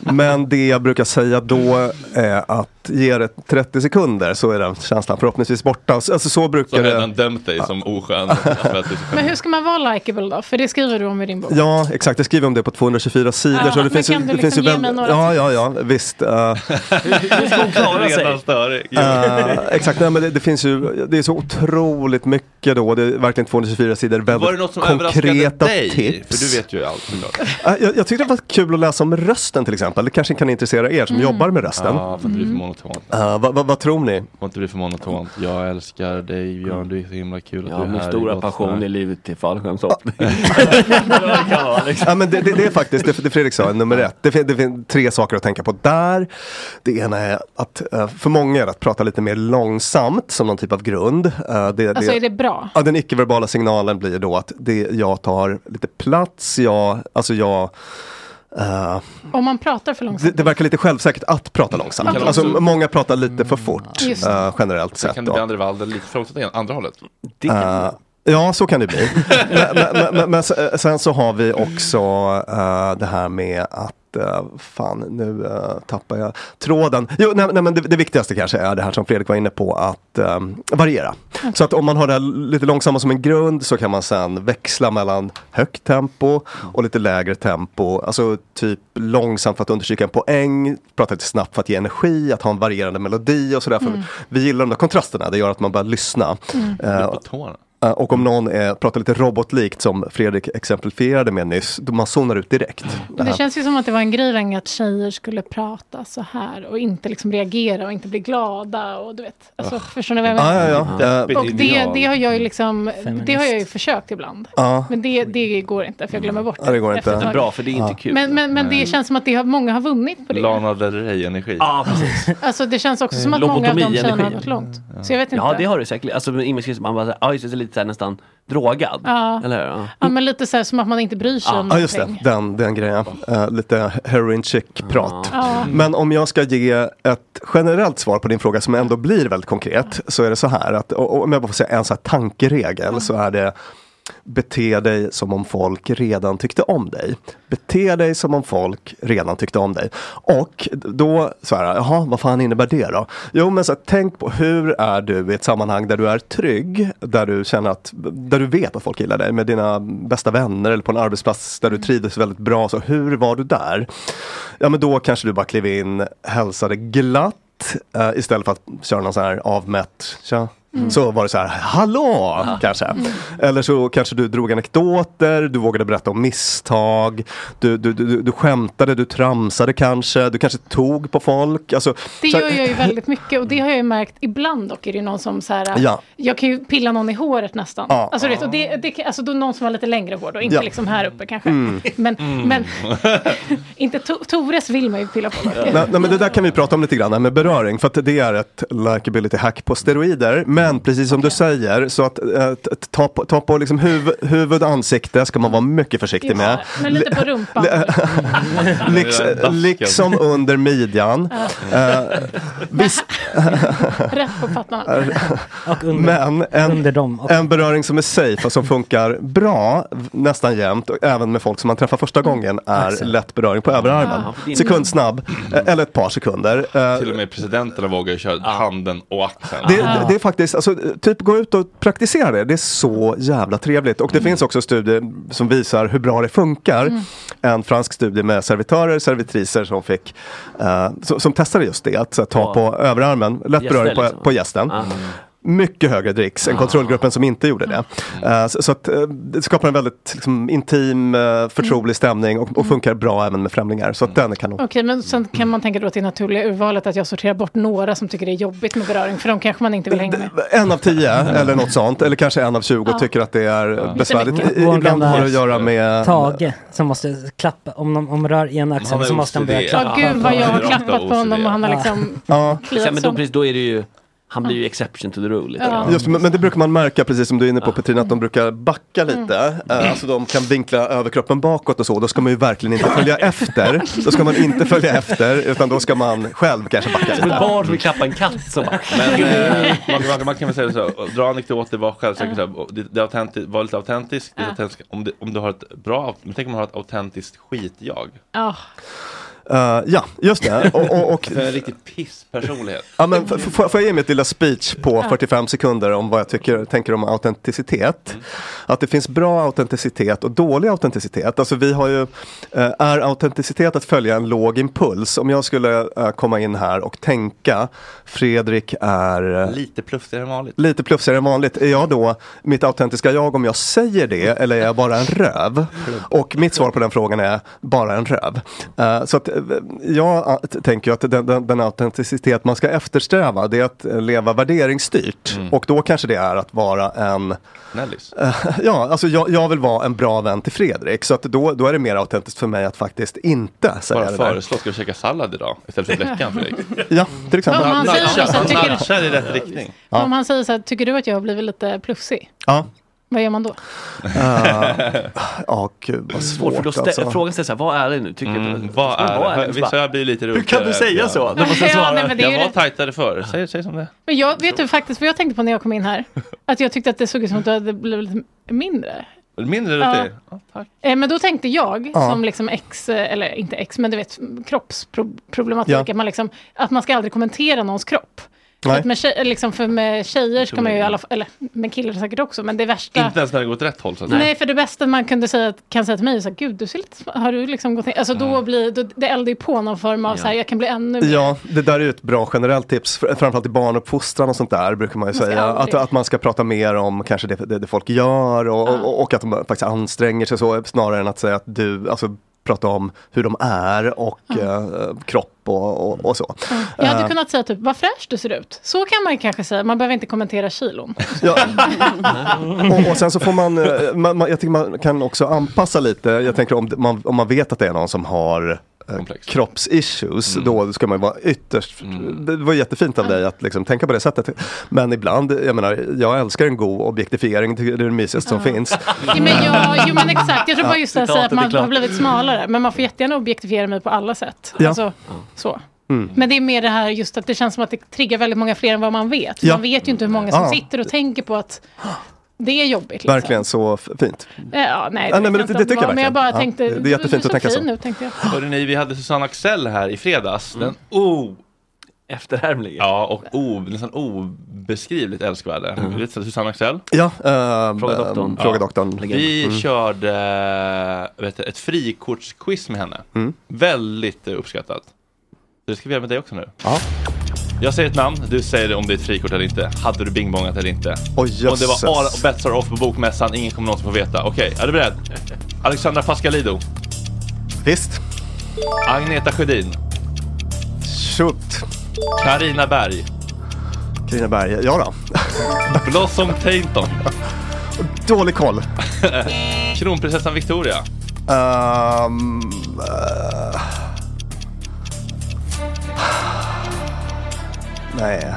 J: men det jag brukar säga då är att ge det 30 sekunder så är den känslan förhoppningsvis borta. Alltså så brukar
A: Så har
J: det...
A: redan dömt dig som oskön. för att du är så
F: Men hur ska man vara likeable då? För det skriver du om i din bok.
J: Ja, exakt. Jag skriver om det på 224 sidor.
F: Ja,
J: så det
F: men
J: finns, ju-
F: kan du
J: det finns ju
F: liksom ge
J: väl-
F: mig
J: Ja,
F: några
J: ja, ja, visst. eh,
B: Hur ska hon klara sig?
A: Redan störig.
J: Eh, exakt, nej, men det, det finns ju, det är så otroligt mycket då, det är verkligen 224 sidor, väldigt
A: Var det något som
J: konkreta
A: överraskade dig?
J: tips.
A: För du vet ju allt såklart.
J: Eh, jag, jag tyckte det var kul att läsa om rösten till exempel, det kanske kan intressera er
F: Mm.
J: som jobbar med rösten.
A: Ja, för att du är för monotont.
J: Eh, vad, vad, vad tror ni? Mm.
A: Får inte bli för monotont. Jag älskar dig Björn, du är så himla kul att
J: Ja,
A: du är
J: min
A: här.
J: stora
A: Gott
J: passion
A: snack.
J: i
B: livet till fallskärmshoppning.
A: liksom.
J: ja, men det, det, det är faktiskt det, det Fredrik sa, nummer ett. Det, fin- det finns tre saker att tänka på där. Det ena är att eh, för många är det att prata lite mer långsamt som någon typ av grund. Eh, det,
F: Alltså är det bra?
J: Ja, den icke-verbala signalen blir då att det, jag tar lite plats, jag, alltså jag eh,
F: Om man pratar för
J: det,
F: långsamt.
J: det verkar lite självsäkert att prata långsamt.
A: Kan
J: Alltså,
A: också-
J: många pratar lite för fort
A: Just det.
J: eh, generellt
A: Sen
J: sett.
A: kan det
J: då.
A: bli andra valden lite för långsamt igen, andra hållet.
J: Eh, ja, så kan det bli. men, men, men, men, men se- sen så har vi också eh, det här med att eh, Fan, nu eh, tappar jag tråden. Jo, nej, nej, men det, det viktigaste kanske är det här som Fredrik var inne på, att eh, variera.
A: Mm.
J: Så att om man har det här lite långsamma som en grund så kan man sen växla mellan högt tempo och lite lägre tempo. Alltså typ långsamt för att understryka en poäng, prata lite snabbt för att ge energi, att ha en varierande melodi och sådär. För
A: Mm.
J: Vi gillar de där kontrasterna, det gör att man börjar lyssna.
A: Mm.
J: Eh, Eh, Och om någon eh, pratar lite robotlikt som Fredrik exemplifierade med nyss, då man zonar ut direkt.
F: Det
J: här-
F: känns ju som att det var en grej länge att tjejer skulle prata så här och inte liksom reagera och inte bli glada och du vet. Alltså,
J: Ugh.
F: förstår ni vad jag menar?
J: Ah. Ja, ja, ja. Deppigt
F: Och det,
J: ideal. Mm.
F: det har jag ju liksom,
J: Feminist.
F: det har jag ju försökt ibland.
J: Ja.
F: Men det, det går inte för jag glömmer bort
J: Ja, Ah, det går
F: efter
J: inte.
F: ett tag.
J: Ja.
F: Men, men, men det
A: Nej.
F: känns som att det har, många har vunnit på det.
A: Lana Del Rey-energi.
B: Ja, precis.
F: Alltså det känns också som att många av de
B: Lobotomi,
F: tjejerna har
B: energi.
F: gått långt. Så jag vet inte.
B: Ja, det har du säkert. Alltså med Image man bara, ja just det, så lite såhär nästan drogad.
F: Ja.
B: Eller hur? Ja.
F: Ja, men lite så här som att man inte bryr sig om
J: Ja, just det.
F: någonting.
J: Den, den grejen. Eh, lite heroin chic-prat.
F: Ja.
J: Men om jag ska ge ett generellt svar på din fråga som ändå blir väldigt konkret, så är det så här att, och, och om jag bara får säga en så här tankeregel, så är det Bete dig som om folk redan tyckte om dig. Bete dig som om folk redan tyckte om dig. Och då, så här, jaha, vad fan innebär det då? Jo, men så här, tänk på hur är du i ett sammanhang där du är trygg, där du känner att, där du vet att folk gillar dig, med dina bästa vänner eller på en arbetsplats där du trivdes väldigt bra. Så hur var du där? Ja, men då kanske du bara klev in, hälsade glatt, eh, istället för att köra någon sån här avmätt, tja,
C: Mm.
J: så var det så här, hallå, kanske. Mm. Eller så kanske du drog anekdoter, du vågade berätta om misstag, du, du, du, du skämtade, du tramsade kanske, du kanske tog på folk. Alltså,
F: Det
J: så
F: gör
J: här-
F: jag ju väldigt mycket och det har jag ju märkt ibland dock är det någon som så här,
J: Ja.
F: jag kan ju pilla någon i håret nästan.
J: Ja.
F: Alltså, du vet, och det, det, kan- alltså då någon som har lite längre hår då, inte
J: Ja.
F: liksom här uppe kanske.
J: Mm.
F: Men,
J: Mm.
F: men inte to- Tores vill man ju pilla på.
J: Nej, nej, men det där kan vi prata om lite grann, det här med beröring. För att det är ett likability hack på steroider. Men precis som du säger, så att eh, t- t- ta på, ta på liksom huvud, huvud och ansikte ska man vara mycket försiktig med.
F: Men lite på rumpan.
J: Liks, liksom under midjan.
F: Ja.
J: Eh, visst.
F: Rätt på pattarna.
J: Men en, en beröring som är safe och som funkar bra v- nästan jämt, och även med folk som man träffar första gången, är
A: Mm. Exakt.
J: lätt beröring på överarmen.
A: Ja.
J: Sekundsnabb, eh, eller ett par sekunder. Eh,
A: Till och med presidenterna vågar ju köra handen och axeln.
J: Det, det, det är faktiskt, alltså, typ gå ut och praktisera det. Det är så jävla trevligt. Och det finns också studier som visar hur bra det funkar.
A: Mm.
J: En fransk studie med servitörer, servitriser som fick, eh, som, som testade just det, att så, här, ta
A: Ja.
J: på överarmen, lätt
A: Gäster
J: beröring på,
A: liksom.
J: på gästen. mycket högre dricks än kontrollgruppen som inte gjorde det.
A: Mm.
J: Eh, Så, så att, eh, det skapar en väldigt liksom, intim, eh,
A: Mm.
J: förtrolig stämning och, och funkar bra även med främlingar. Så att den är kanon.
F: Okej, men sen kan man tänka då till det naturliga urvalet att jag sorterar bort några som tycker det är jobbigt med beröring, för de kanske man inte vill hänga med.
J: En av tio eller något sånt, eller kanske en av tjugo
F: Ja.
J: tycker att det är besvärligt.
G: Lite mycket.
J: I-
G: Vår
J: Ibland
G: gamla
J: har det att göra med...
G: Tage som måste klappa, om de om rör ena
B: Han
G: axeln
B: har
G: så måste han
B: OCD.
G: börja klappa.
F: Ja, gud vad jag har
G: på-
F: klappat på honom och han har liksom...
J: Ja.
F: kliat
B: Men då,
F: som-
B: precis, då är det ju, han blir ju exception to the rule. Lite.
F: Ja.
B: grann.
J: Just, men, men det brukar man märka, precis som du är inne på Petrina, att de brukar backa lite. Eh, Alltså de kan vinkla överkroppen bakåt och så. Då ska man ju verkligen inte följa efter. Då ska man inte följa efter, utan då ska man själv kanske backa
B: Som ett
J: lite.
B: barn som vill klappa en katt. Som bara,
A: Men eh, man, man, man kan väl säga så, här, och dra anekdoter, var självsäker, så här, och det, det är autentiskt, var lite autentisk. Det är autentisk om, det, om du har ett bra, men tänk om man har ett autentiskt skitjag.
F: Ja.
J: Eh, ja, just det. Och, och, och,
A: Alltså, en riktig pisspersonlighet.
J: ja, men, f- f- får jag- får jag ge mitt lilla speech på
A: Ja.
J: 45 sekunder om vad jag tycker, tänker om autenticitet? Att det finns bra autenticitet och dålig autenticitet. Alltså vi har ju, eh, är autenticitet att följa en låg impuls? Om jag skulle eh, komma in här och tänka, Fredrik är... eh,
A: Lite plufsigare än vanligt.
J: lite plufsigare än vanligt. Är jag då mitt autentiska jag om jag säger det eller är jag bara en röv? Och mitt svar på den frågan är bara en röv. Eh, så att, eh, jag eh, t- tänker ju att den, den, den autenticitet man ska eftersträva det är att eh, leva värderingsstyrt. Och då kanske det är att vara en
A: Nellis.
J: Eh, Ja, alltså jag, jag vill vara en bra vän till Fredrik. Så att då, då är det mer autentiskt för mig att faktiskt inte säga
A: Bara
J: det där.
A: föreslå, ska du käka sallad idag? Istället för veckan Fredrik.
J: Ja, till exempel.
F: Ja, man säger också,
A: Man
F: tycker-
A: nudgar i rätt riktning.
F: Om han säger så här, tycker du att jag har blivit lite plufsig?
J: Ja.
F: Vad gör man då?
J: Eh, Ja, gud vad
B: Svårt, för då
J: svårt
B: stä-
J: alltså.
B: frågan ställs så här, vad är det nu? Tycker du,
A: Mm, Vad är det?
B: Bara,
A: Vissa jag blir lite
B: Hur kan du säga så? När man ska
F: Ja, nej, men det är ju
A: Jag var
F: det-
A: tajtare förr, säg, säg som det är.
F: Men jag vet du faktiskt vad jag tänkte på när jag kom in här? Att jag tyckte att det såg ut som att du hade blivit lite mindre.
A: Mindre
F: Ja.
A: rutin.
F: Eh, Men då tänkte jag,
A: Ja.
F: som liksom ex, eh, eller inte ex, men du vet kroppsproblematik,
A: Ja.
F: att, man liksom, att man ska aldrig kommentera någons kropp.
A: Nej.
F: Att med tjej, eh, liksom för med tjejer ska
A: tror
F: man ju i
A: jag.
F: alla fall, eller med killar säkert också, men det värsta...
A: Inte ens när det går åt rätt håll så att
F: Nej.
A: säga.
F: för det bästa man kunde säga, kan säga till mig är så här, gud du ser lite, sm- har du liksom gått ner? Alltså då blir, då, det eldar ju på någon form av
J: Ja.
F: så här, jag kan bli ännu mer.
J: Ja, det där är ju ett bra generellt tips, fr- framförallt i barnuppfostran och sånt där brukar man ju
F: Man ska
J: säga. Att,
F: aldrig-
J: att man ska prata mer om kanske det, det, det folk gör och, och, och att de faktiskt anstränger sig så snarare än att säga att du, alltså prata om hur de är och eh, kropp och, och, och så.
F: Jag hade
J: Eh,
F: kunnat säga typ, vad fräsch du ser ut. Så kan man ju kanske säga, man behöver inte kommentera kilon.
J: och, och sen så får man, eh, man, man, jag tycker man kan också anpassa lite. Jag tänker om det- man, om man vet att det är någon som har eh, kroppsissues,
A: Mm.
J: då ska man ju vara ytterst, det var jättefint av dig att liksom tänka på det sättet. Men ibland, jag menar, jag älskar en god objektifiering, tycker det är det mysigaste som finns.
F: Ja, men jag, jo men exakt, jag tror bara just det här att säga att
J: Citatet är
F: man
J: klart.
F: har blivit smalare. Men man får jättegärna objektifiera mig på alla sätt.
J: Ja.
F: Alltså, så.
J: Mm.
F: Men det är mer det här just att det känns som att det triggar väldigt många fler än vad man vet. För
J: Ja.
F: Man vet ju inte hur många som
J: Ja.
F: sitter och tänker på att det är jobbigt. Liksom.
J: Verkligen så f- fint.
F: Eh, Ja, nej,
J: Ja, nej, men
F: vet
J: det-
F: inte
J: det
F: om
J: tycker
F: var,
J: jag
F: Men jag
J: verkligen.
F: bara
J: Ja,
F: tänkte,
J: det- det är jättefint
F: du ser
J: att tänka så.
F: fin Ut, tänkte jag.
A: Hörde ni, vi hade Susanne Axel här i fredags. Den o...
B: Efterhärmlig.
A: Mm. Ja, och o, nästan obeskrivligt älskvärde. Du vet Susanne Axel?
J: Ja, ehm,
A: Fråga
J: ehm,
A: doktorn.
J: Fråga
A: Ja.
J: doktorn.
A: Vi
J: Mm.
A: körde vet du, ett frikortsquiz med henne.
J: Mm.
A: Väldigt eh, uppskattat. Det ska vi göra med dig också nu.
J: Ja.
A: Jag säger ett namn, du säger om det är ett frikort eller inte. Hade du bingbongat eller inte?
J: Oj,
A: Om det
J: jösses.
A: var all bets are off på bokmässan, ingen kommer någonsin få veta. Okej, är du beredd? Alexandra Pascalido.
J: Visst.
A: Agneta Sjödin.
J: Shoot.
A: Karina Berg.
J: Carina Berg, ja då.
A: Blossom Tainton.
J: Dålig koll.
A: Kronprinsessan Victoria.
J: Ehm, eh. nej,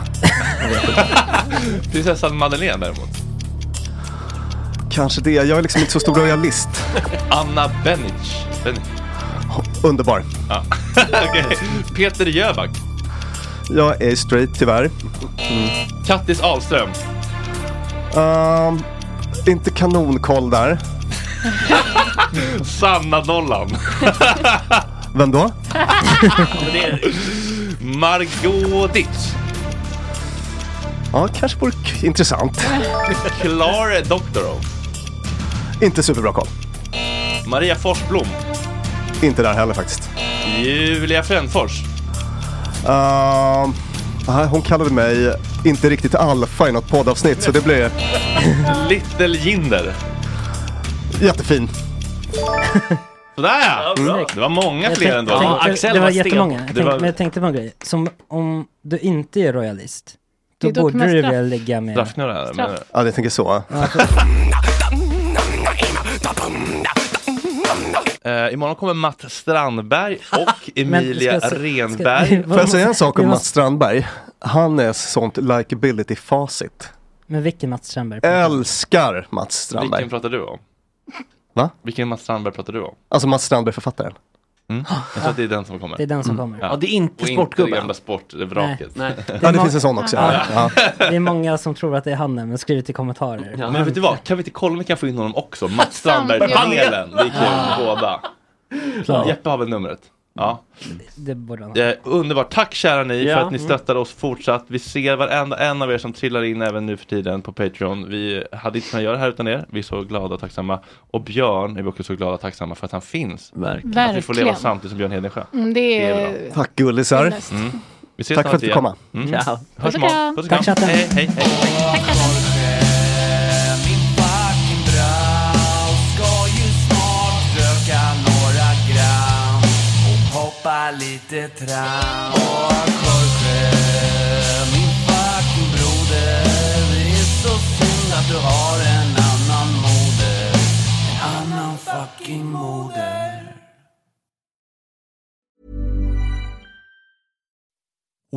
A: Prinsessan Madeleine däremot.
J: kanske det. Jag är liksom inte så stor royalist.
A: Anna Benic. Ben-
J: Underbar.
A: ja. Okej. Peter Jöback.
J: Jag är straight tyvärr. Mm.
A: Kattis Ahlström.
J: Ehm, inte kanonkoll där.
A: Sanna Dollan.
J: Vem då?
A: Margot Ditz.
J: Ja, kanske vore k- intressant.
A: Clara Doctorow.
J: Inte superbra koll.
A: Maria Forsblom.
J: Inte där heller faktiskt.
A: Julia Frändfors.
J: Ehm, nej, hon kallade mig inte riktigt alfa i något poddavsnitt så det blir
A: Little Jinder.
J: jättefin.
A: Sådär ja! Det var många
G: Jag
A: fler
G: tänk-
A: ändå.
G: tänkte- det var
A: sten.
G: jättemånga. Jag
A: Det
G: tänkte,
A: var-
G: Men jag tänkte på en grej. Som om du inte är royalist, då
A: Det är dock
G: borde
A: mest
G: du
A: straff.
G: väl ligga med...
A: Straffknullar, Straff. menar
J: Ja, det tänker så.
A: Eh, imorgon kommer Matt Strandberg och Emilia
J: ska jag se-
A: Renberg.
J: Får jag säga en sak om Mats Strandberg? Han är sånt likability-facit.
G: Men vilken Mats Strandberg?
J: Älskar Mats Strandberg.
A: Vilken pratar du om?
J: Va?
A: Vilken Mats Strandberg pratar du om?
J: Alltså Mats Strandberg, författaren.
A: Mm. Jag tror att det är den som kommer.
G: Det är den som kommer.
B: Ja, det är inte
A: och
B: sportgubben.
A: Inte det gamla sportvraket.
G: Nej.
J: Ja,
G: är
J: det
G: må-
J: finns en sån också,
G: Ja.
J: ja. Ja.
G: Det är många som tror att det är han men skrivit i kommentarer.
A: Men vet du vad, kan vi inte kolla om vi kan få in honom också? Mats Strandberg-panelen. Det är kul, båda.
G: Klar.
A: Jeppe har väl numret? Ja.
G: Det borde han ha.
A: Eh, underbart. Tack kära ni
G: Ja.
A: för att ni
G: Mm.
A: stöttar oss fortsatt. Vi ser varenda en av er som trillar in även nu för tiden på Patreon. Vi hade inte kunnat göra det här utan er. Vi är så glada och tacksamma. Och Björn är vi också så glada och tacksamma för att han finns.
B: Verkligen.
A: Att vi får leva
F: Verkligen.
A: samtidigt som Björn Hedensjö.
F: Mm, det är-
A: bra.
J: Tack gullisar.
A: Mm. Vi ses
J: Tack för
A: snart
J: att du fick
A: igen.
J: komma.
A: Mm.
J: Ciao.
A: Hörs
J: Puss och
A: imorgon.
J: kram.
A: Puss och
J: Tack, chatten.
A: Hej, hej, hej.
C: Ska ju snart röka några gram och hoppa lite tram. Och Jorge, min fucking broder, det är så synd att du har en annan moder. En annan fucking moder.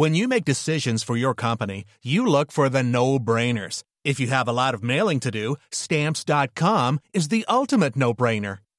H: When you make decisions for your company, you look for the no brainers. If you have a lot of mailing to do, stamps.com is the ultimate no brainer.